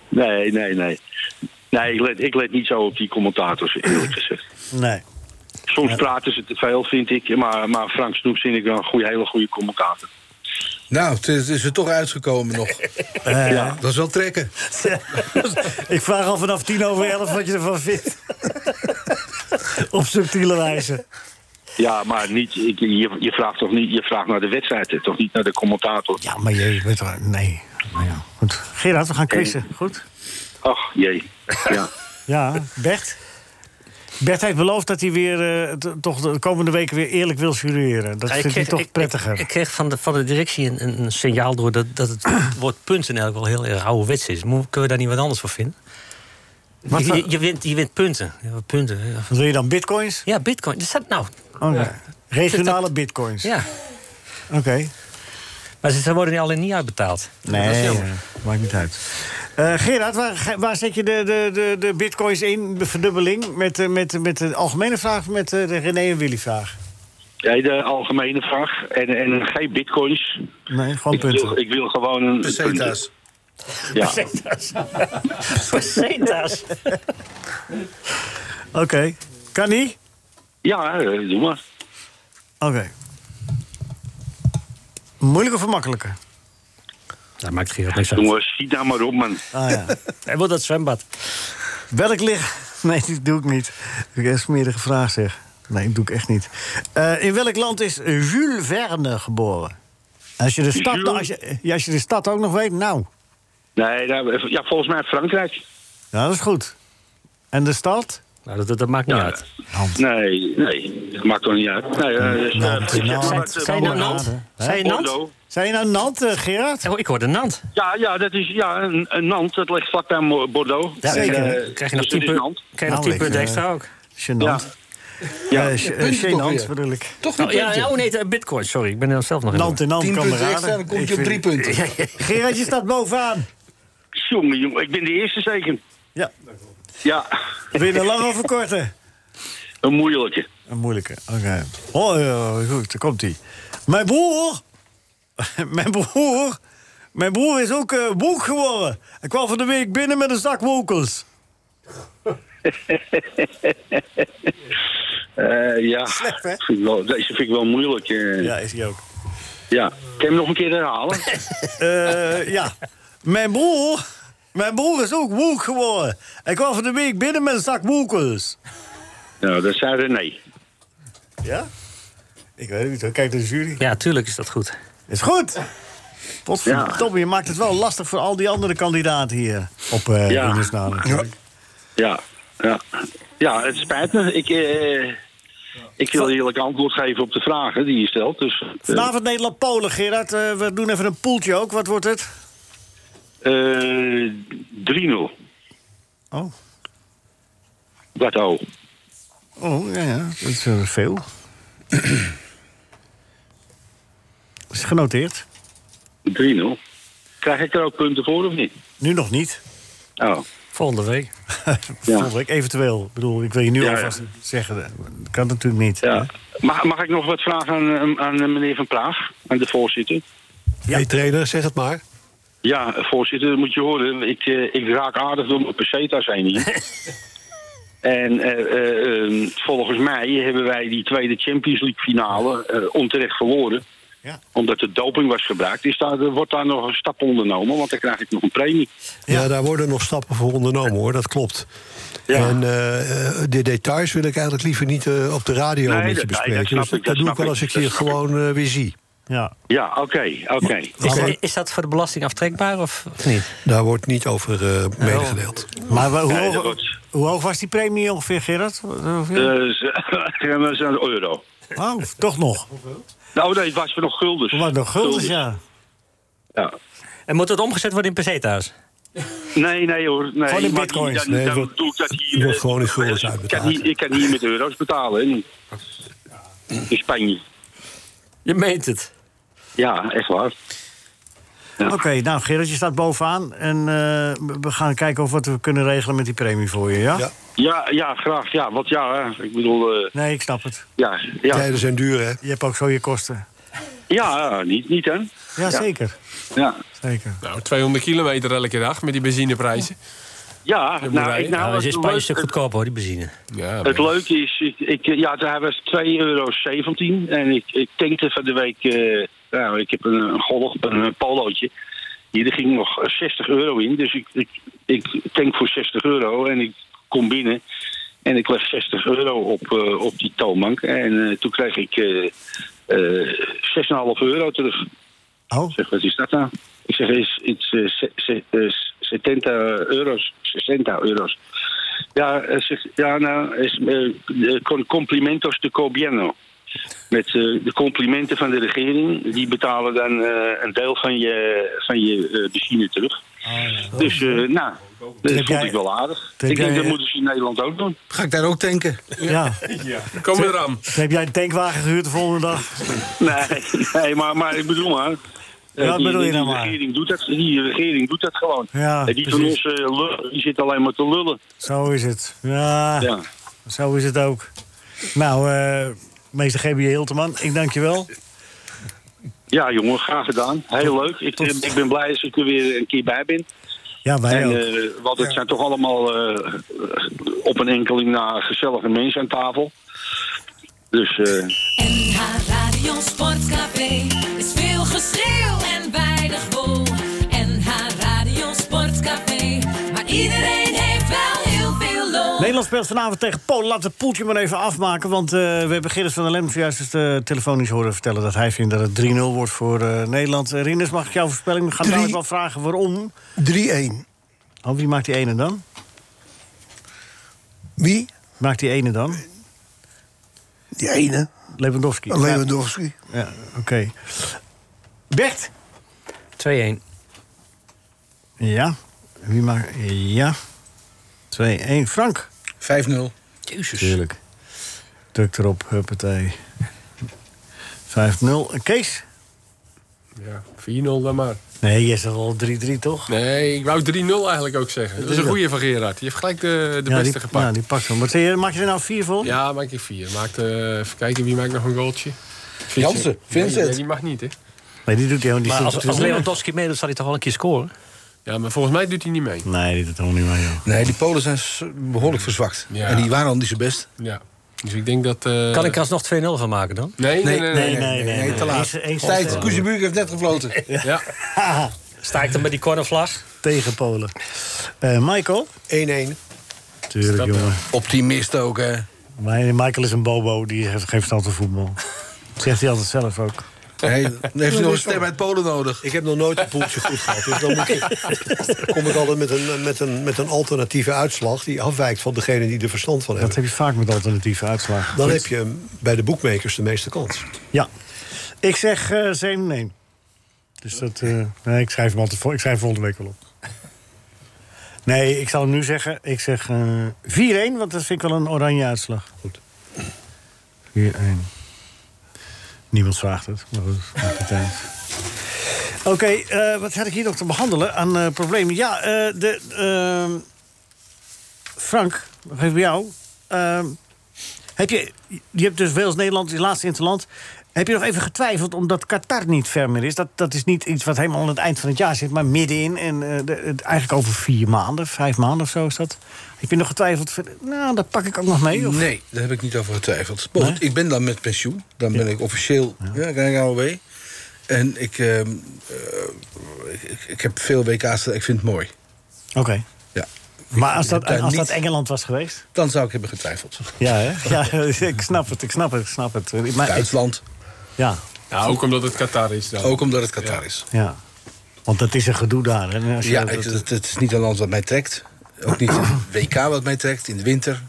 Speaker 12: Nee, nee, nee. Nee, ik let, ik let niet zo op die commentators, eerlijk gezegd.
Speaker 3: Nee.
Speaker 12: Soms praten ze te veel, vind ik. Maar, maar Frank Snoep vind ik wel een goeie, hele goede commentator.
Speaker 5: Nou, het is, is er toch uitgekomen nog. ja. Dat is wel trekken.
Speaker 3: Eh. <laughs> ik vraag al vanaf tien over elf wat je ervan vindt. Op subtiele wijze.
Speaker 12: Ja, maar niet, ik, je, je vraagt toch niet, je vraagt naar de wedstrijd, hè, toch niet naar de commentator.
Speaker 3: Ja, maar je bent er... Nee. Goed. Gerard, we gaan quizzen. Goed?
Speaker 12: Ach, jee. Ja.
Speaker 3: Ja, Bert? Bert heeft beloofd dat hij weer eh, t- toch de komende weken weer eerlijk wil jureren. Dat
Speaker 6: Ja, ik
Speaker 3: vindt hij
Speaker 6: kreeg-
Speaker 3: toch prettiger.
Speaker 6: Ik kreeg van de, van de directie een, een, een signaal door dat, dat het <coughs> woord punten eigenlijk wel heel erg ouderwets is. Moet, kunnen we daar niet wat anders voor vinden?
Speaker 3: Wat
Speaker 6: je,
Speaker 3: voor-
Speaker 6: je, je wint, je wint punten. Ja, wat punten. ja.
Speaker 3: Wil je dan bitcoins?
Speaker 6: Ja, bitcoin. Dat staat nou.
Speaker 3: Oh, nee.
Speaker 6: Ja.
Speaker 3: Regionale bitcoins.
Speaker 6: Ja.
Speaker 3: Oké.
Speaker 6: Maar ze ze worden alleen niet uitbetaald. Dat is
Speaker 3: Nee,
Speaker 6: jammer.
Speaker 3: eh, maakt niet uit. Eh, Gerard, waar, ge- waar zet je de, de, de, de bitcoins in, de verdubbeling? Met, eh, met, met de algemene vraag of met eh, de René en Willy vraag?
Speaker 12: Nee, de algemene vraag. En, en geen bitcoins.
Speaker 3: Nee, gewoon
Speaker 12: ik wil,
Speaker 3: punten.
Speaker 12: ik wil gewoon een.
Speaker 5: Pesetas.
Speaker 12: Ja.
Speaker 6: <laughs> Pesetas. Pesetas.
Speaker 3: Oké. Kan niet?
Speaker 12: Ja, eh, doe maar.
Speaker 3: Oké. Moeilijk of makkelijker?
Speaker 6: Dat maakt Gerard niks uit.
Speaker 12: Jongens, zie daar maar op, man.
Speaker 3: Ah ja.
Speaker 6: <laughs> Hij wil dat zwembad.
Speaker 3: Welk licht... Nee, die doe ik niet. Ik heb een smerige vraag, zeg. Nee, dat doe ik echt niet. Eh, in welk land is Jules Verne geboren? Als je, de stad,
Speaker 12: Jules?
Speaker 3: als, je, ja, als je de stad ook nog weet, nou.
Speaker 12: Nee, daar- ja, volgens mij Frankrijk.
Speaker 3: Ja, dat is goed. En de stad?
Speaker 6: Nou, dat, dat, dat maakt niet uit.
Speaker 12: Nee, nee, dat maakt toch niet uit. Nee, eh, dus, eh,
Speaker 3: Nant,
Speaker 12: ik zeg
Speaker 3: Nant.
Speaker 12: maar dat, eh,
Speaker 6: Zijn je nou Nant?
Speaker 3: Hè?
Speaker 6: Zijn je Nant?
Speaker 12: Bordeaux.
Speaker 3: Zijn je nou Nant, eh, Gerard?
Speaker 6: Oh, ik hoorde Nant.
Speaker 12: Ja, ja, dat is ja, een, een Nant, dat ligt vlakbij Mo- Bordeaux.
Speaker 3: Ja,
Speaker 12: En,
Speaker 3: zeker.
Speaker 12: eh,
Speaker 6: Dan Krijg je nog
Speaker 12: dus dit
Speaker 6: 10
Speaker 12: is Nant.
Speaker 6: punten Krijg je nog
Speaker 3: Nou, eh,
Speaker 6: 10 punten
Speaker 3: lekker,
Speaker 6: extra ook?
Speaker 3: Genant.
Speaker 12: Ja.
Speaker 3: Ja,
Speaker 5: punten toch
Speaker 3: Genant
Speaker 5: weer?
Speaker 3: bedoel ik.
Speaker 5: Toch
Speaker 6: Oh, ja,
Speaker 5: punten.
Speaker 6: oh nee, eh, bitcoin, sorry. Ik ben er zelf nog in.
Speaker 3: Nant in Nant
Speaker 5: Tien
Speaker 3: kan
Speaker 5: punten
Speaker 3: raden.
Speaker 5: extra, dan kom
Speaker 3: Ik
Speaker 5: je op
Speaker 3: vind-
Speaker 5: drie punten.
Speaker 3: Gerard, je staat bovenaan.
Speaker 12: Jongen, jongen, ik ben de eerste zeker.
Speaker 3: Ja.
Speaker 12: Ja,
Speaker 3: Wil je er lang over korten?
Speaker 12: een moeilijke.
Speaker 3: Een moeilijke, oké. Oh, ja, goed, daar komt hij. Mijn broer... <laughs> Mijn broer... Mijn broer is ook eh woek geworden. Hij kwam van de week binnen met een zak
Speaker 5: <laughs>
Speaker 3: wokels.
Speaker 12: Eh, ja,
Speaker 3: Slecht, hè?
Speaker 12: Vind ik wel, deze vind ik wel moeilijk. eh.
Speaker 3: Ja,
Speaker 12: ja.
Speaker 3: is hij ook.
Speaker 12: Kan je hem nog een keer
Speaker 3: <laughs>
Speaker 12: herhalen?
Speaker 3: Eh, ja. Mijn broer... Mijn broer is ook woek geworden. Hij kwam van de week binnen met een zak wokels.
Speaker 12: nou, dat zei René.
Speaker 3: Ja? Ik weet het niet, hoor. kijk de jury.
Speaker 6: Ja, tuurlijk is dat goed.
Speaker 3: Is goed.
Speaker 12: Ja.
Speaker 3: Potverdomme, je maakt het wel lastig voor al die andere kandidaten hier. Op eh
Speaker 12: Ja.
Speaker 3: Rindersnaal natuurlijk.
Speaker 12: Ja, ja. ja het spijt me. Ik, eh, ik wil eerlijk antwoord geven op de vragen die je stelt. Dus, eh,
Speaker 3: Vanavond Nederland-Polen, Gerard. Eh, we doen even een poeltje ook. Wat wordt het?
Speaker 12: eh, 3-0.
Speaker 3: Oh,
Speaker 12: Wat al?
Speaker 3: oh ja, ja. Dat is eh, veel. is genoteerd.
Speaker 12: 3-0. Krijg ik er ook punten voor of niet?
Speaker 3: Nu nog niet.
Speaker 12: Oh.
Speaker 6: Volgende week.
Speaker 3: Volgende week eventueel. Ik bedoel, ik wil je nu
Speaker 12: Ja,
Speaker 3: alvast zeggen. Dat kan natuurlijk niet.
Speaker 12: Ja. Mag, mag ik nog wat vragen aan, eh, aan eh, meneer Van Praag, aan de voorzitter?
Speaker 7: Hey trainer, zeg het maar.
Speaker 12: Ja, voorzitter, dat moet je horen. Ik, eh, ik raak aardig door mijn pesetas heen
Speaker 3: <laughs>
Speaker 12: hier. en eh, eh, eh, volgens mij hebben wij die tweede Champions League finale eh, onterecht verloren.
Speaker 3: Ja.
Speaker 12: Omdat er doping was gebruikt. Is daar, er wordt daar nog een stap ondernomen, want dan krijg ik nog een premie.
Speaker 7: Ja, daar worden nog stappen voor ondernomen hoor, dat klopt.
Speaker 12: Ja.
Speaker 7: En eh, eh, de details wil ik eigenlijk liever niet eh, op de radio
Speaker 12: Nee,
Speaker 7: met
Speaker 12: dat- nee,
Speaker 7: je bespreken.
Speaker 12: dat snap
Speaker 7: Dus
Speaker 12: ik, dat
Speaker 7: doe ik
Speaker 12: snap
Speaker 7: wel
Speaker 12: ik,
Speaker 7: als ik
Speaker 12: dat
Speaker 7: je
Speaker 12: snap ik.
Speaker 7: gewoon eh, weer zie.
Speaker 3: Ja.
Speaker 12: Ja, oké, oké.
Speaker 6: Is,
Speaker 7: Maar-
Speaker 6: is dat voor de belasting aftrekbaar of of niet?
Speaker 7: Daar wordt niet over eh,
Speaker 12: Nou.
Speaker 7: medegedeeld.
Speaker 3: Maar wa- hoe,
Speaker 12: Nee, dat
Speaker 3: hoog,
Speaker 12: wordt-
Speaker 3: hoe hoog was die premie ongeveer, Gerard? Ongeveer?
Speaker 12: <laughs> Dus, dat is een euro.
Speaker 3: oh, toch nog.
Speaker 12: Nou, nee, het was voor nog guldens.
Speaker 3: Maar nog guldens, ja.
Speaker 12: Ja.
Speaker 6: En moet dat omgezet worden in peseta's?
Speaker 12: Nee, nee hoor. Nee,
Speaker 3: Gewoon in
Speaker 12: maar
Speaker 3: bitcoins.
Speaker 12: Dan,
Speaker 7: Nee,
Speaker 12: dan
Speaker 7: wordt-
Speaker 12: doe ik dat hier.
Speaker 7: wordt
Speaker 12: eh, <laughs>
Speaker 7: gewoon in guldens
Speaker 12: ik kan
Speaker 7: uitbetaald.
Speaker 12: hier- Ik kan hier met euro's betalen. hè. In Spanje.
Speaker 6: Je meent het.
Speaker 12: Ja, echt waar.
Speaker 3: Oké, nou Gerard, je staat bovenaan. En eh, we- we gaan kijken of wat we kunnen regelen met die premie voor je, ja?
Speaker 7: Ja.
Speaker 12: Ja, ja, graag. Ja, want ja, hè, ik bedoel... eh,
Speaker 3: Nee, ik snap het.
Speaker 12: ja, ja,
Speaker 7: Tijden zijn duur, hè?
Speaker 3: Je hebt ook zo je kosten.
Speaker 12: ja, ja, niet, niet hè.
Speaker 3: Ja, zeker.
Speaker 12: Ja,
Speaker 3: zeker.
Speaker 8: Nou, 200 kilometer elke dag met die benzineprijzen.
Speaker 12: ja nou, ik,
Speaker 6: Nou,
Speaker 12: nou
Speaker 6: dat
Speaker 12: het,
Speaker 6: is in Spanje een stuk
Speaker 12: leuk-
Speaker 6: goedkoper hoor, die benzine.
Speaker 8: Ja,
Speaker 12: het leuke is, ik, ik, ja, daar was 2,17 euro. En ik, ik tankte van de week, eh, nou, ik heb een, een golf, een, een polootje. Hier ging nog eh, 60 euro in. Dus ik, ik, ik tank voor 60 euro en ik kom binnen. En ik leg 60 euro op, eh, op die toonbank. En eh, toen kreeg ik eh eh 6,5 euro terug.
Speaker 3: Oh,
Speaker 12: Ik zeg, wat is dat nou? Ik zeg, is iets eh, se- se- eh, 70 euro's, 60 euro's. Ja, eh, zegt, ja nou, is, eh, con- complimentos de Cobiano. Met eh, de complimenten van de regering. Die betalen dan eh, een deel van je, van je eh, benzine terug. Dus, eh, nou, dat
Speaker 5: Heb
Speaker 12: vond
Speaker 5: jij-
Speaker 12: ik wel aardig.
Speaker 3: denk
Speaker 12: Ik denk
Speaker 3: jij-
Speaker 12: dat moeten ze in Nederland ook doen.
Speaker 5: Ga ik daar ook tanken?
Speaker 12: <laughs>
Speaker 3: Ja.
Speaker 8: Kom maar eraan.
Speaker 3: Heb jij een tankwagen gehuurd de volgende dag?
Speaker 12: <laughs> Nee, nee maar, maar ik bedoel maar. eh,
Speaker 3: Wat
Speaker 12: die-
Speaker 3: bedoel je
Speaker 12: die
Speaker 3: nou maar?
Speaker 12: Regering doet dat, die regering doet dat gewoon.
Speaker 3: Ja,
Speaker 12: En die van ons
Speaker 3: precies.
Speaker 12: eh, lul- die zit alleen maar te lullen.
Speaker 3: Zo is het. Ja,
Speaker 12: Ja.
Speaker 3: zo is het ook. Nou, eh, meester GB Hilteman, ik dank je wel.
Speaker 12: Ja, jongen, graag gedaan. Heel leuk. Ik, eh, ik ben blij dat ik er weer een keer bij ben.
Speaker 3: Ja, wij
Speaker 12: en,
Speaker 3: ook.
Speaker 12: eh, want het zijn toch allemaal eh, op een enkeling na gezellige mensen aan tafel. Dus eh,
Speaker 13: NH Radio Sportcafé is veel geschreeuw en weinig wol. NH Radio Sportcafé, maar iedereen heeft wel heel veel lol.
Speaker 3: Nederland speelt vanavond tegen Polen. Laten we het poeltje maar even afmaken. Want eh, we hebben Gerrit van der Lem zojuist eens, eh, telefonisch horen vertellen... dat hij vindt dat het 3-0 wordt voor eh, Nederland. Eh, Rinus, mag ik jouw voorspelling? We gaan
Speaker 4: Drie-
Speaker 3: dadelijk wel vragen waarom.
Speaker 4: 3-1.
Speaker 3: Oh, wie maakt die ene dan?
Speaker 4: Wie?
Speaker 3: Maakt die ene dan?
Speaker 4: Die ene. Oh,
Speaker 3: Lewandowski.
Speaker 4: Lewandowski.
Speaker 3: Ja, ja, oké. Bert?
Speaker 6: 2-1.
Speaker 3: Ja. Wie maakt... Ja. 2-1. Frank?
Speaker 5: 5-0.
Speaker 6: Jezus.
Speaker 3: Tuurlijk. Druk erop, huppatee. 5-0. Kees?
Speaker 8: Ja, 4-0 dan maar.
Speaker 3: Nee, je zegt al 3-3, toch?
Speaker 8: Nee, ik wou 3-0 eigenlijk ook zeggen. Dat is een goede van Gerard. Die heeft gelijk de, de
Speaker 3: ja,
Speaker 8: beste
Speaker 3: die,
Speaker 8: gepakt.
Speaker 3: Ja, die pakt hem. Wat zeg je, maak je er nou vier vol?
Speaker 8: Ja, maak ik vier. Maakt, eh, even kijken, wie maakt nog een goaltje?
Speaker 3: Jansen, Vincent.
Speaker 8: Nee, nee, die mag niet, hè?
Speaker 3: Nee, die doet hij ook niet.
Speaker 6: Maar
Speaker 3: Die
Speaker 6: als,
Speaker 3: doet
Speaker 6: als
Speaker 3: hij-
Speaker 6: Lewandowski meedoet, zal hij toch wel een keer scoren?
Speaker 8: Ja, maar volgens mij doet hij niet mee.
Speaker 3: Nee, die doet helemaal niet mee, joh.
Speaker 5: Nee, die Polen zijn s- behoorlijk verzwakt.
Speaker 8: Ja.
Speaker 5: En die waren al niet zo best.
Speaker 8: Ja. Dus ik denk dat... eh,
Speaker 6: Kan ik er alsnog 2-0 van maken dan?
Speaker 8: Nee, nee, nee. nee,
Speaker 5: te laat.
Speaker 3: Eens- eens-
Speaker 5: Tijd,
Speaker 3: eens-
Speaker 5: Kuzenburg heeft net gefloten.
Speaker 8: Ja.
Speaker 6: Sta ik dan met die cornervlag?
Speaker 3: Tegen Polen. Eh, Michael?
Speaker 5: 1-1.
Speaker 3: Tuurlijk, jongen.
Speaker 5: eh, Optimist ook, hè?
Speaker 3: Maar Michael is een bobo, die heeft geen verstand van voetbal. Dat zegt hij altijd zelf ook.
Speaker 5: Nee, dan heeft hij nog een
Speaker 3: <laughs>
Speaker 5: stem uit Polen nodig.
Speaker 7: Ik heb nog nooit een poeltje goed gehad. Dus dan, moet ik, kom ik altijd met een, eh, met, een, met een alternatieve uitslag... die afwijkt van degene die er verstand van
Speaker 3: Dat
Speaker 7: hebben.
Speaker 3: heb je vaak met alternatieve uitslagen.
Speaker 7: Dan
Speaker 3: Goed.
Speaker 7: heb je eh, bij de boekmakers de meeste kans.
Speaker 3: Ja. Ik zeg eh 7 nee. Dus dat... eh, nee, ik schrijf hem altijd vol. Ik schrijf volgende week wel op. Nee, ik zal hem nu zeggen. Ik zeg eh 4-1, want dat vind ik wel een oranje uitslag. Goed. 4-1. Niemand vraagt het, maar goed, maakt het uit. Oké, eh, wat had ik hier nog te behandelen aan eh, problemen? Ja, eh, de, ehm, Frank, nog even bij jou. Ehm, heb je, je hebt dus Wales-Nederland, je laatste interland. Heb je nog even getwijfeld omdat Qatar niet ver meer is? Dat, dat is niet iets wat helemaal aan het eind van het jaar zit, maar middenin. En eh, de- het- eigenlijk over vier maanden, vijf maanden of zo is dat. Heb je nog getwijfeld? van, Nou, dat pak ik ook nog mee. Of?
Speaker 5: Nee, daar heb ik niet over getwijfeld. Maar goed, ik ben dan met pensioen. Dan ben ik officieel ja. ik ben AOW. En ik, ehm, eh, ik, ik, ik heb veel WK's. Ik vind het mooi.
Speaker 3: Oké.
Speaker 5: Ja.
Speaker 3: Maar als
Speaker 5: Ik
Speaker 3: dat,
Speaker 5: heb daar
Speaker 3: als
Speaker 5: niet-
Speaker 3: dat Engeland was geweest?
Speaker 5: Dan zou ik hebben getwijfeld.
Speaker 3: Ja, hè? <laughs> ja, ik snap het, ik snap het, ik snap het. Maar,
Speaker 5: Duitsland.
Speaker 3: ja,
Speaker 8: Nou, ook omdat het Qatar is dan.
Speaker 5: Ook omdat het Qatar is.
Speaker 3: ja. Want dat is een gedoe daar. Hè? Als je
Speaker 5: Ja,
Speaker 3: dat-
Speaker 5: het, het- het is niet een land wat mij trekt. Ook niet een WK wat mij trekt in de winter.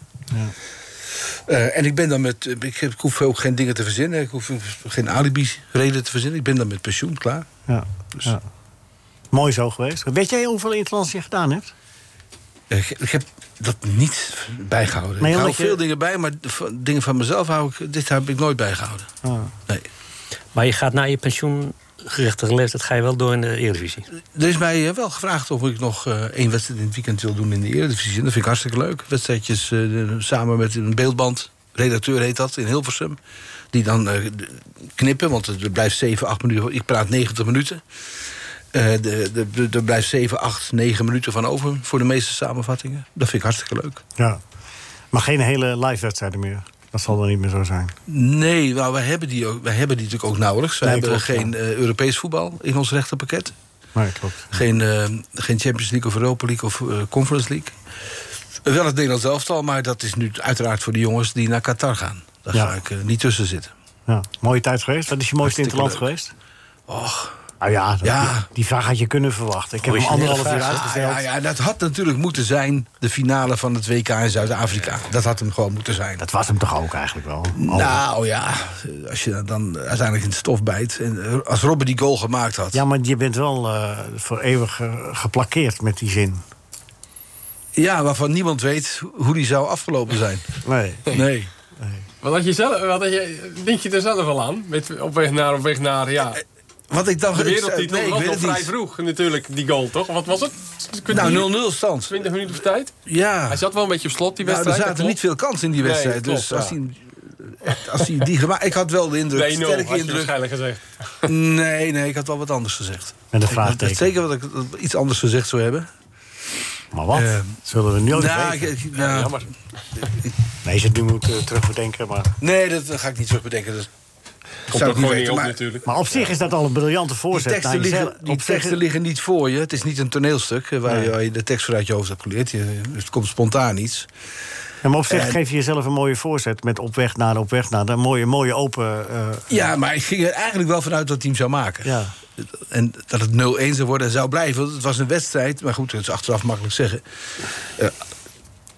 Speaker 5: Eh, en ik ben dan met. Ik, heb, ik hoef ook geen dingen te verzinnen. Ik hoef geen alibi-reden te verzinnen. Ik ben dan met pensioen klaar. Dus-
Speaker 3: ja, ja. Mooi zo geweest. Weet jij hoeveel interlands je gedaan hebt?
Speaker 5: Eh, Ik, ik heb dat niet bijgehouden.
Speaker 3: Nee,
Speaker 5: ik hou
Speaker 3: omdat je-
Speaker 5: veel dingen bij, maar v- dingen van mezelf hou ik. Dit heb ik nooit bijgehouden.
Speaker 3: Ah.
Speaker 5: Nee.
Speaker 6: Maar je gaat na je pensioengerichte leeftijd ga je wel door in de Eredivisie.
Speaker 5: Er is mij eh, wel gevraagd of ik nog eh, één wedstrijd in het weekend wil doen in de Eredivisie. En Dat vind ik hartstikke leuk. Wedstrijdjes eh, samen met een beeldband. Redacteur heet dat in Hilversum. Die dan eh, d- knippen, want het blijft 7, 8 minuten. Ik praat 90 minuten. Eh, de- de- de- er blijft 7, 8, 9 minuten van over voor de meeste samenvattingen. Dat vind ik hartstikke leuk.
Speaker 3: Ja. Maar geen hele live wedstrijden meer. Dat zal dan niet meer zo zijn.
Speaker 5: Nee, nou, wij, hebben die ook, wij hebben die natuurlijk ook nauwelijks. We
Speaker 3: Nee,
Speaker 5: hebben
Speaker 3: klopt,
Speaker 5: geen eh, Europees voetbal in ons rechterpakket.
Speaker 3: Nee, klopt.
Speaker 5: Geen, eh, geen Champions League of Europa League of eh, Conference League. Wel het Nederlands elftal, maar dat is nu uiteraard voor de jongens die naar Qatar gaan. Daar
Speaker 3: Ja.
Speaker 5: ga ik eh, niet tussen zitten.
Speaker 3: Ja. Mooie tijd geweest. Wat is je mooiste
Speaker 5: Hartstikke
Speaker 3: interland
Speaker 5: leuk.
Speaker 3: geweest?
Speaker 5: Och,
Speaker 3: Nou ja, Die, die vraag had je kunnen verwachten. Ik heb hem anderhalf uur
Speaker 5: Ja,
Speaker 3: uitgesteld.
Speaker 5: Ja, ja, dat had natuurlijk moeten zijn de finale van het WK in Zuid-Afrika. Dat had hem gewoon moeten zijn. Dat
Speaker 3: was hem toch ook eigenlijk wel?
Speaker 5: Nou ja, als je dan uiteindelijk in het stof bijt. En eh, als Robben die goal gemaakt had.
Speaker 3: Ja, maar je bent wel eh, voor eeuwig eh, geplakeerd met die zin.
Speaker 5: Ja, waarvan niemand weet hoe die zou afgelopen zijn.
Speaker 3: Nee.
Speaker 5: Nee.
Speaker 8: Wat had je zelf, wat had je, denk je er zelf wel aan? Met, op weg naar, op weg naar, ja.
Speaker 5: Eh, Wat ik dan
Speaker 8: De wereldtitel
Speaker 5: Nee, ik
Speaker 8: was
Speaker 5: weet
Speaker 8: nog
Speaker 5: het niet.
Speaker 8: vrij vroeg natuurlijk, die goal toch? Wat was het?
Speaker 5: Nou, 0-0 stand.
Speaker 8: 20 minuten voor tijd?
Speaker 5: Ja.
Speaker 8: Hij zat wel een beetje op slot, die
Speaker 5: Ah. Nou, er
Speaker 8: wedstrijd.
Speaker 5: zaten niet veel kansen in die wedstrijd. dus als hij als hij die gemaakt. Ik had wel de indruk.
Speaker 8: Nee, 0 had
Speaker 5: sterke
Speaker 8: je
Speaker 5: indruk.
Speaker 8: waarschijnlijk gezegd.
Speaker 5: Nee, nee, ik had wel wat anders gezegd.
Speaker 3: Met een
Speaker 5: Ik-
Speaker 3: vraagteken.
Speaker 5: dat- dat Zeker wat ik dat ik iets anders gezegd zou hebben. Eh,
Speaker 3: Maar wat? Zullen we nu ook
Speaker 5: nou,
Speaker 3: weten?
Speaker 5: ik- ik- nou,
Speaker 3: Nee, als je het nu moet eh, terugbedenken, maar...
Speaker 5: Nee, dat eh, ga ik niet terugbedenken. Dat zou ik weten, maar
Speaker 3: Maar op zich is dat al een briljante
Speaker 5: Die
Speaker 3: voorzet.
Speaker 5: teksten,
Speaker 3: naar jezelf.
Speaker 5: liggen, die
Speaker 3: Op zich-
Speaker 5: teksten liggen niet voor je. Het is niet een toneelstuk eh, waar,
Speaker 3: Nee.
Speaker 5: je, waar je de tekst voor uit je hoofd hebt geleerd. Je- het komt spontaan iets.
Speaker 3: Ja, maar op zich
Speaker 5: En-
Speaker 3: geef je jezelf een mooie voorzet met op weg naar, op weg naar. Een mooie, mooie open... eh,
Speaker 5: Ja, maar ik ging er eigenlijk wel vanuit dat het team zou maken. En dat het 0-1 zou worden en zou blijven. Want het was een wedstrijd, maar goed, dat is achteraf makkelijk zeggen. Eh,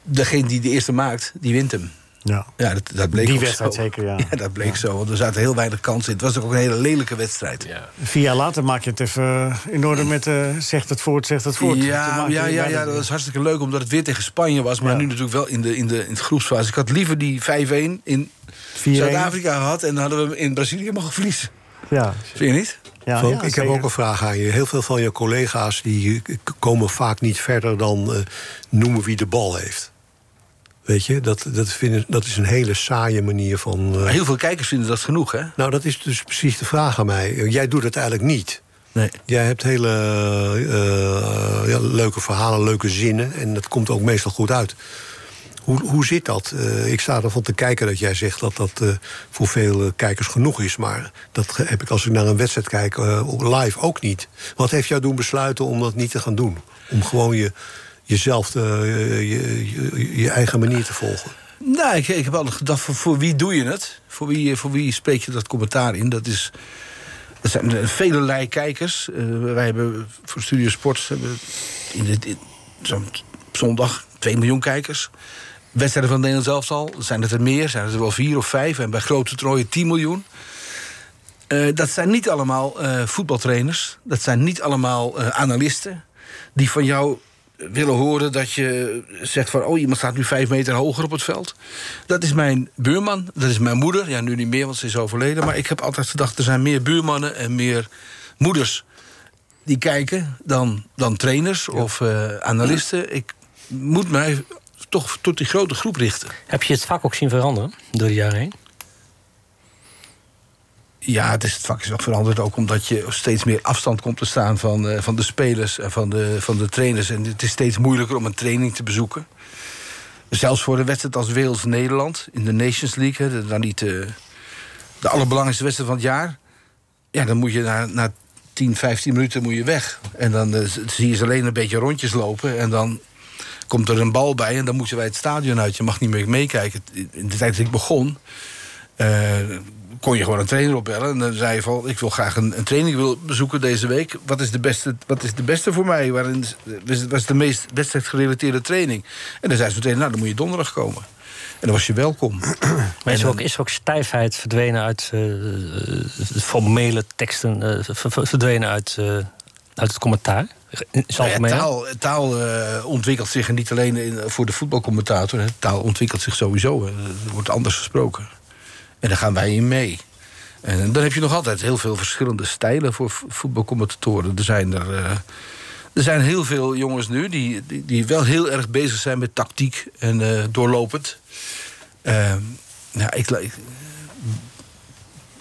Speaker 5: degene die de eerste maakt, die wint hem.
Speaker 3: Ja,
Speaker 5: ja dat, dat bleek
Speaker 3: Die
Speaker 5: ook
Speaker 3: wedstrijd
Speaker 5: zo.
Speaker 3: zeker,
Speaker 5: <laughs>
Speaker 3: ja.
Speaker 5: dat bleek zo, want er zaten heel weinig kansen in. Het was ook een hele lelijke wedstrijd.
Speaker 8: Ja,
Speaker 3: Vier jaar later maak je het even eh, in orde met... eh, zegt het voort, zegt het voort. Toen
Speaker 5: ja,
Speaker 3: maak je
Speaker 5: ja,
Speaker 3: er
Speaker 5: ja,
Speaker 3: bijna-
Speaker 5: dat was hartstikke leuk, omdat het weer tegen Spanje was. Maar
Speaker 3: Ja.
Speaker 5: nu natuurlijk wel in de, in de in het groepsfase. Ik had liever die 5-1 in
Speaker 3: 4-1.
Speaker 5: Zuid-Afrika gehad... en dan hadden we hem in Brazilië mogen verliezen.
Speaker 3: Ja.
Speaker 5: Vind je niet?
Speaker 7: Frank, ik heb ook een vraag aan je. Heel veel van je collega's die eh, k- komen vaak niet verder dan eh, noemen wie de bal heeft. Weet je, dat, dat, vinden, dat is een hele saaie manier van. eh,
Speaker 5: Maar heel veel kijkers vinden dat genoeg, hè?
Speaker 7: Nou, dat is dus precies de vraag aan mij. Jij doet het eigenlijk niet.
Speaker 5: Nee.
Speaker 7: Jij hebt hele eh, ja, leuke verhalen, leuke zinnen. En dat komt ook meestal goed uit. Hoe, hoe zit dat? Eh, ik sta ervan te kijken dat jij zegt dat dat eh, voor veel eh, kijkers genoeg is. Maar dat ge- heb ik als ik naar een wedstrijd kijk eh, op live ook niet. Wat heeft jou doen besluiten om dat niet te gaan doen? Om gewoon je, jezelf, eh, je, je, je eigen manier te volgen.
Speaker 5: Nou, ik, ik heb altijd gedacht, voor, voor wie doe je het? Voor wie, eh, voor wie spreek je dat commentaar in? Dat is... Er zijn eh, velelei kijkers. Eh, wij hebben voor Studio Sport hebben we in dit, in- zo'n t- op zondag 2 miljoen kijkers. Wedstrijden van Nederland zelfs al. Zijn het er meer? Zijn het er wel vier of vijf? En bij grote trooien 10 miljoen. Eh, dat zijn niet allemaal eh, voetbaltrainers. Dat zijn niet allemaal eh, analisten. Die van jou willen horen dat je zegt van... oh, iemand staat nu vijf meter hoger op het veld. Dat is mijn buurman, dat is mijn moeder. Ja, nu niet meer, want ze is overleden. Maar ik heb altijd gedacht, er zijn meer buurmannen en meer moeders... die kijken dan, dan trainers of eh, analisten. Ik moet mij toch tot die grote groep richten.
Speaker 6: Heb je het vak ook zien veranderen door de jaren heen?
Speaker 5: Ja, het, is, het vak is ook veranderd. Ook omdat je steeds meer afstand komt te staan van, eh, van de spelers en van de, van de trainers. En het is steeds moeilijker om een training te bezoeken. Zelfs voor een wedstrijd als Wales-Nederland in de Nations League. Hè, de- dan niet eh, de allerbelangrijkste wedstrijd van het jaar. Ja, dan moet je na, na 10, 15 minuten moet je weg. En dan eh, z- zie je ze alleen een beetje rondjes lopen. En dan komt er een bal bij en dan moeten wij het stadion uit. Je mag niet meer meekijken. In de tijd dat ik begon... eh, kon je gewoon een trainer opbellen. En dan zei je van, ik wil graag een, een training wil bezoeken deze week. Wat is de beste, wat is de beste voor mij? Waarin was, was de meest wedstrijdgerelateerde training? En dan zei ze meteen, nou, dan moet je donderdag komen. En dan was je welkom.
Speaker 6: Maar is er, ook, is er ook stijfheid verdwenen uit eh, formele teksten, eh, ver- ver- verdwenen uit, eh, uit het commentaar? In zijn
Speaker 5: Nou ja,
Speaker 6: algemene?
Speaker 5: taal taal eh, ontwikkelt zich en niet alleen in- voor de voetbalcommentator. Hè. Taal ontwikkelt zich sowieso. hè. Er wordt anders gesproken. En daar gaan wij in mee. En dan heb je nog altijd heel veel verschillende stijlen voor vo- voetbalcommentatoren. Er zijn er. eh, er zijn heel veel jongens nu die, die, die wel heel erg bezig zijn met tactiek en eh, doorlopend. Ehm, ja, ik, la- ik-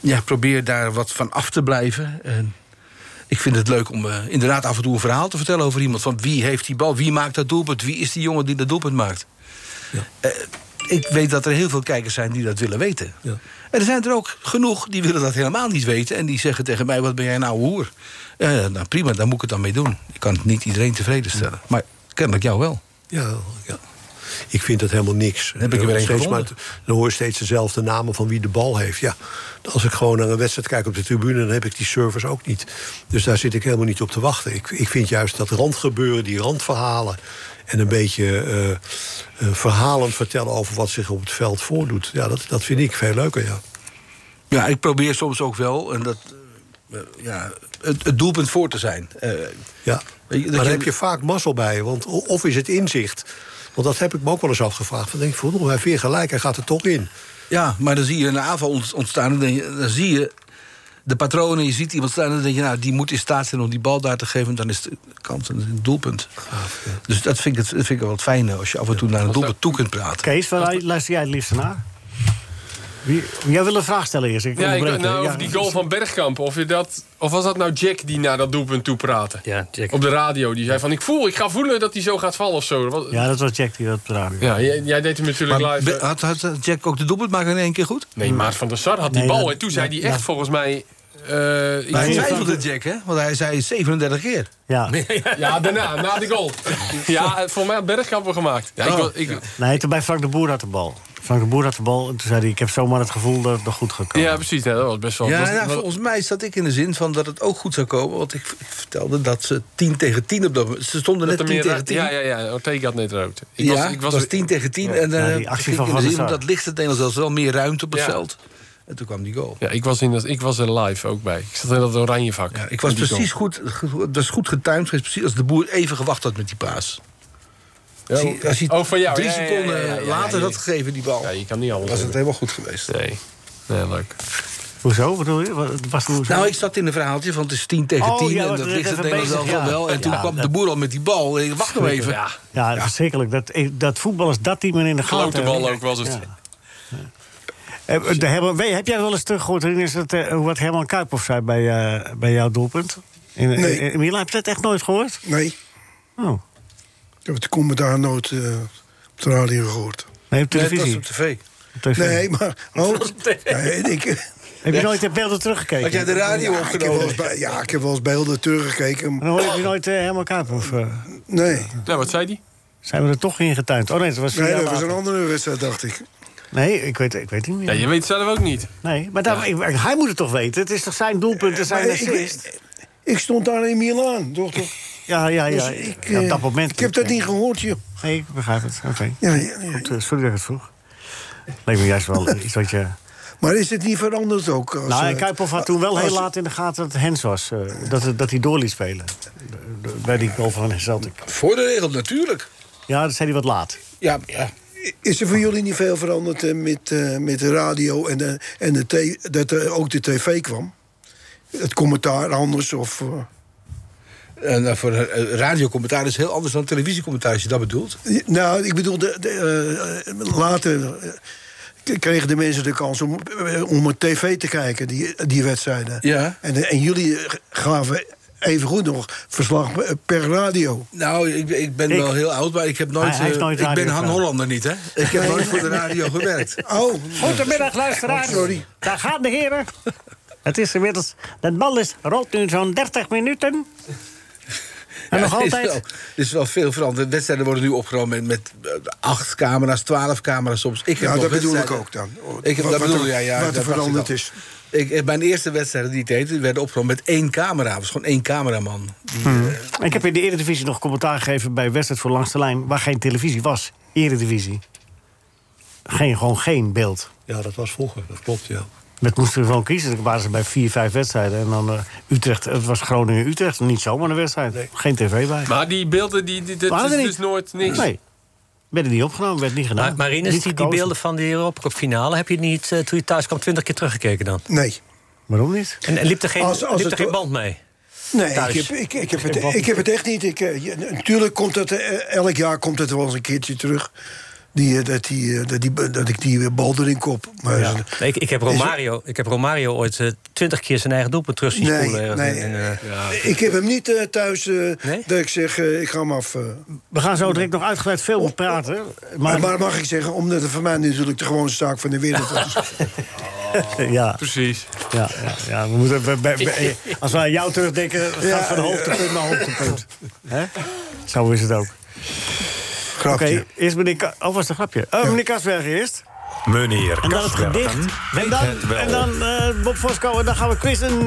Speaker 5: ja, probeer daar wat van af te blijven. En ik vind het leuk om eh, inderdaad af en toe een verhaal te vertellen over iemand. Van wie heeft die bal? Wie maakt dat doelpunt? Wie is die jongen die dat doelpunt maakt? Eh, ik weet dat er heel veel kijkers zijn die dat willen weten. En er zijn er ook genoeg die willen dat helemaal niet weten. En die zeggen tegen mij, wat ben jij nou hoer? Eh, nou prima, daar moet ik het dan mee doen. Ik kan het niet iedereen tevreden stellen. Maar kennelijk jou wel.
Speaker 7: Ja, ja. Ik vind dat helemaal niks.
Speaker 5: heb ik er weer één
Speaker 7: steeds
Speaker 5: gevonden.
Speaker 7: Dan hoor je steeds dezelfde namen van wie de bal heeft. Ja, als ik gewoon naar een wedstrijd kijk op de tribune... dan heb ik die servers ook niet. Dus daar zit ik helemaal niet op te wachten. Ik, ik vind juist dat randgebeuren, die randverhalen... en een beetje eh eh, verhalend vertellen over wat zich op het veld voordoet... Ja, dat, dat vind ik veel leuker, ja.
Speaker 5: Ja, ik probeer soms ook wel en dat, eh, ja, het, het doelpunt voor te zijn. Eh,
Speaker 7: ja,
Speaker 5: weet je, dat
Speaker 7: maar daar
Speaker 5: je-
Speaker 7: heb je vaak mazzel bij. Want o- of is het inzicht. Want dat heb ik me ook wel eens afgevraagd. Dan denk ik, verdomme, hij heeft weer gelijk, hij gaat er toch in.
Speaker 5: Ja, maar dan zie je een aanval ont- ontstaan. en Dan, denk je- dan zie je de patronen, je ziet iemand staan... en dan denk je, nou, die moet in staat zijn om die bal daar te geven... en dan is het kans en het doelpunt. Dus dat vind, ik, het- dat vind ik wel het fijne, als je af en toe naar een doelpunt toe kunt praten.
Speaker 3: Kees, waar lu- luister jij het liefst naar? Wie, jij wil een vraag stellen eerst. Ik
Speaker 8: Ja, ik,
Speaker 3: onderbreek je.
Speaker 8: nou,
Speaker 3: Ja,
Speaker 8: over die goal van Bergkamp. Of, je dat, of was dat nou Jack die naar dat doelpunt toe praatte?
Speaker 6: Ja, Jack.
Speaker 8: Op de radio. Die zei van, ik voel, ik ga voelen dat hij zo gaat vallen of zo. Wat-
Speaker 3: Ja, dat was Jack die dat op de radio.
Speaker 8: Ja, jij, jij deed hem natuurlijk
Speaker 5: Maar
Speaker 8: live. eh,
Speaker 5: be- had, had Jack ook de doelpunt maken in één keer goed?
Speaker 8: Nee, Maart van der Sar had die
Speaker 5: Nee,
Speaker 8: bal.
Speaker 5: dat-
Speaker 8: en toen zei hij
Speaker 5: dat-
Speaker 8: echt
Speaker 5: dat-
Speaker 8: volgens mij... eh, ik
Speaker 5: Maar hij
Speaker 8: voel-
Speaker 5: twijfelde Jack, <laughs> hè? Want hij zei 37 keer.
Speaker 3: Ja.
Speaker 8: <laughs> Ja, daarna, na de goal. <laughs> Ja, eh, voor mij had Bergkamp hem gemaakt. Ja, ik,
Speaker 3: Oh,
Speaker 8: wil- ik,
Speaker 3: Nee, toen bij Frank de Boer had de bal. Frank de Boer had de bal en toen zei hij... ik heb zomaar het gevoel dat het nog goed gaat komen.
Speaker 8: ja, precies. hè, dat was best wel...
Speaker 5: Ja,
Speaker 8: dat was-
Speaker 5: ja, volgens mij zat ik in de zin van dat het ook goed zou komen. Want ik, ik vertelde dat ze 10 tegen 10 op dat moment. Ze
Speaker 8: dat
Speaker 5: stonden net
Speaker 8: er
Speaker 5: 10
Speaker 8: meer-
Speaker 5: tegen 10.
Speaker 8: Ja, ja, ja. Ortega had net rood. Ik
Speaker 5: ja,
Speaker 8: was, ik was,
Speaker 5: het was 10 tegen 10. en dan
Speaker 8: Ja,
Speaker 5: heb
Speaker 8: die actie
Speaker 5: ik
Speaker 8: van
Speaker 5: in
Speaker 8: Van
Speaker 5: de
Speaker 8: der
Speaker 5: zin,
Speaker 8: Sar.
Speaker 5: dat ligt het Nederlands zelfs wel meer ruimte op het
Speaker 8: Ja.
Speaker 5: veld. En toen kwam die goal.
Speaker 8: ja, ik was, in dat, ik was er live ook bij. Ik zat in dat oranje vak.
Speaker 5: Ik was precies goed, ge- dat is goed getimed geweest. Precies als de boer even gewacht had met die paas.
Speaker 8: Ja,
Speaker 5: Als hij- als hij
Speaker 8: oh, van jou.
Speaker 5: drie
Speaker 8: Ja, ja, ja,
Speaker 5: seconden
Speaker 8: ja, ja, ja,
Speaker 5: later
Speaker 8: ja.
Speaker 5: had gegeven, die bal.
Speaker 8: Ja, je kan niet alles
Speaker 5: was het
Speaker 8: hebben.
Speaker 5: helemaal goed geweest.
Speaker 8: Nee. Nee, leuk.
Speaker 3: Hoezo? Bedoel je? Wat, was hoezo?
Speaker 5: Nou, ik zat in een verhaaltje van het is 10 tegen
Speaker 3: Oh,
Speaker 5: 10
Speaker 3: ja,
Speaker 5: en
Speaker 3: want
Speaker 5: dat
Speaker 3: we
Speaker 5: ligt
Speaker 3: zijn
Speaker 5: het
Speaker 3: even
Speaker 5: Nederlands zelf
Speaker 3: bezig, ja.
Speaker 5: wel. En toen
Speaker 3: Ja,
Speaker 5: kwam
Speaker 3: dat-
Speaker 5: de boer al met die bal. En ik, wacht nog even.
Speaker 3: Ja, ja, verschrikkelijk. Dat, eh, dat voetballers dat die men in de gaten
Speaker 8: Klote bal
Speaker 3: hebben.
Speaker 8: ook was het.
Speaker 3: Eh, eh, de Herman- weet- heb jij wel eens teruggehoord Rien, is het, eh, wat Herman Kuiphoff zei bij, eh, bij jouw doelpunt? In, in-
Speaker 4: Nee.
Speaker 3: in Milan, heb je dat echt nooit gehoord?
Speaker 4: Nee.
Speaker 3: Oh.
Speaker 4: Ik heb het commentaar nooit eh, op de radio gehoord.
Speaker 3: Nee, op televisie.
Speaker 5: op tv.
Speaker 3: Op tv.
Speaker 4: Nee, maar... Oh, nee, ik,
Speaker 3: Heb je nooit de beelden teruggekeken?
Speaker 4: Ja, ik heb wel eens bij- ja, ik heb wel eens beelden teruggekeken.
Speaker 3: Dan hoor je nooit eh, Herman Kuiphoff. eh,
Speaker 4: ehm, Nee.
Speaker 8: Nou, wat zei die?
Speaker 3: zijn we er toch ingetuind? Oh nee, dat was,
Speaker 4: Nee,
Speaker 3: vier jaar
Speaker 4: dat was een
Speaker 3: later.
Speaker 4: andere wedstrijd, dacht ik.
Speaker 3: Nee, ik weet, ik weet het niet
Speaker 8: Ja,
Speaker 3: meer.
Speaker 8: je weet zelf ook niet.
Speaker 3: Nee, maar daar, ik- hij moet het toch weten? Het is toch zijn doelpunt en zijn
Speaker 4: Eh, Maar ik-
Speaker 3: assist?
Speaker 4: Ik stond daar in Milaan, toch? toch?
Speaker 3: <laughs> Ja, ja, ja.
Speaker 4: Dus ik,
Speaker 3: Ja, op dat
Speaker 4: eh,
Speaker 3: moment.
Speaker 4: Ik heb dat niet gehoord, joh.
Speaker 3: Nee, ik begrijp het. Oké.
Speaker 4: Ja, ja, ja.
Speaker 3: Goed, eh, sorry dat ik het vroeg. Leek me juist
Speaker 4: <laughs>
Speaker 3: wel iets wat je...
Speaker 4: Maar is het niet veranderd ook? Als,
Speaker 3: nou,
Speaker 4: eh,
Speaker 3: en Kuiphoff had toen wel heel
Speaker 4: als-
Speaker 3: laat in de gaten dat het Hens was. eh, dat, het- dat hij door liet spelen. Eh, Bij die goal van Celtic.
Speaker 5: Voor de regel, natuurlijk.
Speaker 3: Ja, dat zei hij wat laat.
Speaker 5: Ja, ja.
Speaker 4: Is er voor jullie niet veel veranderd eh, met, eh, met de radio en, de, en de t- dat er ook de tv kwam? Het commentaar anders of... eh,
Speaker 5: Eh, nou, voor eh, radiocommentaar is heel anders dan televisiecommentaar, als je dat bedoelt.
Speaker 4: Nou, ik bedoel, de, de, eh, eh, later eh, k- kregen de mensen de kans om, eh, om op tv te kijken, die, die wedstrijden.
Speaker 5: Ja.
Speaker 4: En, eh, en jullie gaven evengoed nog verslag eh, per radio.
Speaker 5: Nou, ik, ik ben
Speaker 4: Ik-
Speaker 5: wel heel oud, maar ik heb nooit.
Speaker 4: Hij- hij heeft
Speaker 5: eh,
Speaker 4: nooit
Speaker 5: ik ben
Speaker 4: radio
Speaker 5: Han
Speaker 4: gedaan.
Speaker 5: Hollander niet, hè? Ik heb nooit voor de <laughs> radio gewerkt.
Speaker 4: Oh,
Speaker 3: Goedemiddag, luisteraars.
Speaker 4: Sorry.
Speaker 3: Daar gaan de heren. Het is inmiddels... Dat bal is rood nu zo'n 30 minuten. En nog
Speaker 5: Ja, het is
Speaker 3: altijd...
Speaker 5: wel- Er is wel veel veranderd. Wedstrijden worden nu opgenomen met, met eh, acht camera's, twaalf camera's soms. Ik heb
Speaker 4: Ja,
Speaker 5: nog
Speaker 4: Nou, dat bedoel ik
Speaker 5: wedstrijden-
Speaker 4: ook dan.
Speaker 5: Ik heb,
Speaker 4: Wat-
Speaker 5: dat
Speaker 4: wat
Speaker 5: bedoel,
Speaker 4: er-
Speaker 5: ja, ja,
Speaker 4: wat er
Speaker 5: dat dacht ik
Speaker 4: veranderd
Speaker 5: al.
Speaker 4: is.
Speaker 5: Ik, eh, mijn eerste wedstrijden die ik deed, die werden opgenomen met één camera. was gewoon één cameraman. Die, eh,
Speaker 3: Ik heb in de Eredivisie nog commentaar gegeven bij Wedstrijd voor Langste Lijn... waar geen televisie was. Eredivisie. Geen, gewoon geen beeld.
Speaker 7: Ja, dat was vroeger, dat klopt, ja.
Speaker 3: Dat moesten we gewoon kiezen. Dan waren ze bij vier, vijf wedstrijden. En dan eh, Utrecht, het was Groningen-Utrecht. Niet zomaar een wedstrijd. Geen tv bij.
Speaker 8: Maar die beelden, die, die, dat
Speaker 3: Waren
Speaker 8: is
Speaker 3: er niet.
Speaker 8: dus nooit niks.
Speaker 3: Nee. Werden niet opgenomen, werd niet gedaan.
Speaker 6: Maar, maar Rinus,
Speaker 3: Niet
Speaker 6: die, die
Speaker 3: gekozen.
Speaker 6: beelden van die Europa Cup finale... heb je niet, eh, toen je thuis kwam, twintig keer teruggekeken dan?
Speaker 4: Nee.
Speaker 3: Waarom niet?
Speaker 6: En, en liep er geen,
Speaker 4: Als- als
Speaker 6: liep er
Speaker 4: het-
Speaker 6: geen band mee?
Speaker 4: Nee, ik
Speaker 6: Thuis.
Speaker 4: heb, ik, ik, heb het, ik heb het echt niet. Ik, eh, ja, natuurlijk komt het, eh, elk jaar komt het wel eens een keertje terug. Die, eh, dat, die, eh, dat, die, dat ik die eh, bal erin kop. Maar
Speaker 6: Ja.
Speaker 4: ze-
Speaker 6: Nee, Ik, ik, heb Romario, ik heb Romario ooit eh, twintig keer zijn eigen doelpunt terug zien
Speaker 4: Nee,
Speaker 6: spoelen. ergens
Speaker 4: nee.
Speaker 6: in, eh,
Speaker 4: Ik heb hem niet eh, thuis eh, dat ik zeg, eh, ik ga hem af. eh.
Speaker 3: We gaan zo direct nog uitgebreid veel op praten.
Speaker 4: maar,
Speaker 3: Maar,
Speaker 4: mag ik zeggen, omdat het voor mij natuurlijk de gewoonste zaak van de wereld
Speaker 3: <laughs>
Speaker 4: is.
Speaker 3: ja,
Speaker 8: Precies.
Speaker 3: ja, ja, ja, we moeten, we- we- we- als we aan jou terugdenken, gaat
Speaker 4: Ja,
Speaker 3: van hoogtepunt naar hoogtepunt. Hè? Zo is het ook. Oké, eerst meneer... Ka- Oh, was het een grapje? Oh, meneer Kasberg eerst.
Speaker 14: Meneer
Speaker 3: En dan het gedicht.
Speaker 14: Kasbergen
Speaker 3: En
Speaker 14: weet
Speaker 3: dan,
Speaker 14: het wel.
Speaker 3: en dan eh, Bob Fosco en dan gaan we quizzen.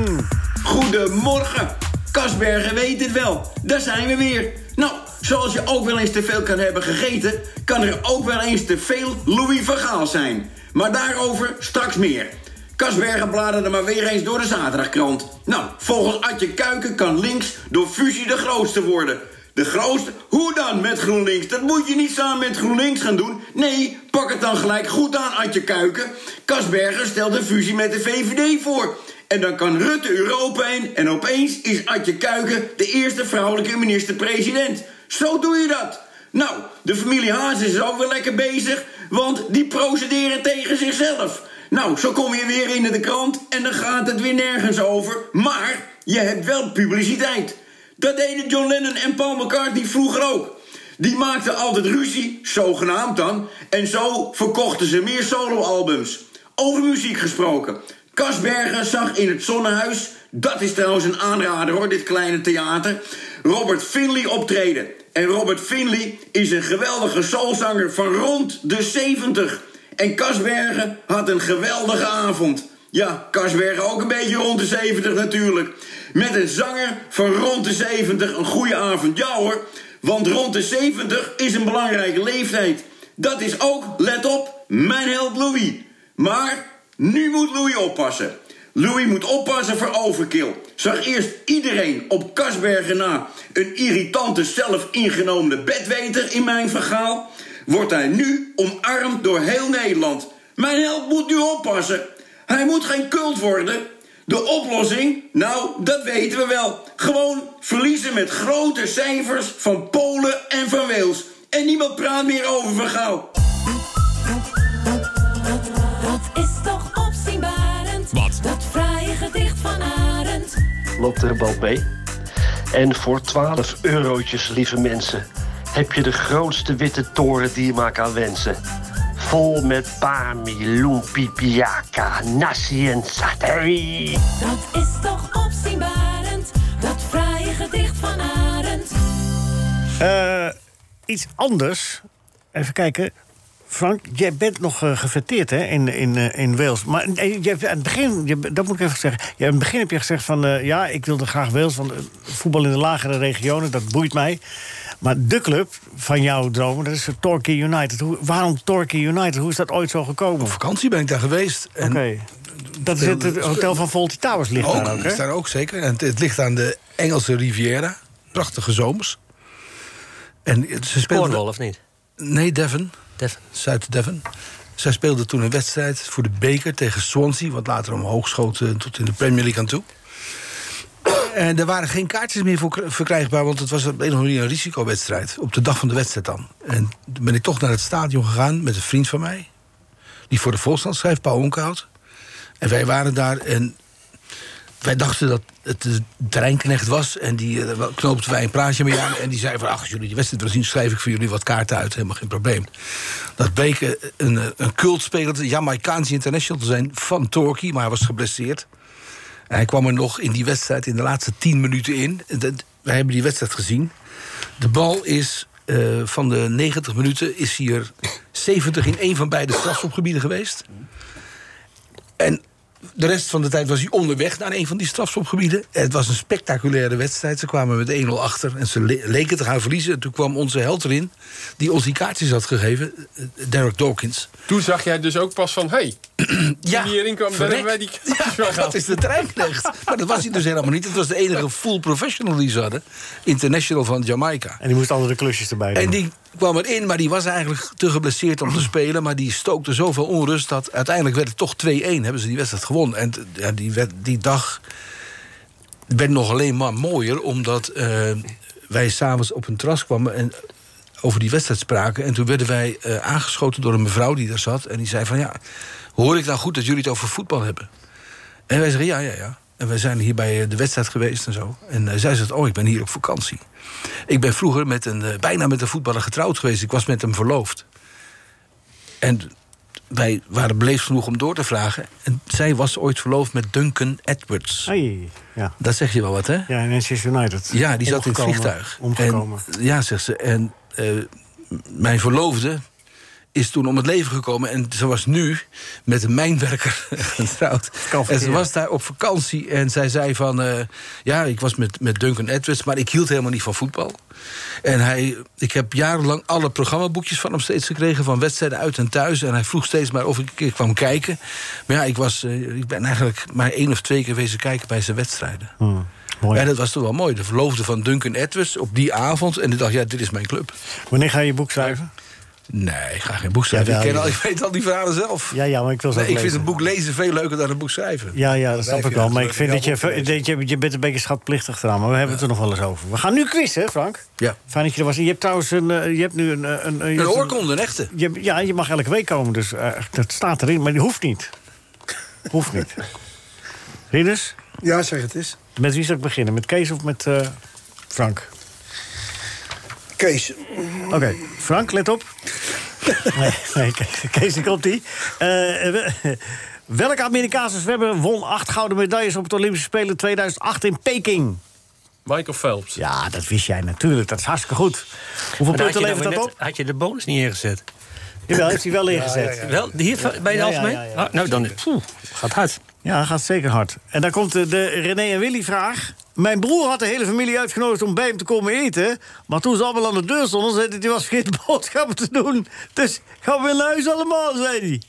Speaker 15: Goedemorgen. Kasbergen weet het wel. Daar zijn we weer. Nou, zoals je ook wel eens te veel kan hebben gegeten... kan er ook wel eens te veel Louis Vergaal zijn. Maar daarover straks meer. Kasbergen bladerde maar weer eens door de zaterdagkrant. Nou, volgens Adje Kuiken kan links door fusie de grootste worden. De grootste? Hoe dan met GroenLinks? Dat moet je niet samen met GroenLinks gaan doen. Nee, pak het dan gelijk goed aan, Adje Kuiken. Kasbergen stelt een fusie met de VVD voor. En dan kan Rutte Europa in en opeens is Adje Kuiken de eerste vrouwelijke minister-president. Zo doe je dat. Nou, de familie Haas is ook weer lekker bezig, want die procederen tegen zichzelf. Nou, zo kom je weer in de krant en dan gaat het weer nergens over. Maar je hebt wel publiciteit. Dat deden John Lennon en Paul McCartney vroeger ook. Die maakten altijd ruzie, zogenaamd dan. En zo verkochten ze meer soloalbums. Over muziek gesproken. Kasbergen zag in het Zonnehuis... dat is trouwens een aanrader hoor, dit kleine theater... Robert Finley optreden. En Robert Finley is een geweldige soulzanger van rond de 70. En Kasbergen had een geweldige avond. Ja, Kasbergen ook een beetje rond de 70 natuurlijk. Met een zanger van rond de 70 een goede avond. Ja hoor, want rond de 70 is een belangrijke leeftijd. Dat is ook, let op, mijn held Louis. Maar nu moet Louis oppassen. Louis moet oppassen voor overkill. Zag eerst iedereen op Kasbergen na een irritante zelfingenomen bedweter in mijn verhaal... wordt hij nu omarmd door heel Nederland. Mijn held moet nu oppassen. Hij moet geen cult worden. De oplossing? Nou, dat weten we wel. Gewoon verliezen met grote cijfers van Polen en van Wales. En niemand praat meer over Van Gaal.
Speaker 13: Dat is toch opzienbarend. Wat? Dat fraaie gedicht van Arend.
Speaker 16: loopt er een band mee. En voor 12 eurotjes, lieve mensen, heb je de grootste witte toren die je maar kan wensen. Vol met Pami, Lumpi, Piaka, Nasi en Satari.
Speaker 13: Dat is toch opzienbarend. Dat fraaie gedicht van Arend.
Speaker 3: Eh, iets anders. Even kijken. Frank, jij bent nog eh, geveteerd hè, in, in, eh, in Wales. Maar eh, je hebt aan het begin, je, dat moet ik even zeggen. Je, aan het begin heb je gezegd van... eh, ja, ik wilde graag Wales, want eh, voetbal in de lagere regionen... dat boeit mij. Maar de club van jouw dromen, dat is de Torquay United. Hoe- waarom Torquay United? Hoe is dat ooit zo gekomen? Op
Speaker 5: vakantie ben ik daar geweest.
Speaker 3: Oké. Dat is het, het hotel van Volty Towers ligt
Speaker 5: ook,
Speaker 3: daar ook, hè?
Speaker 5: is daar ook zeker. En het, het ligt aan de Engelse Riviera. Prachtige zomers. En het- ze speelden...
Speaker 6: Cornwall, of niet?
Speaker 5: Nee, Devon.
Speaker 6: Devon.
Speaker 5: Zuid-Devon. Zij speelden toen een wedstrijd voor de beker tegen Swansea... wat later omhoog schoot eh, tot in de Premier League aan toe. En er waren geen kaartjes meer voor kr- verkrijgbaar... want het was op een of andere manier een risicowedstrijd. Op de dag van de wedstrijd dan. En toen ben ik toch naar het stadion gegaan met een vriend van mij... die voor de Volkskrant schrijft, Paul Onkhout. En wij waren daar en wij dachten dat het de terreinknecht was. En die eh, wel- knoopten wij een praatje mee aan. En die zei van, ach, als jullie die wedstrijd willen zien... schrijf ik voor jullie wat kaarten uit, helemaal geen probleem. Dat bleek eh, een, eh, een cultspeler, een Jamaicaanse international te zijn... van Torquay, maar hij was geblesseerd. En hij kwam er nog in die wedstrijd in de laatste tien minuten in. En dat- wij hebben die wedstrijd gezien. De bal is eh, van de 90 minuten is hier 70 in één van beide strafschopgebieden geweest. En de rest van de tijd was hij onderweg naar een van die strafschopgebieden. Het was een spectaculaire wedstrijd. Ze kwamen met 1-0 achter en ze le- leken te gaan verliezen. En toen kwam onze held erin, die ons die kaartjes had gegeven, eh, Derek Dawkins.
Speaker 8: Toen zag jij dus ook pas van, hey,
Speaker 5: ja,
Speaker 8: die hierin kwam, daar
Speaker 5: verrek.
Speaker 8: hebben wij die <laughs> kaartjes van
Speaker 5: Ja,
Speaker 8: gehad.
Speaker 5: dat is de treinknecht. maar dat was hij dus helemaal niet. Dat was de enige full professional die ze hadden. International van Jamaica.
Speaker 3: En die moest andere klusjes erbij doen.
Speaker 5: En die kwam erin, maar die was eigenlijk te geblesseerd om te spelen. Maar die stookte zoveel onrust dat uiteindelijk werd het toch 2-1. Hebben ze die wedstrijd gewonnen. En t- ja, die, wed- die dag werd nog alleen maar mooier... omdat eh, wij s'avonds op een terras kwamen en over die wedstrijd spraken. En toen werden wij eh, aangeschoten door een mevrouw die daar zat. En die zei van, ja, hoor ik nou goed dat jullie het over voetbal hebben? En wij zeggen, ja, ja, ja. En wij zijn hier bij eh, de wedstrijd geweest en zo. En eh, zij zegt, oh, ik ben hier op vakantie. Ik ben vroeger met een, eh, bijna met een voetballer getrouwd geweest. Ik was met hem verloofd. En wij waren beleefd genoeg om door te vragen. En zij was ooit verloofd met Duncan Edwards.
Speaker 3: ja.
Speaker 5: Dat zeg je wel wat, hè?
Speaker 3: Ja, in Manchester United.
Speaker 5: Ja, die zat in het
Speaker 3: Omgekomen,
Speaker 5: vliegtuig.
Speaker 3: Omgekomen.
Speaker 5: En, ja, zegt ze. En eh, mijn verloofde is toen om het leven gekomen. En ze was nu met een mijnwerker <laughs> getrouwd. En ze was daar op vakantie en zij zei van... eh, ja, ik was met, met Duncan Edwards, maar ik hield helemaal niet van voetbal. En hij, ik heb jarenlang alle programmaboekjes van hem steeds gekregen... van wedstrijden uit en thuis. En hij vroeg steeds maar of ik, een keer kwam kijken. Maar ja, ik, was, eh, ik ben eigenlijk maar één of twee keer wezen kijken bij zijn wedstrijden.
Speaker 3: Hmm.
Speaker 5: En dat was toch wel mooi. De verloofde van Duncan Edwards op die avond. En ik dacht, ja, dit is mijn club.
Speaker 3: Wanneer ga je je boek schrijven?
Speaker 5: Nee, ik ga geen boek schrijven.
Speaker 3: Jawel,
Speaker 5: ik, ken al, ik
Speaker 3: jawel.
Speaker 5: weet al die verhalen zelf.
Speaker 3: Ja, ja, maar ik wil ze
Speaker 5: Nee,
Speaker 3: ook
Speaker 5: ik vind
Speaker 3: lezen.
Speaker 5: een boek lezen veel leuker dan een boek schrijven.
Speaker 3: Ja, ja,
Speaker 5: Wij
Speaker 3: dat snap ik
Speaker 5: vinden
Speaker 3: wel. Maar
Speaker 5: het
Speaker 3: ik vind
Speaker 5: leuk
Speaker 3: dat
Speaker 5: om
Speaker 3: je,
Speaker 5: jouw boek te
Speaker 3: dat je, je bent een beetje schatplichtig eraan. Maar we hebben het er nog wel eens over. We gaan nu quizzen, Frank.
Speaker 5: Ja.
Speaker 3: Fijn dat je er was. Je hebt trouwens een, eh, je hebt nu een... eh, Een, eh, je
Speaker 5: Een
Speaker 3: hebt
Speaker 5: oorkonde, een echte.
Speaker 3: Je, ja, je mag elke week komen, dus eh, dat staat erin. Maar die hoeft niet. Hoeft niet. Rinus?
Speaker 4: Ja, zeg het eens.
Speaker 3: Met wie zou ik beginnen? Met Kees of met eh, Frank?
Speaker 4: Kees.
Speaker 3: Oké, Frank, let
Speaker 4: <laughs>
Speaker 3: op. nee, nee, Ke- Kees, die komt die. welke Amerikaanse zwemmer won acht gouden medailles op het Olympische Spelen 2008 in Peking?
Speaker 8: Michael Phelps.
Speaker 3: Ja, dat wist jij natuurlijk. Dat is hartstikke goed. Hoeveel punten levert dat op?
Speaker 6: Had je nou de bonus niet ingezet?
Speaker 3: Jawel, heeft hij
Speaker 6: <laughs>
Speaker 3: wel ingezet.
Speaker 6: Wel, hier van- bij de
Speaker 3: Ja, ja,
Speaker 6: algemeen?
Speaker 3: ja, ja,
Speaker 6: Ah, nou, dan poeh, gaat hard.
Speaker 3: Ja, gaat zeker hard. En dan komt de, de René en Willy vraag. Mijn broer had de hele familie uitgenodigd om bij hem te komen eten. Maar toen ze allemaal aan de deur stonden, zei hij dat hij was vergeten <laughs> boodschappen te doen. Dus gaan we naar huis allemaal, zei hij.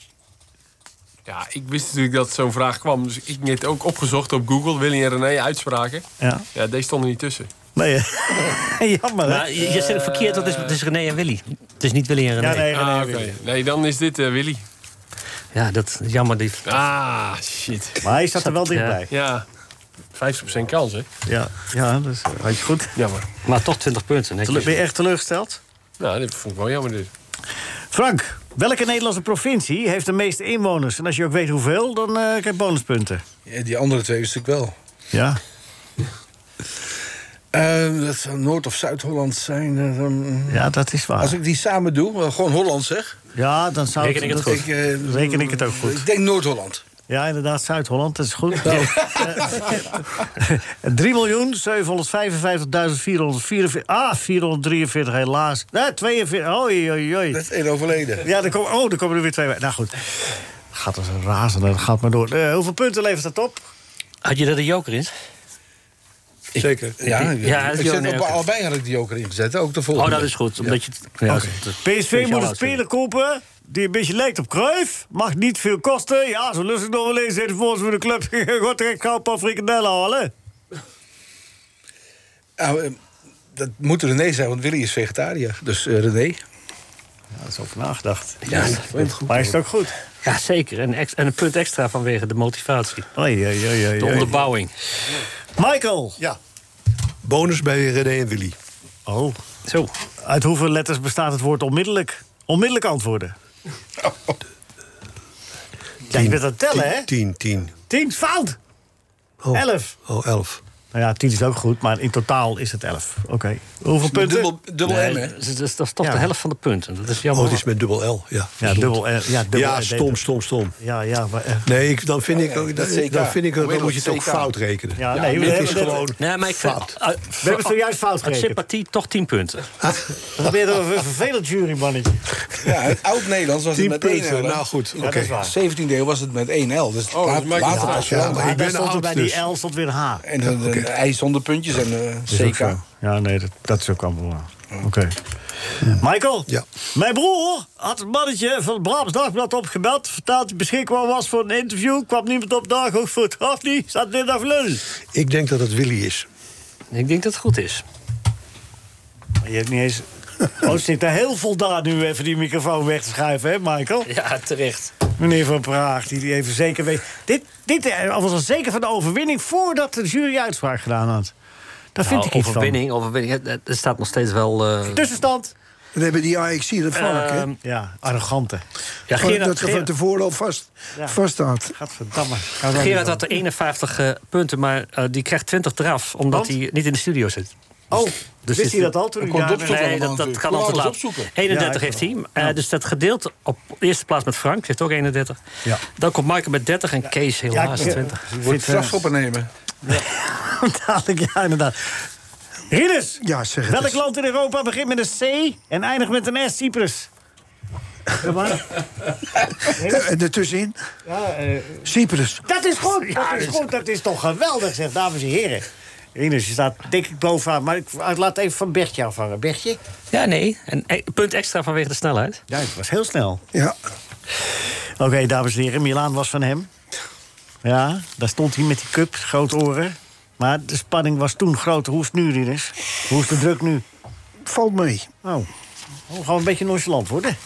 Speaker 8: Ja, ik wist natuurlijk dat zo'n vraag kwam. Dus ik heb het ook opgezocht op Google. Willy en René uitspraken.
Speaker 3: Ja.
Speaker 8: Ja, deze stonden niet tussen.
Speaker 3: Nee, <laughs> jammer.
Speaker 8: hè?
Speaker 6: Maar je, je zit het verkeerd, want het is, het is René en Willy. Het is niet Willy en René.
Speaker 8: Ja, nee, René en Ah, oké. Willy. Nee, dan is dit eh, Willy.
Speaker 6: Ja, dat is jammer. Die... eh,
Speaker 8: Ah, shit.
Speaker 3: Maar hij zat er wel dichtbij.
Speaker 8: Ja. 50% kans, hè?
Speaker 3: Ja, ja dat is eh, had je goed.
Speaker 8: Jammer.
Speaker 6: Maar toch 20 punten.
Speaker 3: Ben je echt teleurgesteld?
Speaker 8: Nou, dit vond ik wel jammer. Dit.
Speaker 3: Frank, welke Nederlandse provincie heeft de meeste inwoners? En als je ook weet hoeveel, dan eh, krijg je bonuspunten.
Speaker 5: Ja, die andere twee wist ik wel.
Speaker 3: Ja.
Speaker 5: Eh, dat zou Noord- of Zuid-Holland zijn. eh, dan-
Speaker 3: Ja, dat is waar.
Speaker 5: Als ik die samen doe, eh, gewoon Holland zeg.
Speaker 3: Ja, dan zou
Speaker 5: Reken ik het
Speaker 3: dat-
Speaker 5: goed? eh,
Speaker 3: Reken ik het ook goed.
Speaker 5: Ik denk Noord-Holland.
Speaker 3: Ja, inderdaad, Zuid-Holland, dat is goed. Eh, 3.755.444. Ah, 443, helaas. Nee, 42. Oei, oei, oei. Dat
Speaker 5: is één overleden.
Speaker 3: Ja, er komen, oh, er komen er weer twee bij. Nou goed. Gaat als een razend, dat gaat maar door. Eh, hoeveel punten levert dat op?
Speaker 6: Had je dat de joker in?
Speaker 5: Zeker. Ja,
Speaker 6: ik- ja, dat
Speaker 5: ik
Speaker 6: is
Speaker 5: zet
Speaker 6: wel
Speaker 5: op
Speaker 6: een-
Speaker 5: allebei had ik die joker ingezet. Ook de volgende.
Speaker 6: Oh, dat is goed. Omdat je...
Speaker 5: Ja,
Speaker 6: Oké.
Speaker 3: PSV moet een
Speaker 6: Speciaal
Speaker 3: speler kopen die een beetje lijkt op Cruijff. Mag niet veel kosten. Ja, zo lust ik nog wel eens. Even volgens voor de club. <laughs> Goed, ik ga een paar frikandellen halen.
Speaker 5: Nou, eh, dat moet René zijn, want Willy is vegetariër. Dus eh, René.
Speaker 3: Ja, dat is over nagedacht.
Speaker 5: Ja, dat is goed.
Speaker 3: Maar is het ook
Speaker 5: <laughs>
Speaker 3: goed?
Speaker 6: Ja, zeker. En, ex- en een punt extra vanwege de motivatie. De onderbouwing.
Speaker 3: Michael.
Speaker 7: Ja. Bonus bij René en Willy.
Speaker 3: Oh. Zo. Uit hoeveel letters bestaat het woord onmiddellijk? Onmiddellijk
Speaker 7: <laughs>
Speaker 3: antwoorden. Ja, je bent aan het tellen, hè?
Speaker 7: Tien, tien.
Speaker 3: Tien, fout! Elf.
Speaker 7: Oh, elf.
Speaker 3: Nou ja, tien is ook goed, maar in totaal is het elf. Oké. Hoeveel punten?
Speaker 6: Nee, dat is- Dat is dat is toch de helft van de punten. Dat is jammer.
Speaker 7: Oh, het is met dubbel L, ja.
Speaker 3: Ja, dubbel L, ja, dubbel
Speaker 7: ja,
Speaker 3: L deed
Speaker 7: stom,
Speaker 3: het.
Speaker 7: stom, stom.
Speaker 3: Ja, ja, maar... eh,
Speaker 7: Nee, ik, dan vind ik, ook,
Speaker 3: dat
Speaker 7: dat,
Speaker 3: CK.
Speaker 7: dan vind ik, dan
Speaker 3: Onmiddellijk
Speaker 7: moet je het ook
Speaker 3: CK.
Speaker 7: fout rekenen.
Speaker 3: Ja, nee, we
Speaker 7: dit
Speaker 3: hebben
Speaker 7: is
Speaker 3: dit-
Speaker 7: gewoon
Speaker 6: Nee, maar ik vind,
Speaker 7: fout.
Speaker 6: Ah,
Speaker 3: We hebben zojuit fout
Speaker 6: uit
Speaker 3: gerekend.
Speaker 6: sympathie toch 10 punten.
Speaker 3: Dan ben je toch een vervelend jurymannetje.
Speaker 5: Ja, het oud-Nederlands was het
Speaker 3: Tien
Speaker 5: met
Speaker 3: punten,
Speaker 5: 1 L. hè?
Speaker 3: nou goed,
Speaker 5: Ja,
Speaker 3: oké.
Speaker 5: dat is waar. 17e eeuw was het met 1 L. Dus
Speaker 3: Oh, dat
Speaker 5: laat,
Speaker 3: maakt
Speaker 5: later
Speaker 3: niet
Speaker 5: pas
Speaker 3: uit.
Speaker 5: wel.
Speaker 3: Ja, maar daar stond er bij die
Speaker 4: dus.
Speaker 3: L stond weer een H.
Speaker 5: En dan de I zonder puntjes en eh
Speaker 3: Is ook
Speaker 5: CK.
Speaker 3: zo. Ja, nee, dat, dat is ook allemaal waar. Oké. Michael? Ja. Mijn broer had het mannetje van het Brabants Dagblad opgebeld. Verteld dat hij beschikbaar was voor een interview. Kwam niemand op dag, ook voor het graf niet. Zat dit af lullen.
Speaker 7: Ik denk dat het Willy is.
Speaker 6: Ik denk dat het goed is.
Speaker 3: Maar je hebt niet
Speaker 6: <laughs>
Speaker 3: eens... Oh, zit er heel voldaan nu even die microfoon weg te schuiven, hè, Michael?
Speaker 6: Ja, terecht.
Speaker 3: Meneer Van Praag, die, die even zeker weet... Dit, dit eh, was al zeker van de overwinning voordat de jury uitspraak gedaan had. Daar vind
Speaker 6: Nou,
Speaker 3: ik iets van.
Speaker 6: overwinning, Overwinning, het- het- het staat nog steeds wel... eh,
Speaker 3: Tussenstand.
Speaker 4: Dan hebben die AXC, dat vark, hè?
Speaker 6: Ehm,
Speaker 3: Ja, arrogante.
Speaker 6: Ja,
Speaker 4: Gewoon
Speaker 6: Gerard-
Speaker 4: dat er van
Speaker 6: Gerard-
Speaker 4: tevoren al vast,
Speaker 3: Ja.
Speaker 4: vast staat.
Speaker 3: Gadverdamme.
Speaker 6: Gerard had er 51 eh, punten, maar eh, die krijgt 20 eraf... omdat hij niet in de studio zit.
Speaker 3: Oh,
Speaker 6: Dus
Speaker 3: wist
Speaker 6: is
Speaker 3: hij
Speaker 6: het-
Speaker 3: dat al toen hij
Speaker 6: komt
Speaker 3: daar-
Speaker 6: opzoeken
Speaker 3: Nee,
Speaker 6: allemaal
Speaker 3: dat- dat
Speaker 6: natuurlijk.
Speaker 3: kan
Speaker 6: Laat
Speaker 3: altijd
Speaker 6: het
Speaker 3: laat.
Speaker 6: opzoeken.
Speaker 3: Ja,
Speaker 6: 31
Speaker 3: ik
Speaker 6: heeft
Speaker 3: wel.
Speaker 6: hij. Eh, dus dat gedeeld op eerste plaats met Frank. Die heeft ook 31.
Speaker 3: Ja.
Speaker 6: Dan komt Michael met 30 en Kees
Speaker 3: Ja,
Speaker 6: helaas
Speaker 3: ik-
Speaker 6: 20.
Speaker 3: <laughs> Wordt Zit, eh, straf
Speaker 5: opnemen.
Speaker 3: Dadelijk, ja, inderdaad. Rinus,
Speaker 4: Ja, zeg het
Speaker 3: welk
Speaker 4: eens.
Speaker 3: land in Europa begint met een C en eindigt met een S? Cyprus. Dat was-
Speaker 4: En ertussenin?
Speaker 3: Ja, eh,
Speaker 4: Cyprus.
Speaker 3: dat is goed, dat is goed, dat is toch geweldig, zegt dames en heren. Rinus, je staat denk ik bovenaan, maar ik ik laat even van Bertje afhangen. Bertje?
Speaker 6: Ja, nee. Een e- punt extra vanwege de snelheid.
Speaker 3: Ja, het was heel snel.
Speaker 4: Ja.
Speaker 3: Oké, dames en heren, Milaan was van hem. Ja, daar stond hij met die cup, grote oren. Maar de spanning was toen groot. Hoe is het nu, Rinus? Hoe is de druk nu?
Speaker 4: Valt mee.
Speaker 3: Oh, we gaan een beetje nonchalant worden.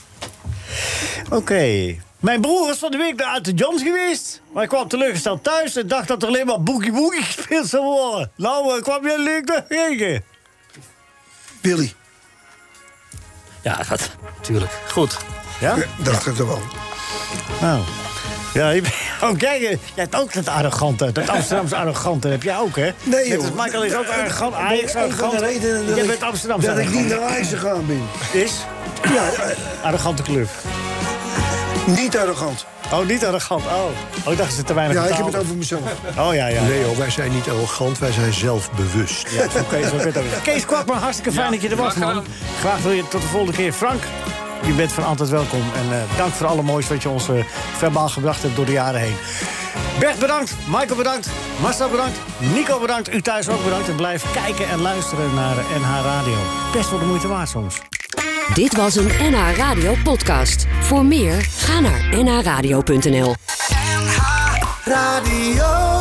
Speaker 3: Oké. Mijn broer was van de week naar uit de Johns geweest. Maar ik kwam teleurgesteld thuis en dacht dat er alleen maar boogie boogie <laughs> gespeeld zou worden. Nou, eh, kwam jij leuk naar tegen?
Speaker 4: Billy.
Speaker 6: Ja, dat. Tuurlijk. Goed.
Speaker 3: Ja?
Speaker 4: Dacht het er wel.
Speaker 3: Nou. Ja, je bent- <laughs> oh, kijk, eh, jij hebt ook dat arrogante. Dat Amsterdamse arrogante heb jij ook, hè?
Speaker 4: Nee,
Speaker 3: Net
Speaker 4: joh.
Speaker 3: als Michael is ook
Speaker 4: Eh,
Speaker 3: arrogant.
Speaker 4: eh,
Speaker 3: Ajax
Speaker 4: een van de
Speaker 3: arrogant.
Speaker 4: redenen dat
Speaker 3: Jij
Speaker 4: ik-
Speaker 3: bent Amsterdamse
Speaker 4: Dat ik niet
Speaker 3: arrogant.
Speaker 4: naar Ajax gegaan ben.
Speaker 3: Is?
Speaker 4: Ja, eh,
Speaker 3: Arrogante club.
Speaker 4: Niet arrogant.
Speaker 3: Oh, niet arrogant. Oh, oh ik dacht ze te weinig
Speaker 4: Ja, ik heb
Speaker 3: betaalden.
Speaker 4: het over mezelf.
Speaker 3: Oh ja, ja.
Speaker 7: Nee, joh, wij zijn niet arrogant, wij zijn zelfbewust.
Speaker 3: Ja, zo kun je- zo kun je het ook weer. <laughs> Kees Kwakman, hartstikke fijn dat je er was, man. Graag wil je tot de volgende keer. Frank, je bent van altijd welkom. En eh, dank voor alle moois wat je ons eh, verbaal gebracht hebt door de jaren heen. Bert bedankt, Michael bedankt, Marcel bedankt, Nico bedankt, u thuis ook bedankt. En blijf kijken en luisteren naar eh, NH Radio. Best wel de moeite waard soms.
Speaker 1: Dit was een NH Radio podcast. Voor meer, ga naar nhradio.nl.
Speaker 13: Radio.